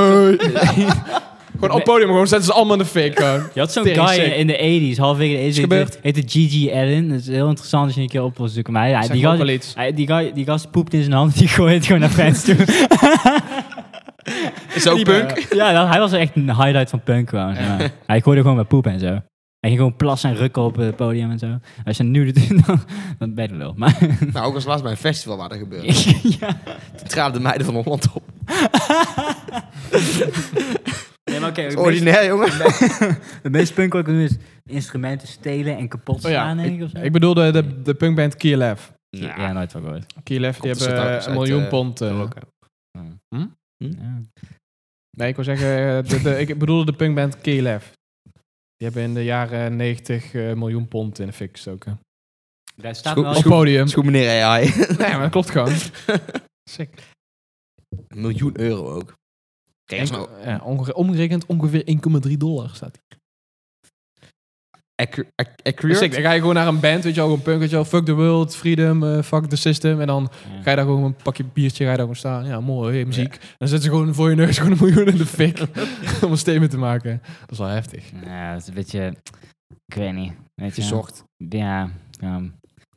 Gewoon op podium, gewoon zetten ze allemaal in de fik. Gewoon.
Je had zo'n
Tering
guy
sick.
in de 80s, halverwege de 80s.
Is gebeurd.
Heette, heette Gigi Allen. Dat is heel interessant als je een keer op wil zoeken. Maar ja,
Zeg
die,
me ook wel
gast,
iets.
hij- die, guy, die gast poept in zijn hand die gooit het gewoon naar fans toe.
Is ook
Die-
punk.
Ja, dat- hij was echt een highlight van punk gewoon. Ja. Hij gooide gewoon met poep en zo. Hij ging gewoon plassen en rukken op het podium en zo. Als je dat nu doet, dan, dan ben je de lul. Maar,
Nou, ook als laatst bij een festival waar dat gebeurde.
ja.
Toen traden de meiden van Holland op.
Nee, maar oké.
Ordinair, jongen.
Het meest punk wat ik kan doen is instrumenten stelen en kapot
Oh ja,
slaan, denk ik. Of zo.
Ik bedoel de, de, de punkband Kiev.
ja.
Ja.
nooit van gehoord.
Kiev, die
Komt dus
hebben
uit-
eh,
uit,
een miljoen
eh,
pond. eh,
Ja.
Nee, ik wil zeggen, eh, de, de, ik bedoelde de punkband Kiev. Die hebben in de jaren 90 eh, miljoen pond in de fik gestoken.
Daar staat
Schoen-
wel...
Op podium.
Schoen meneer AI.
Nee, maar dat klopt gewoon. Sick.
Een miljoen euro ook. Kijk, dat is nou
Ja,
eh,
onge- omgerekend ongeveer 1,3 dollar staat die.
accu- ac-
Dus sick,
accurate.
dan ga je gewoon naar een band, weet je wel, gewoon punk, weet je wel, fuck the world, freedom, eh, fuck the system. En dan
Ja.
ga je daar gewoon een pakje biertje, ga je daar gewoon staan. Ja, mooi, hey, muziek. Dan zetten ze gewoon voor je neus gewoon een miljoen in de fik om een statement te maken. Dat is wel heftig.
Ja, dat is een beetje... Ik weet niet. Weet je,
Gezocht.
Ja, ehm,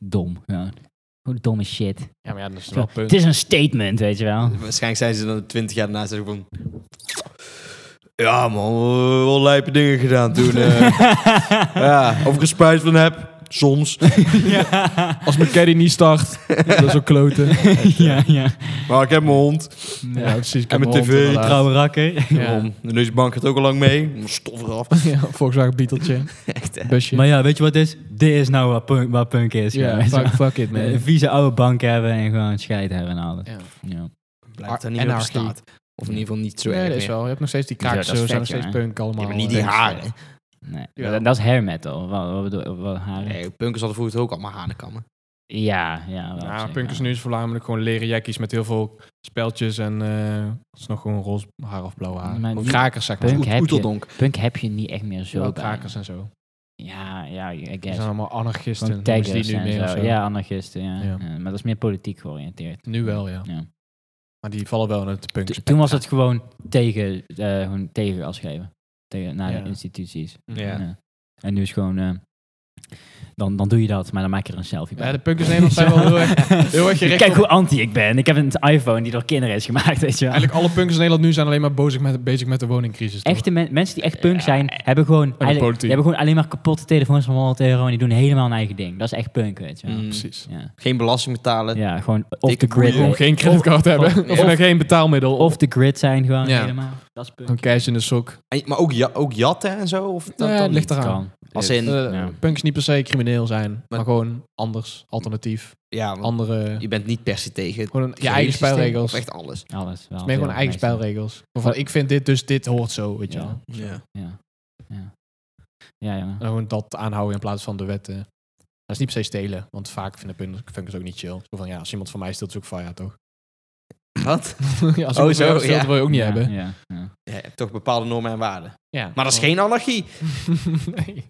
dom. Ja. Gewoon domme shit.
Ja, maar ja, dat is wel
Het
punt.
is een statement, weet je wel.
Waarschijnlijk zijn ze dan twintig jaar daarna zeggen van... Ja man, eh, wel lijpe dingen gedaan toen. eh. ja, of ik er spijt van heb. Soms.
ja.
Als mijn caddy niet start, dat is ook kloten.
ja, ja.
Maar ik heb mijn hond.
Ja, precies. ik
En
heb
mijn
een
tv,
hond, inderdaad.
Trouwe rakker.
Ja.
En deze bank gaat ook al lang mee. Stof eraf.
Ja, Volkswagen Beeteltje.
Echt hè.
Busje.
Maar ja, weet je wat het is? Dit is nou wat punk, wat punk is.
ja,
weet je
fuck,
wel.
fuck it, man.
Een vieze oude bank hebben en gewoon scheid hebben en alles.
Ja.
Ja.
Blijft daar niet meer op
Anarchy.
staat. Of in ieder geval niet zo
Nee,
erg
dat is
meer.
wel. Je hebt nog steeds die
Ja, dat is
kaaksen, zijn nog
vet,
steeds
ja.
punk allemaal.
Ja, maar niet die
eh,
haren.
Nee.
Ja.
Dat, dat is hair metal. Wat, wat bedoel wat haren?
Nee, punkers hadden vroeger ook allemaal hanenkammen.
Ja, ja. Wel
Ja,
op zich,
punk is
ja.
Nou, nu voornamelijk gewoon leren jackies met heel veel speltjes en eh het is nog gewoon roze haar of blauw haar.
Maar
Gewoon
die-
krakers, zeg maar.
Punk
Oet-
heb je.
Oeteldonk.
Punk heb je niet echt meer zo
Wel
bij.
krakers en zo.
Ja, ja, I
Die
guess.
zijn allemaal anarchisten.
Gewoon
noemen ze
taggers
die nu meer
en
of
zo.
zo.
Ja, anarchisten, ja.
Ja.
Ja, Maar dat is meer politiek georiënteerd.
Nu wel, ja.
Ja.
Maar die vallen wel in het punk.
To- Toen was het gewoon tegen, eh gewoon tegen afschrijven. Tegen, naar
Ja.
de instituties.
Ja.
En nu is gewoon... eh, dan, dan doe je dat, maar dan maak je er een selfie bij.
Ja, de punkers Nederland zijn wel heel erg, heel erg gericht
Kijk
op-
hoe anti ik ben. Ik heb een iPhone die door kinderen is gemaakt, weet je wel.
Eigenlijk alle punkers in Nederland nu zijn alleen maar bezig met, bezig met de woningcrisis. toch?
Echte men- mensen die echt punk zijn, hebben, gewoon eigenlijk,
politiek.
die hebben gewoon alleen maar kapotte telefoons van 100 euro en die doen helemaal hun eigen ding. Dat is echt punk, weet je wel.
Mm.
Precies.
Ja.
Geen belasting betalen.
ja, gewoon off
Dikke
the grid.
boeien.
eh,
Gewoon geen creditcard hebben. Of,
of-
met geen betaalmiddel.
Off the grid zijn gewoon
Ja.
helemaal. Dat is punk.
Een cash in de sok.
En- maar ook, ja, ook jatten en zo? Of dat
Ja,
dan
het ligt
niet?
eraan.
Kan.
Als in,
Eh,
Ja.
Punks niet per se crimineel zijn. Maar, gewoon anders. Alternatief.
ja, want
Andere...
je bent niet per se tegen het
Gewoon een- je
gehele
eigen
systeem,
spelregels.
Of echt alles.
Alles. Wel,
Het is meer
veel
gewoon eigen
mensen.
spelregels. Van, ik vind dit, dus dit hoort zo, weet je
Ja.
wel.
Ja.
Ja. Ja. Ja, ja.
En gewoon dat aanhouden in plaats van de wetten. Dat is niet per se stelen. Want vaak vinden punk- punkers ook niet chill. Zo van, ja, als iemand van mij steelt, is ook fire, toch?
Wat?
ja, als
Oh,
iemand
zo,
van jou steelt,
ja.
wil je ook niet
Ja,
hebben.
Ja, ja.
Oh.
Ja, je hebt toch bepaalde normen en waarden.
Ja.
Maar dat is geen anarchie.
nee.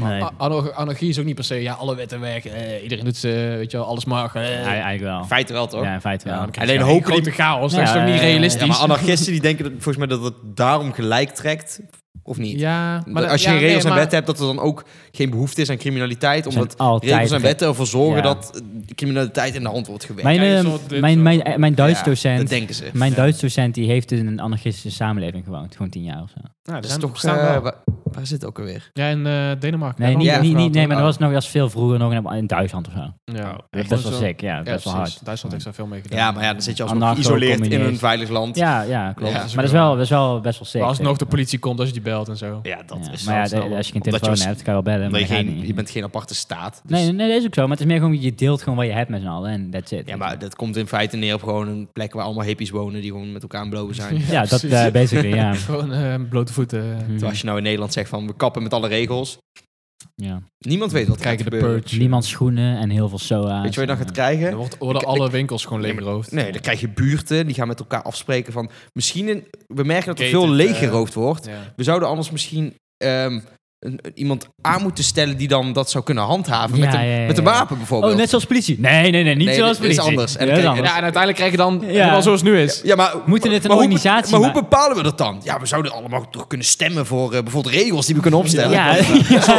Nee,
A- anar- Anarchie is ook niet per se, ja, alle wetten weg. eh, iedereen doet ze, weet je wel, alles mag. eh.
ja, eigenlijk wel.
Feit wel, toch?
Oh. Ja, in feite wel.
Ja, dan krijg je
Alleen
één
hopen die-
grote chaos, dat
Ja,
is toch
ja,
niet
ja, ja.
realistisch?
Ja,
Ja,
maar anarchisten die denken dat, volgens mij dat het daarom gelijk trekt, of niet?
maar dat-
als je
ja,
geen regels
nee,
en
maar-
wetten hebt, dat er dan ook geen behoefte is aan criminaliteit.
Zijn
Omdat
altijd
regels en
gek.
wetten ervoor zorgen
Ja.
dat eh, criminaliteit in de hand wordt gewerkt.
Mijn,
Ja, je
eh,
soort- dit
mijn,
soort-
mijn, eh, mijn Duits
Ja,
docent,
Dat denken ze.
mijn
Ja.
Duits docent die heeft in een anarchistische samenleving gewoond. Gewoon tien jaar of zo.
Ja,
Dat
dat
is toch...
staan
eh,
wel.
waar, waar zit het ook alweer?
Ja, in eh, Denemarken.
Nee,
Daar
niet,
ja,
hebben we
niet,
ook
niet, nee
verhaald,
maar dat was nog als veel vroeger nog in- in Duitsland of zo. Dat
hè? Ja,
is
Oh, echt
best
zo.
wel sick, ja.
Ja,
Best wel
precies.
hard.
Duitsland heeft daar veel mee gedaan.
Ja, maar ja, dan zit je alsnog
Anarcho-communist.
geïsoleerd in een veilig land.
Ja, ja, klopt.
Ja.
maar dat is wel, dat is wel best wel sick.
Maar alsnog
zeker.
de politie komt als je die belt en zo.
Ja, dat
Ja,
is
Maar ja,
dan
de-
snel.
als je geen
Omdat
telefoon
je-
hebt, kan je wel bellen.
omdat
Maar
je,
dat gaat
geen,
niet.
je bent geen aparte staat. Dus,
Nee, nee, dat is ook zo. Maar het is meer gewoon, je deelt gewoon wat je hebt met z'n allen. En that's it.
Ja, maar dat komt in feite neer op gewoon een plek waar allemaal hippies wonen die gewoon met elkaar aan blowen zijn.
Ja, dat
precies.
eh, basically, ja.
Gewoon eh, blote voeten.
Hm.
Terwijl als je nou in Nederland zegt van we kappen met alle regels.
ja.
Niemand weet wat er
Kijken
gaat
de
gebeuren.
purge.
Niemand schoenen en heel veel soa.
Weet je wat je dan gaat
Dan
krijgen?
wordt, worden
Ik-
alle winkels gewoon
Nee, maar-
leeggeroofd.
Nee, dan krijg je buurten die gaan met elkaar afspreken van misschien in- we merken dat er
Gated,
veel leeg
eh,
geroofd wordt.
Ja.
We zouden anders misschien ehm, een- een- iemand aan moeten stellen die dan dat zou kunnen handhaven met,
Ja,
een,
ja, ja,
met een
ja.
wapen bijvoorbeeld.
Oh, net zoals politie. Nee, nee, nee, niet
Nee,
zoals
dit is
politie.
anders. En
Ja, dat is
kijk,
anders.
Ja, en uiteindelijk krijg je dan helemaal zoals het nu is.
ja, maar
Moeten dit een
maar hoe be-
organisatie
Maar hoe
maken?
bepalen we dat dan? Ja, we zouden allemaal toch kunnen stemmen voor eh, bijvoorbeeld regels die we kunnen opstellen.
Ja,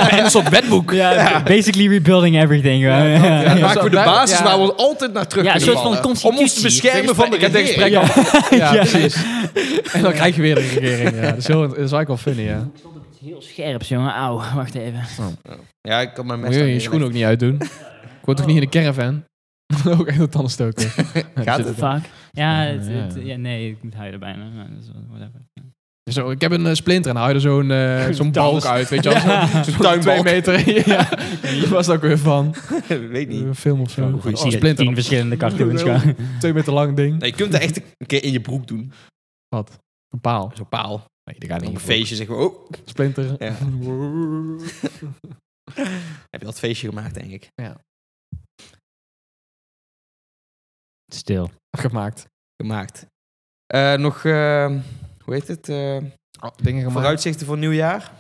En een soort wetboek.
ja, basically rebuilding everything. Ja, ja, ja.
Dan maken we de
Ja.
basis
Ja.
waar we ons altijd naar terug
Ja, een
kunnen
soort van
vallen. Om ons te
constitutie.
beschermen van de
Ik heb dit gesprek
regering.
al. Ja,
Ja.
precies. En dan krijg je weer een regering. Ja. Dat, is heel, dat is eigenlijk wel funny, ja.
Ik stond op iets heel scherps, jongen. Auw, wacht even.
Ja, ik kan mijn mes
Moet je
daar
je
niet
schoen ook niet uitdoen. Ik word toch niet in de caravan? ook echt een tandenstoker.
Gaat
Zit-
het?
Fuck. Ja,
Ja,
het-
ja.
het- ja, nee, ik moet huilen bijna. maar dat is wel- whatever.
Zo, ik heb een eh, splinter en dan hou je er zo'n eh, zo'n balk
Tandens-
uit, weet je wel.
Ja.
Zo'n- Zo'n
Tuinbalk.
twee meter. ja. Daar was het ook weer van.
leggen. Weet niet.
Een film of zo.
Zo,
Van,
goed,
oh,
zie je
splinter.
tien verschillende cartoons.
Heel-
gewoon.
Twee meter lang ding.
Nee, je kunt het echt een keer in je broek doen.
Een paal.
Zo'n paal.
Nee, die gaat
En op
niet.
een feestje zeggen we, oh,
Splinter.
Ja.
Ja.
heb je dat feestje gemaakt, denk ik.
Stil.
Gemaakt.
Gemaakt. Eh, nog, eh, hoe heet het? Eh,
dingen gemaakt.
vooruitzichten voor nieuwjaar.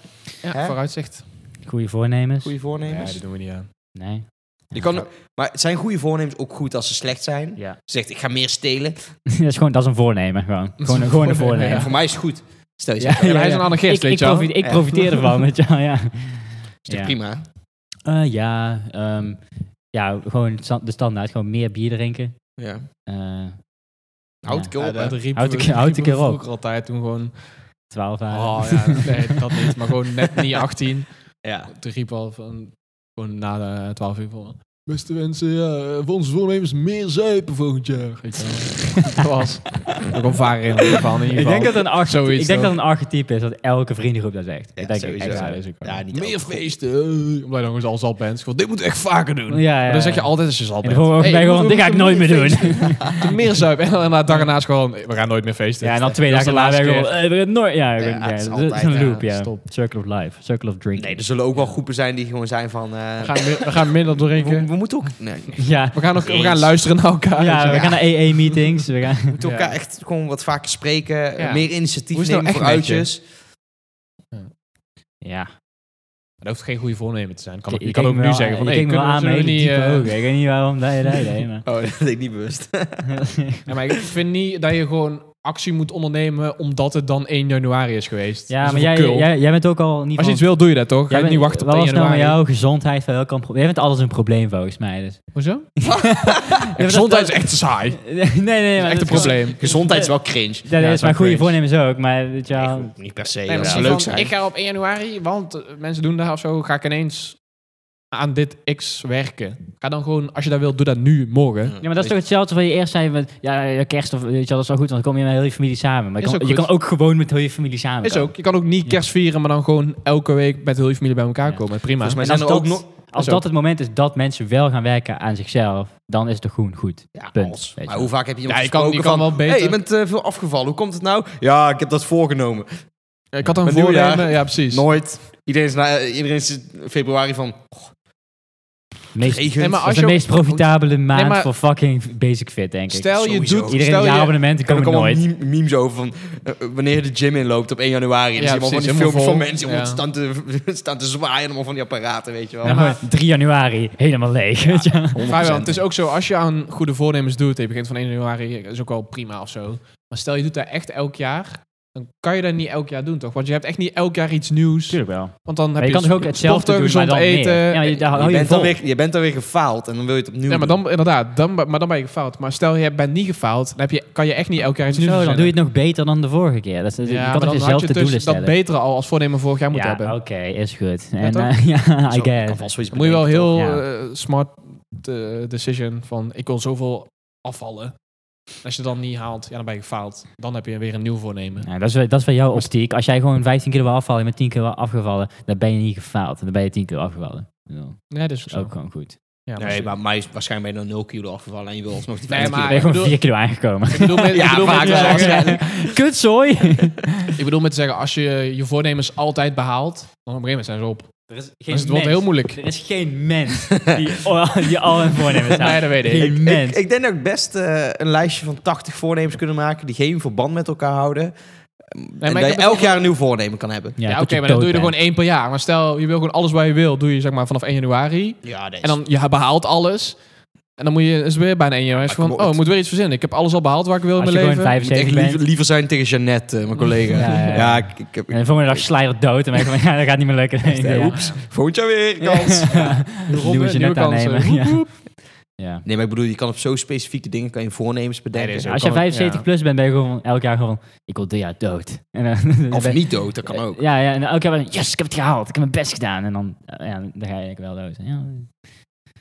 Hè?
ja, vooruitzicht.
Goede voornemens?
Goede
Ja,
voornemens.
die doen we niet aan.
Nee.
je kan, maar zijn goede voornemens ook goed als ze slecht zijn?
Ja.
Je zegt, ik ga meer stelen.
dat, is gewoon, dat is een voornemen, gewoon. Gewoon, een- gewoon een voornemen.
En voor mij is het goed. Stel je
Ja,
zegt,
Ja, maar hij is een anarchist,
ik,
weet
ik,
je wel.
profiteer, ik
Ja.
profiteer ervan, weet je wel, ja.
is toch
Ja.
prima?
Eh, ja, ehm, ja, gewoon het sta- de standaard. Gewoon meer bier drinken.
Ja.
Eh
Houd ik
Ja,
op, hè.
dat riepen
Houd
we-
ik- houd
riepen
ik er
we
op.
vroeger altijd toen gewoon...
12 dagen.
Oh ja, nee, dat niet. Maar gewoon net niet 18.
Ja.
Toen riep al van... Gewoon na de 12 uur van... Beste mensen, ja, voor onze voornemens meer zuipen volgend jaar. Weet je wel. Dat was... Ook een vader in ieder geval. In ieder
Ik
geval.
denk dat een archetype,
Zoiets
ik denk
toch?
dat een archetype is dat elke vriendengroep dat zegt.
Ja,
dat denk
sowieso.
ik
Ja,
echt
dat
zo.
is ook wel.
Ja, niet
meer
elke
feesten. eh, Omdat je nog eens al zal bent. Gewoon, Dit moet ik echt vaker doen.
Ja, ja,
Maar dan zeg je
Eh, ja.
altijd als je zal
En de
bent.
volgende
hey,
ben je
we
gewoon, dit
moeten
ga ik nooit meer doen.
doen. Meer zuipen. En dan na de dag ernaast gewoon... We gaan nooit meer feesten.
Ja, en dan twee
Dat is
dagen
de
later
laatste
ben ik gewoon, eh, we gaan het nooit... Ja,
Ja,
ja,
het is
dat is
altijd,
een
ja,
loop, ja.
stop. dus-
Circle of life, circle of drinking.
Nee, er zullen ook wel groepen zijn die gewoon zijn van... eh,
We gaan, mi- we gaan minder
we,
drinken.
we moeten ook... Nee, nee.
Ja,
We gaan, nog, we
Eens.
gaan luisteren naar elkaar.
ja,
ja.
we gaan naar AA-meetings. We gaan...
moeten
Ja.
elkaar echt gewoon wat vaker spreken. eh,
Ja.
Meer initiatief
Hoe is het
nemen
nou
voor
echt met je?
uitjes.
Ja.
Dat hoeft geen goede voornemen te zijn. Kan ook,
Ik
je kan ook nu zeggen van...
ik
hey,
keek me wel
kunnen we
aan
zullen
met
we
die
niet...
type
eh,
ook. Ik weet niet waarom dat je dat deed, maar...
Oh, dat deed ik niet bewust.
ja, maar ik vind niet dat je gewoon actie moet ondernemen... omdat het dan 1 januari is geweest.
Ja,
Dat
maar
is wel
jij,
kul.
jij, jij bent ook al niet
Als je
van-
iets wil, doe je dat toch? Ga
jij
je
bent
niet wachten op
wel
1
snel nou met
januari?
jouw gezondheid van welk probleem. Jij bent alles een probleem volgens mij. Dus.
Hoezo?
Ja,
Ja,
maar
gezondheid
dat-
is echt saai. Dat
nee, nee, nee.
is
maar
dus- echt een
dat is wel-
probleem.
Gezondheid is wel cringe.
Dat
Ja, dat
is
is
mijn
wel
goede
cringe.
voornemens ook, maar weet je wel-
Nee, goed, niet per se.
Nee,
dat
maar
zou
misschien
leuk
van,
zijn.
Ik ga op 1 januari, want eh, mensen doen daar of zo... ga ik ineens aan dit X werken. Ga dan gewoon... Als je dat wilt, doe dat nu, morgen.
Hm.
Ja, maar dat is toch hetzelfde wat je eerst zei met ja, ja, kerst of weet je wel, dat is wel goed, want dan kom je met heel je familie samen. Maar je
Is
kan,
ook
je
goed.
kan ook gewoon met heel je familie samen.
Is
komen.
ook. Je kan ook niet kerst vieren, maar dan gewoon elke week met heel je familie bij elkaar
Ja.
komen. Prima.
Volgens
En
mij zijn
als
er ook
dat-
nog...
Als
Is ook.
dat het moment is dat mensen wel gaan werken aan zichzelf, dan is het toch gewoon goed.
Ja,
Punt,
als.
weet je
Maar
wel.
hoe vaak heb je iemand
Ja, je kan- je
gesproken
kan
van...
wel
hey, je
beter."
bent eh, veel afgevallen. Hoe komt het nou? Ja, ik heb dat voorgenomen.
Eh, Ik had een
Met nieuwjaar.
Dus- voornemen. Ja, precies.
eh, Nooit. Iedereen is, na, iedereen is in februari van...
Meest,
"Oh, Regent.
Nee, maar
dat
als
is de
je-
meest profitabele maand
maar-
voor fucking basic fit, denk ik.
Stel je
sowieso.
doet...
Iedereen
Stel
een
je,
jaarabonnementen
Ik heb ook
komen
allemaal
nooit.
meme- memes over van eh, eh, wanneer je de gym inloopt op 1 januari. En dan
Ja,
zie je allemaal van
precies,
die filmpjes van
helemaal
mensen
vol.
om staan, te, staan te zwaaien. Allemaal van die apparaten, weet je wel.
Ja, maar 3 januari, helemaal leeg. weet je.
Vrijwel, het is ook zo, als je aan goede voornemens doet, je begint van 1 januari, is ook wel prima of zo. Maar stel je doet dat echt elk jaar, dan kan je dat niet elk jaar doen, toch? Want je hebt echt niet elk jaar iets nieuws.
Tuurlijk wel.
Want dan heb
Maar je kan
dus
toch ook hetzelfde
sporten,
doen, maar
gezond
dan
eten.
meer. Ja, maar je, daar hou
je,
je,
bent dan
vol.
weer, je bent dan weer gefaald en dan wil je het opnieuw
Ja, maar
doen.
dan, inderdaad, dan, ben- maar dan ben je gefaald. Maar stel je bent niet gefaald, dan heb je, kan je echt niet elk jaar iets nieuws
Zo, dan
verzinnen.
doe je het nog beter dan de vorige keer. Dat is,
Ja,
je kan
maar
toch
dan had je
dezelfde
dus
doelen
dat
stellen.
betere al als voornemen vorig jaar moet
ja,
hebben.
oké,
Dan
is goed.
Ja,
en
toch?
eh, ja, I
Zo, ik kan
guess.
vast wel iets
moet je wel
bedenken,
heel
toch?
eh, smart eh, decision van ik wil zoveel afvallen. Als je dat dan niet haalt, ja, dan ben je gefaald. Dan heb je weer een nieuw voornemen.
Nou, dat, is, wel- dat is wel jouw optiek. Als jij gewoon 15 kilo wil afvallen en met 10 kilo afgevallen, dan ben je niet gefaald. Dan ben je 10 kilo afgevallen. Ja,
Nee, dat is ook
dat
zo.
is ook gewoon goed.
Ja,
toch? Nee, maar mij is waarschijnlijk ben je dan 0 kilo afgevallen en je wil alsnog die
Nee,
50
Dan
maar-
ben je gewoon
bedoel-
4 kilo aangekomen.
Ik bedoel met,
Ja,
ik bedoel met
vaak
te
wel,
zeggen-
waarschijnlijk. Kutzooi!
ik bedoel met te zeggen, als je je voornemens altijd behaalt, dan op een gegeven moment zijn ze op.
Er is geen
Dus het wordt heel moeilijk.
Er is geen mens die, die al een voornemen staat.
Nee, dat weet ik.
Geen
Ik-
kilo.
mens.
Ik, ik denk dat ik best eh, een lijstje van 80 voornemens kunnen maken die geen verband met elkaar houden. en
ik
dat je
heb het
elk
ook-
jaar een nieuw voornemen kan hebben.
ja,
Ja,
tot
oké,
je
maar dan doe
dood
je er
bent.
gewoon één per jaar. Maar stel, je wil gewoon alles wat je wil, doe je zeg maar vanaf 1 januari.
Ja, dat is-
En dan, je behaalt alles. En dan moet je is het weer bijna 1 januari. Is
Maar
van,
kom
oh,
op.
ik moet weer iets verzinnen. Ik heb alles al behaald waar ik wil in
Als
mijn
je gewoon
leven.
Ik moet echt
75 bent.
liever, liever zijn tegen Jeannette, eh, mijn collega.
Ja, ja, ja.
ik, ik heb...
En de volgende dag slijt dood. En dan denk ik van, ja, dat gaat niet meer lukken.
eh,
Ja.
oeps, volgend jaar weer, kans.
Nieuwe
Nieuwe
ronde, nieuwe
Jeannette
kansen.
aannemen, ja.
Woep, woep.
Ja.
Nee, maar ik bedoel, je kan op zo specifieke dingen kan je voornemens bedenken.
Nee, dat
Als
kan
je
ook,
75
ja.
plus bent, ben je gewoon elk jaar gewoon... Ik wil dit jaar dood. En dan,
Of niet dood, dat kan ook.
Ja, ja, en elke keer ben ik, yes, ik heb het gehaald. Ik heb mijn best gedaan. En dan, eh, ja, dan ga je wel dood. Ja,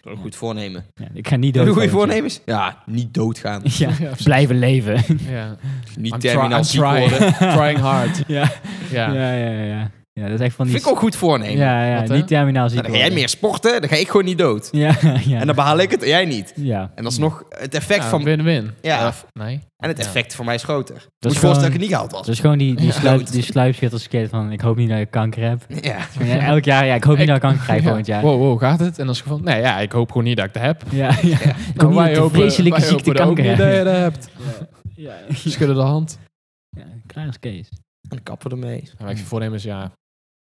Dat is een goed voornemen.
ja, ik ga niet dood.
Doe goede
worden.
voornemens? Ja, niet doodgaan.
Ja,
Ja, precies.
blijven leven.
Ja.
Niet
I'm, try- I'm
terminaal ziek
trying.
worden.
trying hard.
ja.
Ja.
Ja. ja, ja, ja. dat is echt van die...
Vind ik ook goed voornemen.
Ja, ja,
Wat, hè?
niet terminaal ziek
Nou, dan ga jij
worden.
meer sporten, dan ga ik gewoon niet dood.
Ja, ja.
En dan behaal ik het en jij niet.
ja.
En dat is nog het effect
Ja,
van...
Win-win.
Ja.
Of- nee.
En het
Ja.
effect voor mij is groter. Moet je
is
voorstellen dat ik
gewoon-
het niet gehaald was.
Dat is gewoon die, die,
Ja.
sluip,
Dood.
die sluipschitterskit van ik hoop niet dat ik kanker heb.
Ja.
Ja, elk jaar, ja, ik hoop niet
Ik-
dat ik kanker krijg volgend
Ja.
jaar.
Wow, wow, gaat het? En dan is het van, nee, ja, ik hoop gewoon niet dat ik dat heb.
Ja, ja. Ik hoop
Nou,
niet dat ik de
hopen-
vreselijke
wij
ziekte
hopen ook
kanker
niet eh, dat
heb.
je dat hebt.
Ja.
Schudden de hand.
Ja, klaar is Kees.
En kappen ermee.
En mijn voornemens, ja,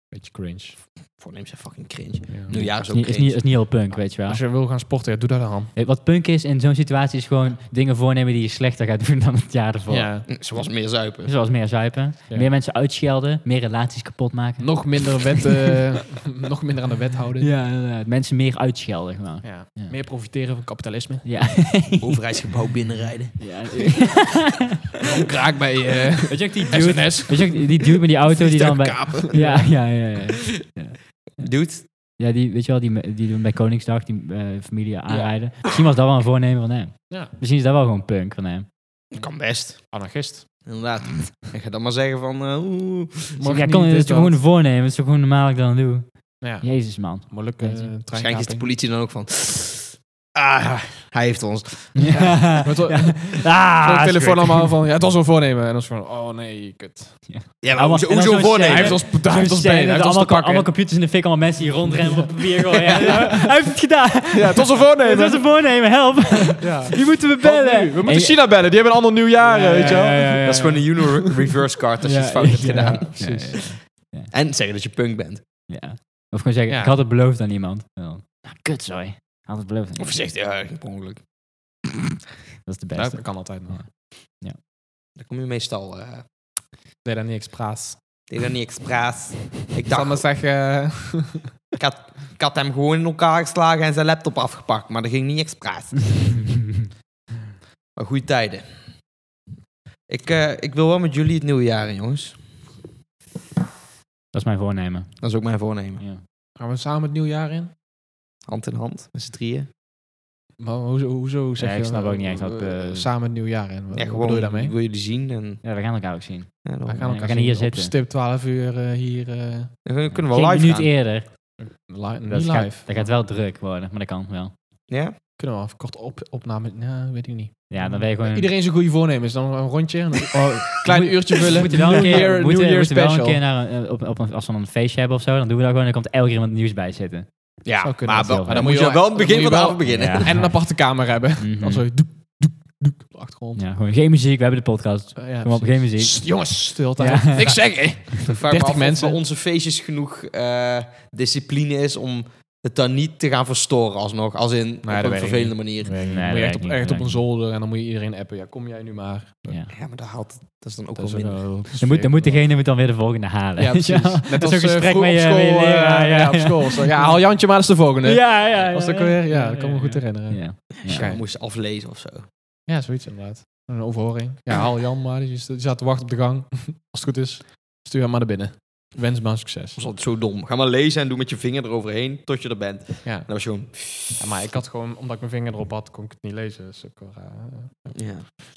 beetje cringe.
Voornemens zijn fucking cringe.
Ja.
Nieuwjaar
Het
is
is
ook
niet, is, niet,
cringe.
is niet heel punk, weet je wel.
Als je wil gaan sporten, ja, doe dat dan.
Eh, Wat punk is in zo'n situatie is gewoon dingen voornemen die je slechter gaat doen dan het jaar ervoor. Dus
Ja.
Zoals Hm, meer zuipen.
Zoals meer zuipen,
Ja.
meer mensen uitschelden, meer relaties kapot maken.
Nog minder, wet, eh, nog minder aan de wet houden.
Ja, inderdaad. Mensen meer uitschelden gewoon.
Ja.
Ja.
Meer profiteren van kapitalisme.
Ja.
Overheidsgebouw binnenrijden.
ja.
Kraak bij eh
Weet je ook die dude,
SNS.
weet je ook die die dude met die auto die dan bij...
Kapen.
Ja, ja, ja. ja.
Dude,
Ja, die, weet je wel, die, die doen bij Koningsdag die eh, familie aanrijden. Misschien was dat wel een voornemen van hem.
Ja.
Misschien is dat wel gewoon punk van hem.
kan best.
Anarchist.
Inderdaad. Ik ga dan maar zeggen van... eh, oeh.
Maar ja, kom, het is toch gewoon een voornemen. Het is toch gewoon normaal ik dat dan doe.
Nou Ja.
Jezus, man.
Moluk, eh, treinkaping.
Waarschijnlijk is de politie dan ook van... Ah, hij heeft ons.
Ja.
Maar toch-
Ah,
Zo'n
is
telefoon
goed.
allemaal van, ja, het was een voornemen. En dan is het van, oh nee, kut.
Ja,
Ah,
maar hoezo,
en dan
hoezo
zo'n
voornemen?
scène.
Hij
Hij heeft
heeft ons, hij heeft ons
Scène
benen, hij
dat
heeft ons
allemaal,
te pakken.
allemaal computers in de fik, allemaal mensen die rondrennen op papier. gooien. Ja, Hij heeft het gedaan.
ja, het was een
Het was
voornemen.
een voornemen, help.
Ja.
Die moeten we
Wat
bellen.
nu? We moeten
En-
China bellen, die hebben een ander nieuwjaar,
Ja,
eh, weet je wel.
ja, ja, ja,
Dat is gewoon een Uno reverse card als je
Ja,
het fout hebt
ja,
gedaan.
ja, precies.
En zeggen dat je punk bent.
Ja. Of gewoon zeggen,
Ja.
ik had het beloofd aan iemand. En dan, Nou, kut, sorry. Had het beloofd aan
Of je
iemand.
zegt, ja, ik heb ongeluk.
Dat is de
Ja,
beste.
dat kan altijd nog.
Ja.
Dan kom je meestal... eh
Nee, dan niet expres.
ik dan niet expres. Ik
Ik zal maar
dacht,
zeggen... eh,
ik had, ik had hem gewoon in elkaar geslagen en zijn laptop afgepakt. Maar dat ging niet expres. Maar goede tijden. Ik, eh, ik wil wel met jullie het nieuwe jaar in, jongens.
dat is mijn voornemen.
Dat is ook mijn voornemen.
Ja.
Gaan we samen het nieuwjaar in?
Hand in hand, met z'n drieën.
Maar hoezo, hoezo zeg
Ja,
je...
ik snap ook niet echt
eh,
wat, eh,
samen het nieuwjaar in. Wat,
Ja,
wat
gewoon,
bedoel je daarmee?
Ik wil jullie zien. En,
ja, we gaan elkaar ook zien.
ja, dan,
We gaan
we
elkaar
gaan hier
zien op
zitten.
stip 12 uur eh, hier... eh,
dan kunnen we
Geen
live
minuut
gaan.
eerder.
li-
Dat
niet
gaat,
live.
dat gaat wel druk worden, maar dat kan wel.
Ja?
Kunnen we af kort op, opname... Nou, weet ik niet.
Ja, dan ben je gewoon...
Iedereen zijn goede voornemens. Dan een rondje. en dan- oh, klein
Moet-
uurtje vullen.
Dus Moet je wel een
New
keer,
Year-
moeten-
New Year
moeten wel een
special.
keer naar een- op, op, een- als we dan een feestje hebben of zo, dan doen we daar gewoon. Dan komt elke keer iemand nieuws bij zitten.
Ja,
Zou
maar,
kunnen.
Dat
wel-
is heel
maar
raar.
dan moet je wel aan het begin van de avond beginnen.
Ja.
En een aparte kamer hebben.
Mhm.
Dan zo doek, doek, doek op de achtergrond.
Ja, gewoon geen muziek. We hebben de podcast.
Eh, ja,
Kom op,
precies.
geen muziek.
Sst, jongens, stilte. Ik zeg, hè.
Ik vraag me
30
af mensen.
mensen.
of bij onze feestjes genoeg eh, discipline is om het dan niet te gaan verstoren alsnog. Als in,
dat
op
weet
een
ik
vervelende manier.
Nee,
Nee, moet
dat
je
werkt
echt, op,
niet,
echt
dat
op een
werkt
zolder en dan moet je iedereen appen. Ja, kom jij nu maar.
Ja.
Ja, maar dat, haalt, dat is dan ook
Dat
wel
is
minder.
wel-
Dan moet, dan moet degene moet dan weer de volgende halen.
Ja, precies.
Net
Net
als
als
een
eh,
gesprek
vroeg
met
op
je,
school.
met je
eh,
leraar.
ja, op school. Zo, Ja, haal Jantje maar eens de volgende.
Ja, ja, ja.
eh, Was dat ook weer? Ja, dat kan me goed herinneren. Ja,
Ja.
Als je
Ja.
dan moest aflezen of zo.
zoiets inderdaad. Een overhoring. Ja, haal Jan maar. Die st- die staat te wachten op de gang. Als het goed is, stuur hem maar naar binnen. Wens maar succes.
Dat is altijd zo dom. Ga maar lezen en doe met je vinger eroverheen tot je er bent. En
Ja.
dan was je gewoon...
Ja, maar ik had gewoon, omdat ik mijn vinger erop had, kon ik het niet lezen. Dus ik, wel raar.
Ja.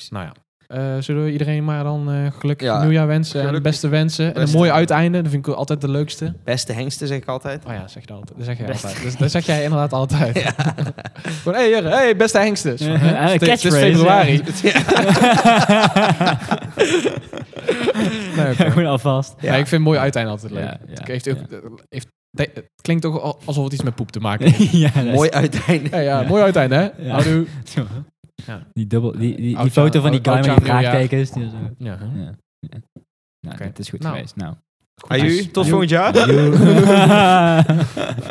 nou ja. Eh, zullen we iedereen maar dan eh, gelukkig
Ja,
nieuwjaar wensen en de
gelukkig.
beste wensen. En een
Beste.
mooi uiteinde, dat vind ik altijd de leukste.
Beste hengsten, zeg ik altijd.
Oh ja, zeg je dat altijd. Dat zeg jij
Beste-
altijd. Dus, dat zeg jij inderdaad altijd. Gewoon, hey, heren, hey, beste hengsten.
Ja,
Zo, hè?
eh,
Het is- het is
catchphrase,
februari.
ja.
Nee, oké.
Gewoon alvast.
Ja. ik vind mooi uiteinde altijd leuk.
Ja, ja,
het, heeft ook,
ja.
heeft, het klinkt ook al- alsof het iets met poep te maken heeft.
ja, dat is-
Mooi uiteinde.
ja, ja, mooi uiteinde, hè?
Ja.
Houdoe. Ja.
Die, dubbel, die, die, die
Oudjaar-
foto van die guy met die
oudjaar, nieuwjaar.
vraagtekens. die zo- Nou,
Ja, hè?
dat
Oké.
is goed
Nou.
geweest. Nou.
Aju, tot volgend jaar.
Joe.